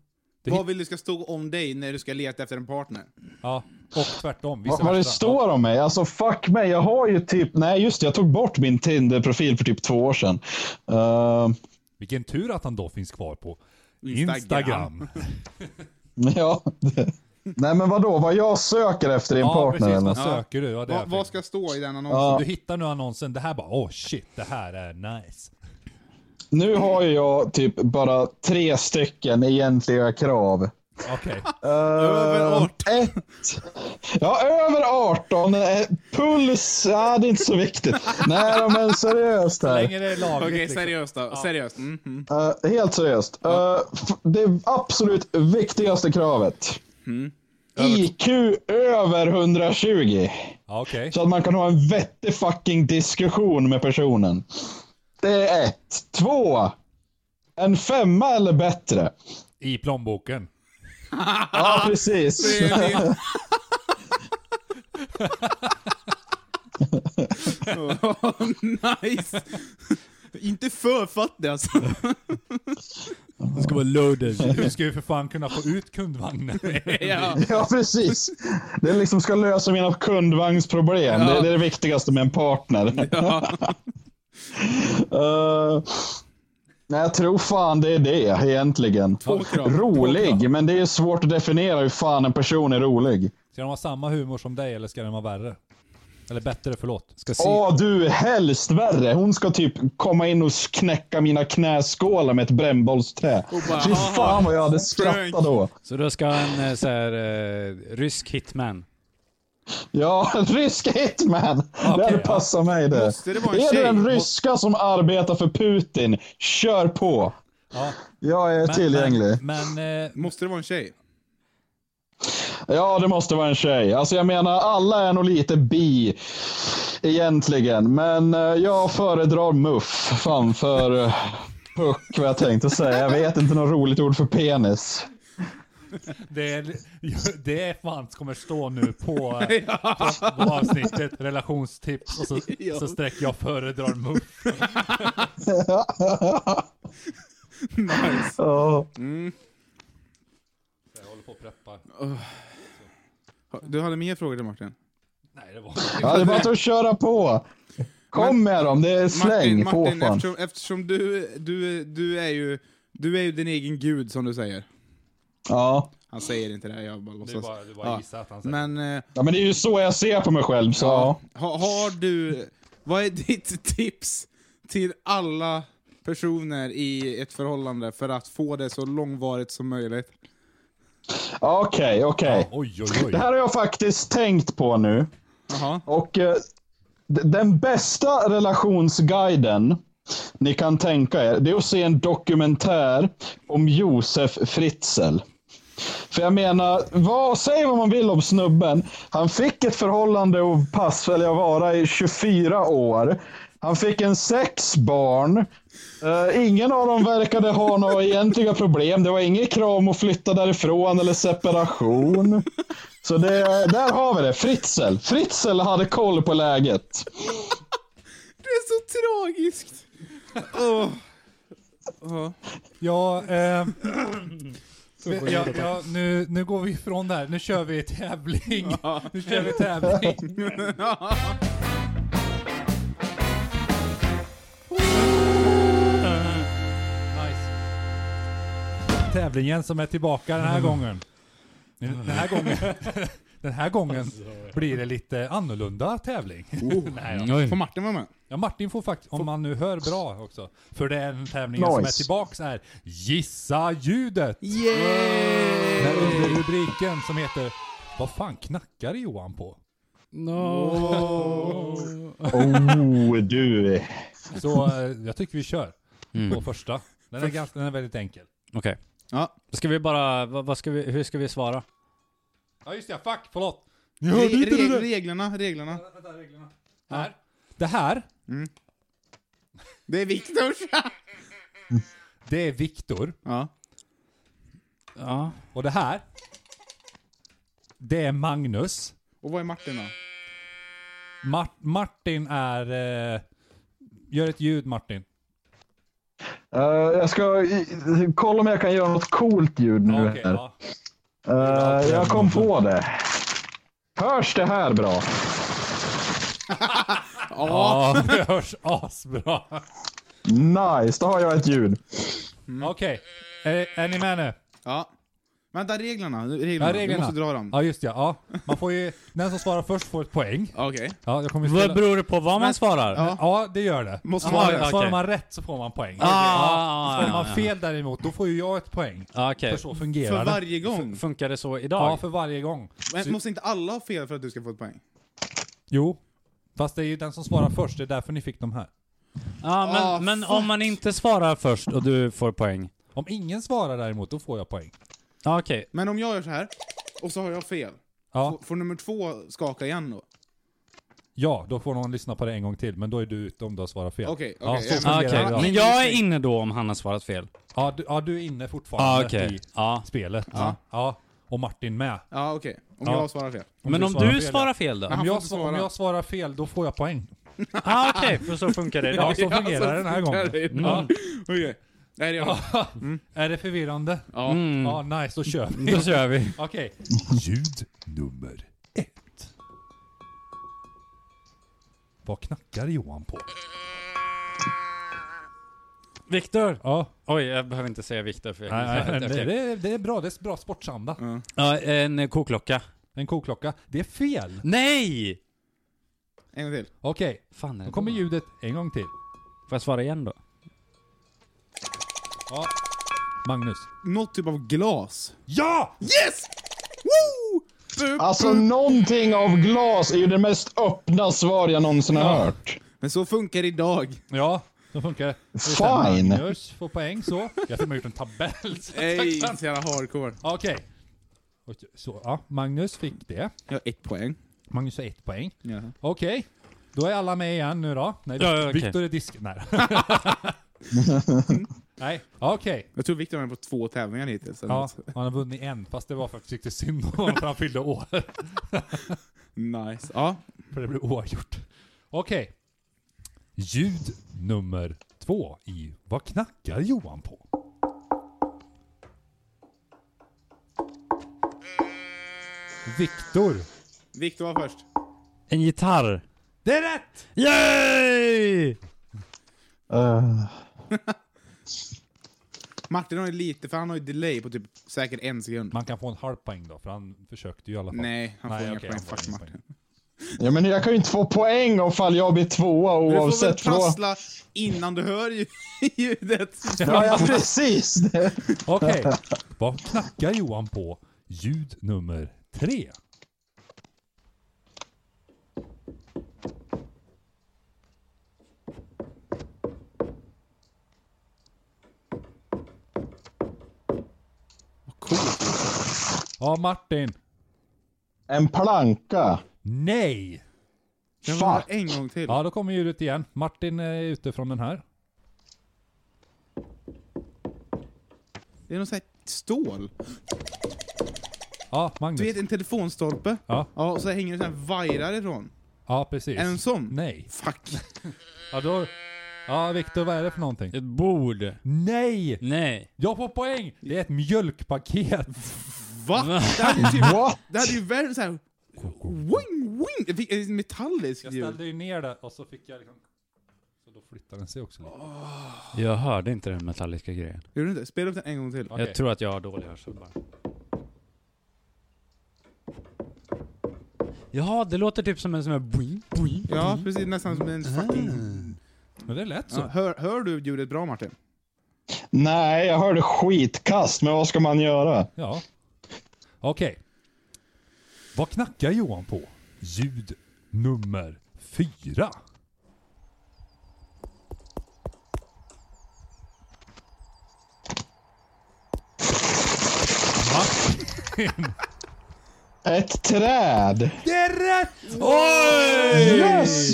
[SPEAKER 2] Vad vill du ska stå om dig när du ska leta efter en partner?
[SPEAKER 3] Ja, och tvärtom. vice
[SPEAKER 5] Vad vad det
[SPEAKER 3] versa.
[SPEAKER 5] står om mig? Alltså fuck mig, jag har ju typ... Nej just det, jag tog bort min Tinder-profil för typ två år sedan. Eh,
[SPEAKER 3] Vilken tur att han då finns kvar på
[SPEAKER 2] Instagram.
[SPEAKER 3] Instagram.
[SPEAKER 5] ja. *laughs* Nej men vadå, vad jag söker efter i en
[SPEAKER 3] Ja,
[SPEAKER 5] partner
[SPEAKER 3] precis.
[SPEAKER 5] eller?
[SPEAKER 3] Vad söker du? Ja, det
[SPEAKER 2] Vad
[SPEAKER 3] är
[SPEAKER 2] vad ska stå i den annonsen?
[SPEAKER 5] Ja.
[SPEAKER 3] Du hittar nu annonsen, det här bara åh shit, det här är nice.
[SPEAKER 5] Nu har ju jag typ bara tre stycken egentliga krav. *laughs*
[SPEAKER 3] Okej,
[SPEAKER 5] Över
[SPEAKER 2] 18.
[SPEAKER 5] Ett. Ja, över 18. Eh, Puls, ja det är inte så viktigt. Nej men seriöst
[SPEAKER 3] så
[SPEAKER 5] här.
[SPEAKER 3] länge det är lagligt.
[SPEAKER 2] Okej,
[SPEAKER 3] liksom.
[SPEAKER 2] seriöst då. Seriöst. Mm, mm.
[SPEAKER 5] Eh, helt seriöst. Eh, f- det absolut viktigaste kravet.
[SPEAKER 2] Mm.
[SPEAKER 5] IQ över 120.
[SPEAKER 3] Ja, Okej,
[SPEAKER 5] Så att man kan ha en vettig fucking diskussion med personen. Det är ett. Två. En femma eller bättre.
[SPEAKER 3] i plånboken.
[SPEAKER 5] Ja, precis.
[SPEAKER 2] Ah, Det är- *laughs* Åh, nice! Mm. Inte för fattig alltså.
[SPEAKER 1] Det ska vara loaded.
[SPEAKER 3] Du ska ju för fan kunna få ut
[SPEAKER 5] *laughs*
[SPEAKER 3] kundvagnen.
[SPEAKER 2] ja.
[SPEAKER 5] Ja, precis. Det liksom ska lösa mina kundvagnsproblem. Det, det är det viktigaste med
[SPEAKER 2] *laughs*
[SPEAKER 5] en partner. *laughs* Eh, nej, jag tror fan det är det egentligen.
[SPEAKER 2] krav. Typ.
[SPEAKER 5] rolig, men det är svårt att definiera hur fan en person är rolig.
[SPEAKER 3] Ska den ha samma humor som dig eller ska den vara värre? Eller bättre, förlåt.
[SPEAKER 1] Ska se.
[SPEAKER 5] Åh du, helst värre. Hon ska typ komma in och knäcka mina knäskålar med ett brännbollsträ.
[SPEAKER 2] bara,
[SPEAKER 5] Fy
[SPEAKER 2] "Haha,
[SPEAKER 5] fan vad jag hade skrattat då.
[SPEAKER 1] Så då ska en eh, så här, eh, rysk hitman.
[SPEAKER 5] Ja, *laughs* rysk hitman. det hade
[SPEAKER 3] ja.
[SPEAKER 5] passat mig det.
[SPEAKER 2] Måste det vara en
[SPEAKER 5] är
[SPEAKER 2] tjej?
[SPEAKER 5] du en ryska som arbetar för Putin, kör på.
[SPEAKER 3] Ja,
[SPEAKER 5] Jag är tillgänglig.
[SPEAKER 3] Men, men eh,
[SPEAKER 2] Måste det vara en tjej?
[SPEAKER 5] Ja, det måste vara en tjej. Alltså jag menar, alla är nog lite bi egentligen. Men eh, jag föredrar muff framför eh, puck, vad jag tänkte säga. Jag vet inte något roligt ord för penis.
[SPEAKER 3] det, är, det är fan kommer stå nu på, eh, på, på avsnittet relationstips och så, så sträcker jag föredrar muff.
[SPEAKER 2] Nice.
[SPEAKER 5] Ja.
[SPEAKER 3] Jag håller på att preppa.
[SPEAKER 2] Du hade mer frågor till Martin?
[SPEAKER 3] Nej, det var
[SPEAKER 5] Ja, det är bara att köra på. Kom med dem, det är släng
[SPEAKER 2] Martin, Martin
[SPEAKER 5] på fan.
[SPEAKER 2] eftersom, eftersom du, du, du, är ju, du är ju din egen gud som du säger.
[SPEAKER 5] Ja.
[SPEAKER 2] Han säger inte det, jag bara låtsas.
[SPEAKER 3] Du bara, du bara
[SPEAKER 2] Ja.
[SPEAKER 3] gissar att han säger.
[SPEAKER 2] Men, eh,
[SPEAKER 5] ja, men det är ju så jag ser på mig själv. Så. Ja.
[SPEAKER 2] ha, har du... Vad är ditt tips till alla personer i ett förhållande för att få det så långvarigt som möjligt?
[SPEAKER 5] Okej, okej.
[SPEAKER 3] Oj, oj,
[SPEAKER 5] Det
[SPEAKER 3] oj.
[SPEAKER 5] här har jag faktiskt tänkt på nu.
[SPEAKER 2] Jaha.
[SPEAKER 5] Och eh, d- den bästa relationsguiden ni kan tänka er, det är att se en dokumentär om Josef Fritzl. För jag menar, vad, säg vad man vill om snubben. Han fick ett förhållande och pass, eller jag vara, i 24 år. Han fick en sex barn. Eh, ingen av dem verkade ha några egentliga problem. Det var inget krav om att flytta därifrån eller separation. Så det, där har vi det. Fritzl. Fritzl hade koll på läget.
[SPEAKER 2] Det är så tragiskt! Åh. Ja.
[SPEAKER 3] Ja, ehm, ja, ja, nu, nu går vi ifrån det här. Nu kör vi tävling. *laughs* Nu kör vi tävling. Nice. Tävlingen som är tillbaka den här gången. Den här gången, den här gången blir det lite annorlunda tävling. Nej, då.
[SPEAKER 1] Oj.
[SPEAKER 2] Får Martin vara med?
[SPEAKER 3] Ja, Martin får faktiskt, om man nu hör bra också. För det är en tävling som är
[SPEAKER 5] Nice.
[SPEAKER 3] tillbaks är Gissa ljudet!
[SPEAKER 2] Yeah!
[SPEAKER 3] Där under rubriken som heter Vad fan knackar Johan på?
[SPEAKER 1] No.
[SPEAKER 5] Oh, du.
[SPEAKER 3] Så eh, jag tycker vi kör
[SPEAKER 5] Mm.
[SPEAKER 3] på första. Den är, ganska, den är väldigt enkel.
[SPEAKER 1] Okej.
[SPEAKER 2] Ja.
[SPEAKER 1] Ska vi bara, vad, vad ska vi, hur ska vi svara?
[SPEAKER 3] Ja just ja, fuck, förlåt!
[SPEAKER 2] Re- re- reglerna, reglerna.
[SPEAKER 3] Här. Det här,
[SPEAKER 2] Det är Viktors!
[SPEAKER 3] det är Viktor.
[SPEAKER 2] Ja.
[SPEAKER 1] Ja.
[SPEAKER 3] Och det här, det är Magnus.
[SPEAKER 2] Och vad är Martin då?
[SPEAKER 3] Mar- Martin är... Eh, gör ett ljud Martin.
[SPEAKER 5] Eh, jag ska i- kolla om jag kan göra något coolt ljud nu.
[SPEAKER 3] Ja,
[SPEAKER 5] här.
[SPEAKER 3] okej, ja.
[SPEAKER 5] Eh, jag kom på det. Hörs det här bra?
[SPEAKER 3] Ja, *laughs* det hörs asbra.
[SPEAKER 5] Nice, då har jag ett ljud.
[SPEAKER 3] Okej, är, är ni med nu?
[SPEAKER 2] Ja. Vänta, reglerna. reglerna.
[SPEAKER 3] Ja,
[SPEAKER 2] reglerna. Du
[SPEAKER 3] reglerna.
[SPEAKER 2] måste dra dem.
[SPEAKER 3] Ja, just det. Ja. Man får ju, den som svarar först får ett poäng.
[SPEAKER 2] Okej.
[SPEAKER 3] Ja, jag kommer ju
[SPEAKER 1] Vad
[SPEAKER 3] spela.
[SPEAKER 1] beror det på vad man svarar?
[SPEAKER 2] Ja.
[SPEAKER 3] Ja, det gör det.
[SPEAKER 2] Måste
[SPEAKER 3] Svarar-
[SPEAKER 2] vara det.
[SPEAKER 3] Svarar
[SPEAKER 1] Okej.
[SPEAKER 3] man rätt så får man poäng.
[SPEAKER 1] Ah,
[SPEAKER 3] Ja,
[SPEAKER 1] ah,
[SPEAKER 3] Svarar man
[SPEAKER 1] ja, ja.
[SPEAKER 3] fel däremot, då får ju jag ett poäng.
[SPEAKER 1] Ja, okej.
[SPEAKER 3] För så fungerar
[SPEAKER 2] För
[SPEAKER 3] det.
[SPEAKER 2] varje gång.
[SPEAKER 1] Funkar det så idag?
[SPEAKER 3] Ja, för varje gång.
[SPEAKER 2] Men måste inte alla ha fel för att du ska få ett poäng?
[SPEAKER 3] Jo. Fast det är ju den som svarar först, det är därför ni fick de här.
[SPEAKER 1] Ja, men,
[SPEAKER 2] Ah,
[SPEAKER 1] men
[SPEAKER 2] fuck.
[SPEAKER 1] om man inte svarar först och du får poäng.
[SPEAKER 3] Om ingen svarar däremot, då får jag poäng.
[SPEAKER 1] Ja, okej.
[SPEAKER 2] Men om jag gör så här och så har jag fel.
[SPEAKER 3] Ja,
[SPEAKER 2] Får, får nummer två skaka igen då?
[SPEAKER 3] ja då får någon lyssna på det en gång till, men då är du ute om du har svarat fel.
[SPEAKER 2] Okej,
[SPEAKER 3] ja,
[SPEAKER 2] okej,
[SPEAKER 3] så
[SPEAKER 2] jag-
[SPEAKER 1] Ja,
[SPEAKER 3] fungerar
[SPEAKER 1] okej.
[SPEAKER 3] det idag.
[SPEAKER 1] Men jag är inne då om han har svarat fel.
[SPEAKER 3] Ja, du, ja, du är inne
[SPEAKER 1] Ja,
[SPEAKER 3] fortfarande
[SPEAKER 1] Ah, okej.
[SPEAKER 3] i
[SPEAKER 1] Ja.
[SPEAKER 3] spelet.
[SPEAKER 2] Ja.
[SPEAKER 3] ja. Och Martin med.
[SPEAKER 2] Ja, okej. Om
[SPEAKER 3] Ja.
[SPEAKER 2] jag svarar fel.
[SPEAKER 1] Men om du svarar fel då?
[SPEAKER 2] Men
[SPEAKER 3] Om
[SPEAKER 2] han får
[SPEAKER 3] jag,
[SPEAKER 2] inte
[SPEAKER 3] sva- om
[SPEAKER 2] svara.
[SPEAKER 3] jag svarar fel, då får jag poäng.
[SPEAKER 1] Ja, okej. För så funkar *laughs* det
[SPEAKER 3] Ja,
[SPEAKER 1] idag.
[SPEAKER 3] så fungerar det den
[SPEAKER 1] *laughs*
[SPEAKER 3] här
[SPEAKER 2] funkar det
[SPEAKER 3] gången.
[SPEAKER 2] idag.
[SPEAKER 3] Ja.
[SPEAKER 2] Okej. Nej, det gör jag.
[SPEAKER 3] Är det förvirrande?
[SPEAKER 2] Ja.
[SPEAKER 1] Mm.
[SPEAKER 3] Ja, nice, då kör
[SPEAKER 1] *laughs*
[SPEAKER 3] vi.
[SPEAKER 1] Då kör vi.
[SPEAKER 3] Okej.
[SPEAKER 7] Ljud nummer ett.
[SPEAKER 3] Vad knackar Johan på?
[SPEAKER 1] Viktor! *laughs*
[SPEAKER 3] Ja,
[SPEAKER 1] Oj, jag behöver inte säga Viktor för jag kan
[SPEAKER 3] nej,
[SPEAKER 1] säga *laughs*
[SPEAKER 3] nej,
[SPEAKER 1] att jag
[SPEAKER 3] det,
[SPEAKER 1] klipp-
[SPEAKER 3] det, är- det är bra. Det är bra sportsanda.
[SPEAKER 1] Ja, en eh, koklocka.
[SPEAKER 3] En koklocka. Det är fel.
[SPEAKER 1] Nej!
[SPEAKER 2] En gång till.
[SPEAKER 3] Okej,
[SPEAKER 1] Fan är det
[SPEAKER 3] då kommer
[SPEAKER 1] då?
[SPEAKER 3] ljudet en gång till.
[SPEAKER 1] Får jag svara igen då?
[SPEAKER 3] Ja. Magnus.
[SPEAKER 2] Något typ av glas.
[SPEAKER 3] Ja!
[SPEAKER 2] Yes! Woo! Bu-
[SPEAKER 5] Alltså
[SPEAKER 2] bu-
[SPEAKER 5] någonting av glas är ju det mest öppna svar jag någonsin har hört.
[SPEAKER 2] Men så funkar det idag.
[SPEAKER 3] Ja, då funkar det. det. är
[SPEAKER 5] Fine.
[SPEAKER 3] så här, Magnus får poäng så. Jag har gjort en tabell. så att jag
[SPEAKER 2] Ej,
[SPEAKER 3] kan-
[SPEAKER 2] *laughs* så jävla hardcore.
[SPEAKER 3] Okej. Och Så, ja, Magnus fick det.
[SPEAKER 2] Jag har ett poäng.
[SPEAKER 3] Magnus har ett poäng.
[SPEAKER 2] Ja.
[SPEAKER 3] Okej. Då är alla med igen nu då. Nej,
[SPEAKER 1] Ja, ja, okej.
[SPEAKER 3] Viktor är disk... Nej. Nej, okej.
[SPEAKER 2] Jag tror Viktor har varit på två tävlingar hittills. eller
[SPEAKER 3] Ja,
[SPEAKER 2] något. *laughs*
[SPEAKER 3] han har vunnit en, fast det var faktiskt riktigt synd om honom för han fyllde år. *laughs*
[SPEAKER 2] Nice. Ja.
[SPEAKER 3] För det blev oavgjort. Okej.
[SPEAKER 7] Ljud nummer två i Vad knackar Johan på?
[SPEAKER 3] Viktor.
[SPEAKER 2] Viktor var först.
[SPEAKER 1] En gitarr.
[SPEAKER 3] Det är rätt!
[SPEAKER 1] Yay!
[SPEAKER 5] Eh,
[SPEAKER 2] Martin har ju lite, för han har ju delay på typ säkert en sekund.
[SPEAKER 3] Man kan få en halv poäng då, för han försökte ju i alla fall.
[SPEAKER 2] Nej, han får inga
[SPEAKER 3] okej,
[SPEAKER 2] poäng.
[SPEAKER 3] han får
[SPEAKER 2] Fuck
[SPEAKER 3] inga
[SPEAKER 2] Martin.
[SPEAKER 5] ja, men jag kan ju inte få poäng om jag blir tvåa
[SPEAKER 2] Du får väl
[SPEAKER 5] oavsett. vad-
[SPEAKER 2] prassla innan du hör ju- *laughs* ljudet.
[SPEAKER 5] Ja, ja, precis.
[SPEAKER 3] Okej.
[SPEAKER 2] *laughs*
[SPEAKER 7] Vad knackar Johan på? Ljud nummer tre.
[SPEAKER 3] Ja, Martin.
[SPEAKER 5] En planka.
[SPEAKER 3] Nej!
[SPEAKER 2] Jag vill
[SPEAKER 5] Fuck.
[SPEAKER 2] ha en gång till.
[SPEAKER 3] Ja, då kommer ljudet igen. Martin är ute från den här.
[SPEAKER 2] Det är någon sån här stål.
[SPEAKER 3] Ja,
[SPEAKER 2] Du
[SPEAKER 3] Magnus.
[SPEAKER 2] vet en telefonstolpe?
[SPEAKER 3] Ja.
[SPEAKER 2] Ja, och så hänger det sån här vajrar ifrån.
[SPEAKER 3] Ja, precis.
[SPEAKER 2] Är det en sån?
[SPEAKER 3] Nej.
[SPEAKER 2] Fuck.
[SPEAKER 3] Ja, då... Ja, Viktor, vad är det för någonting?
[SPEAKER 1] Ett bord.
[SPEAKER 3] Nej!
[SPEAKER 1] Nej.
[SPEAKER 3] Jag får poäng! Det är ett
[SPEAKER 2] *laughs*
[SPEAKER 3] mjölkpaket.
[SPEAKER 2] Va? Det hade ju, typ,
[SPEAKER 5] What?
[SPEAKER 2] det hade ju värre såhär... Wing, wing! Det fick- det är metalliskt
[SPEAKER 3] Jag
[SPEAKER 2] ljud.
[SPEAKER 3] ställde ju ner det och så fick jag liksom... Så då flyttade den sig också lite.
[SPEAKER 1] Jag hörde inte den metalliska grejen.
[SPEAKER 2] Gjorde du inte? Spela upp den en gång till.
[SPEAKER 3] Okej.
[SPEAKER 1] Jag tror att jag har dålig hörsel bara. Jaha, det låter typ som en sån här boing, boing.
[SPEAKER 2] Ja, precis. Nästan som en fucking...
[SPEAKER 3] Men det lät så.
[SPEAKER 5] Ah.
[SPEAKER 2] Ja, hör, hör du ljudet bra Martin?
[SPEAKER 5] Nej, jag hörde skitkast, men vad ska man göra?
[SPEAKER 3] Ja. Okej.
[SPEAKER 7] Vad knackar Johan på? Ljud nummer fyra.
[SPEAKER 5] Ett träd.
[SPEAKER 3] Det är rätt!
[SPEAKER 5] Yes!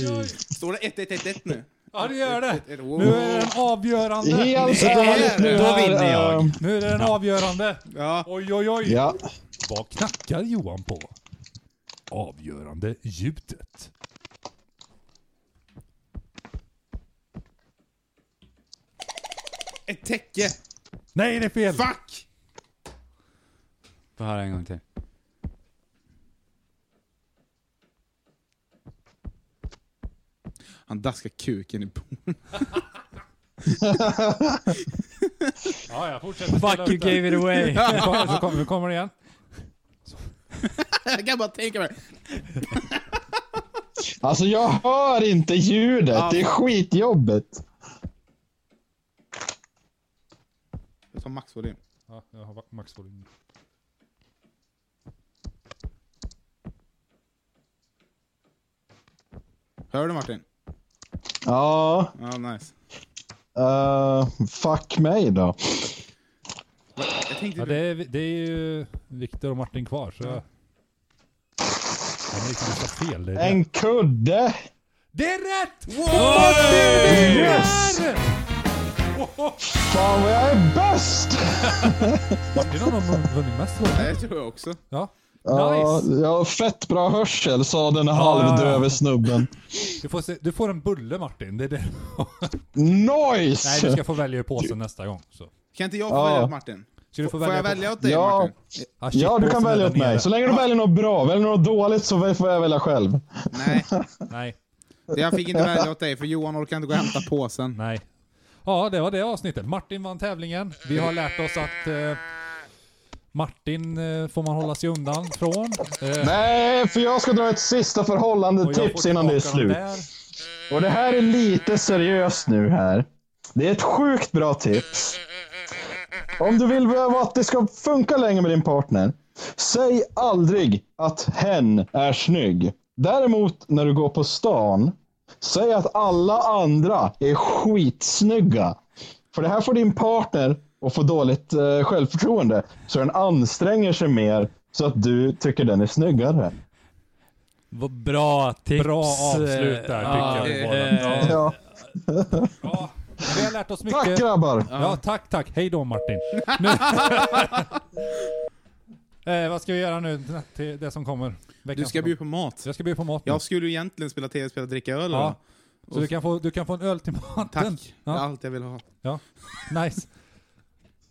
[SPEAKER 2] Står det 1-1-1-1 nu?
[SPEAKER 3] Ja, det gör det.
[SPEAKER 2] Ett- ett-
[SPEAKER 3] Nu är den avgörande.
[SPEAKER 5] Helt ärligt nu
[SPEAKER 1] då
[SPEAKER 5] här,
[SPEAKER 1] vinner jag.
[SPEAKER 5] ehm,
[SPEAKER 3] Nu är den avgörande.
[SPEAKER 2] Ja.
[SPEAKER 3] Oj, oj, oj.
[SPEAKER 5] Ja,
[SPEAKER 7] Vad knackar Johan på? Avgörande ljudet.
[SPEAKER 2] Ett täcke!
[SPEAKER 3] Nej, det är fel.
[SPEAKER 2] Fuck!
[SPEAKER 1] Får höra en gång till.
[SPEAKER 2] Han daskar kuken i bordet.
[SPEAKER 3] Ja, jag fortsätter spela
[SPEAKER 1] Fuck you
[SPEAKER 3] ut den.
[SPEAKER 1] gave it *laughs* away.
[SPEAKER 3] Nu kommer- så kommer- Nu kommer det igen.
[SPEAKER 2] *laughs* Jag kan bara tänka mig.
[SPEAKER 5] Alltså jag hör inte ljudet.
[SPEAKER 2] Ja.
[SPEAKER 5] Det är skitjobbigt.
[SPEAKER 2] Jag tar maxvolym.
[SPEAKER 3] Ja, jag har maxvolym.
[SPEAKER 2] Hör du Martin?
[SPEAKER 5] Ja,
[SPEAKER 2] Ja, nice.
[SPEAKER 5] eh, fuck mig då.
[SPEAKER 2] Va- Jag tänkte...
[SPEAKER 3] Ja, det, är, det är ju Viktor och Martin kvar, så... Jag... Han liksom sa fel. Det är
[SPEAKER 5] En
[SPEAKER 3] rätt!
[SPEAKER 5] kudde!
[SPEAKER 3] Det är rätt!
[SPEAKER 5] Yes! Fan vad jag är bäst!
[SPEAKER 3] Martin har nog vunnit mest.
[SPEAKER 2] Ja, det tror jag också.
[SPEAKER 3] Ja.
[SPEAKER 5] Ja,
[SPEAKER 3] Nice!
[SPEAKER 5] jag har fett bra hörsel sa den
[SPEAKER 3] ja,
[SPEAKER 5] halvdöve
[SPEAKER 3] ja.
[SPEAKER 5] snubben.
[SPEAKER 3] Du får, se, du får en bulle Martin. Det är det. Nej,
[SPEAKER 5] Nice!
[SPEAKER 3] du ska få välja ur påsen nästa gång. Så.
[SPEAKER 2] Kan inte jag få
[SPEAKER 5] Ja.
[SPEAKER 2] välja åt Martin?
[SPEAKER 3] Ska du få
[SPEAKER 2] Får
[SPEAKER 3] välja
[SPEAKER 2] jag
[SPEAKER 3] på-
[SPEAKER 2] välja åt dig
[SPEAKER 5] Ja.
[SPEAKER 2] Martin?
[SPEAKER 3] Ah, shit,
[SPEAKER 5] Ja, du kan
[SPEAKER 3] påsen är
[SPEAKER 5] välja
[SPEAKER 3] där
[SPEAKER 5] åt mig.
[SPEAKER 3] nere.
[SPEAKER 5] Så länge du väljer något bra. Väljer du något dåligt så får jag välja själv.
[SPEAKER 2] Nej,
[SPEAKER 3] Nej,
[SPEAKER 2] det- jag fick inte välja åt dig för Johan orkar inte gå och hämta påsen.
[SPEAKER 3] nej. Ja, det var det avsnittet. Martin vann tävlingen. Vi har lärt oss att eh, Martin eh, får man hålla sig undan från. Eh,
[SPEAKER 5] Nej, för jag ska dra ett sista
[SPEAKER 3] och jag får
[SPEAKER 5] förhållande-tips innan det är
[SPEAKER 3] tillbaka dem
[SPEAKER 5] slut.
[SPEAKER 3] där.
[SPEAKER 5] Och det här är lite seriöst nu här. Det är ett sjukt bra tips. Om du vill behöva att det ska funka länge med din partner, säg aldrig att hen är snygg. Däremot när du går på stan, säg att alla andra är skitsnygga. För det här får din partner att få dåligt eh, självförtroende, så den anstränger sig mer så att du tycker den är snyggare.
[SPEAKER 1] Vad bra tips.
[SPEAKER 3] Bra avslut där,
[SPEAKER 1] Ja,
[SPEAKER 3] tycker jag.
[SPEAKER 1] eh,
[SPEAKER 5] Ja.
[SPEAKER 3] Ja, vi har lärt oss
[SPEAKER 5] Tack
[SPEAKER 3] mycket.
[SPEAKER 5] grabbar!
[SPEAKER 3] Ja, tack, tack. Hej då Martin. Nu. *laughs* eh, vad ska vi göra nu till det som kommer?
[SPEAKER 2] Du
[SPEAKER 3] Veckan
[SPEAKER 2] ska
[SPEAKER 3] som
[SPEAKER 2] bjuda på mat.
[SPEAKER 3] kommer. Jag ska bjuda på mat nu.
[SPEAKER 2] Jag skulle ju egentligen spela tv-spel och dricka öl.
[SPEAKER 3] Ja.
[SPEAKER 2] Ja.
[SPEAKER 3] Så du kan, få, du kan få en öl till maten.
[SPEAKER 2] Tack. Det är
[SPEAKER 3] Ja,
[SPEAKER 2] allt jag vill ha.
[SPEAKER 3] nice.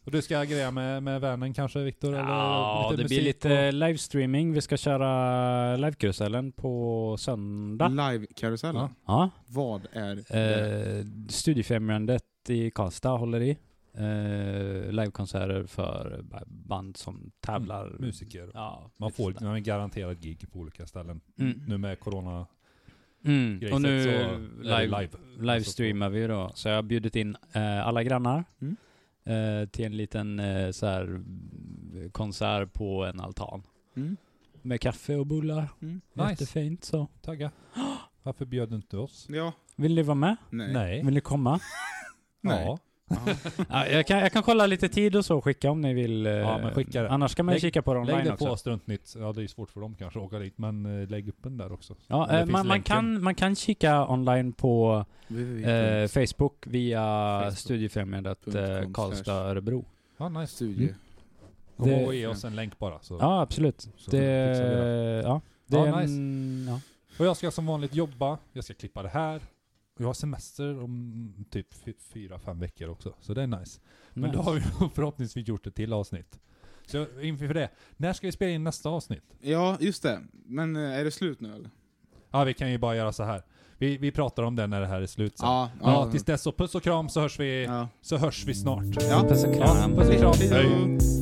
[SPEAKER 3] Och du ska greja med, med vännen kanske, Viktor? eller
[SPEAKER 1] Ja, det blir
[SPEAKER 3] musik
[SPEAKER 1] lite livestreaming. Vi ska köra livekarusellen på söndag.
[SPEAKER 2] Live-karusellen.
[SPEAKER 3] Ja.
[SPEAKER 1] Ja.
[SPEAKER 2] Vad är det?
[SPEAKER 1] Eh, Studiefrämjandet i Karlstad håller i. Eh, livekonserter för ba- band som tävlar.
[SPEAKER 3] och musiker.
[SPEAKER 1] Ja,
[SPEAKER 3] Mm, Man
[SPEAKER 1] lite
[SPEAKER 3] får
[SPEAKER 1] sådär.
[SPEAKER 3] man är garanterat gig på olika ställen.
[SPEAKER 1] Mm.
[SPEAKER 3] Nu med corona.
[SPEAKER 1] Mm.
[SPEAKER 3] grejset
[SPEAKER 1] Och nu
[SPEAKER 3] så är det
[SPEAKER 1] live,
[SPEAKER 3] live. alltså
[SPEAKER 1] livestreamar vi då. Så jag har bjudit in eh, alla grannar
[SPEAKER 2] Mm.
[SPEAKER 1] eh, till en liten eh, så här, mm, konsert på en altan.
[SPEAKER 2] Mm.
[SPEAKER 1] Med kaffe och bullar.
[SPEAKER 2] Mm.
[SPEAKER 3] Nice.
[SPEAKER 1] Jättefint så.
[SPEAKER 3] Tagga. Varför bjöd du inte oss?
[SPEAKER 2] Ja.
[SPEAKER 1] Vill ni vara med?
[SPEAKER 2] Nej.
[SPEAKER 3] Nej.
[SPEAKER 1] Vill
[SPEAKER 3] *laughs*
[SPEAKER 1] ni komma?
[SPEAKER 2] Nej.
[SPEAKER 3] Ja.
[SPEAKER 1] ja, jag, kan, jag kan kolla lite tid och så och skicka om ni vill. eh,
[SPEAKER 3] Ja, men skicka det.
[SPEAKER 1] Annars kan man ju
[SPEAKER 3] Lägg-
[SPEAKER 1] kika på det online
[SPEAKER 3] Lägg det
[SPEAKER 1] också.
[SPEAKER 3] på Struntnytt. Ja, det är svårt för dem kanske att åka dit, men eh, lägg upp den där också.
[SPEAKER 1] Ja,
[SPEAKER 3] Där
[SPEAKER 1] eh,
[SPEAKER 3] finns
[SPEAKER 1] man, man,
[SPEAKER 3] länken.
[SPEAKER 1] kan, man kan kika online på eh, Facebook via
[SPEAKER 2] Facebook.
[SPEAKER 1] Studiefrämjandet eh,
[SPEAKER 2] .com
[SPEAKER 1] Karlstad
[SPEAKER 2] slash.
[SPEAKER 1] Örebro.
[SPEAKER 3] Ja, nice.
[SPEAKER 2] Studie.
[SPEAKER 3] Kom
[SPEAKER 1] Det-
[SPEAKER 3] och ge oss en länk bara. Så.
[SPEAKER 1] Ja, absolut.
[SPEAKER 3] Så
[SPEAKER 1] Det,
[SPEAKER 3] fixar vi det.
[SPEAKER 1] ja, det
[SPEAKER 3] Ja,
[SPEAKER 1] är
[SPEAKER 3] nice.
[SPEAKER 1] en, ja.
[SPEAKER 3] Och jag ska som vanligt jobba, jag ska klippa det här. Och jag har semester om typ fy- fyra, fem veckor också. Så det är nice. Men
[SPEAKER 1] Nice.
[SPEAKER 3] då har vi *laughs* förhoppningsvis gjort ett till avsnitt. Så inför det, när ska vi spela in nästa avsnitt?
[SPEAKER 2] Ja, just det. Men eh, är det slut nu eller?
[SPEAKER 3] Ja, vi kan ju bara göra så här. Vi, vi pratar om det när det här är slut sen.
[SPEAKER 2] Ja.
[SPEAKER 3] Ja, tills dess så puss och kram så hörs vi,
[SPEAKER 2] Ja.
[SPEAKER 3] så hörs vi snart.
[SPEAKER 2] Ja.
[SPEAKER 1] Puss och kram.
[SPEAKER 3] Puss och kram.
[SPEAKER 2] Hej då.
[SPEAKER 3] Hej.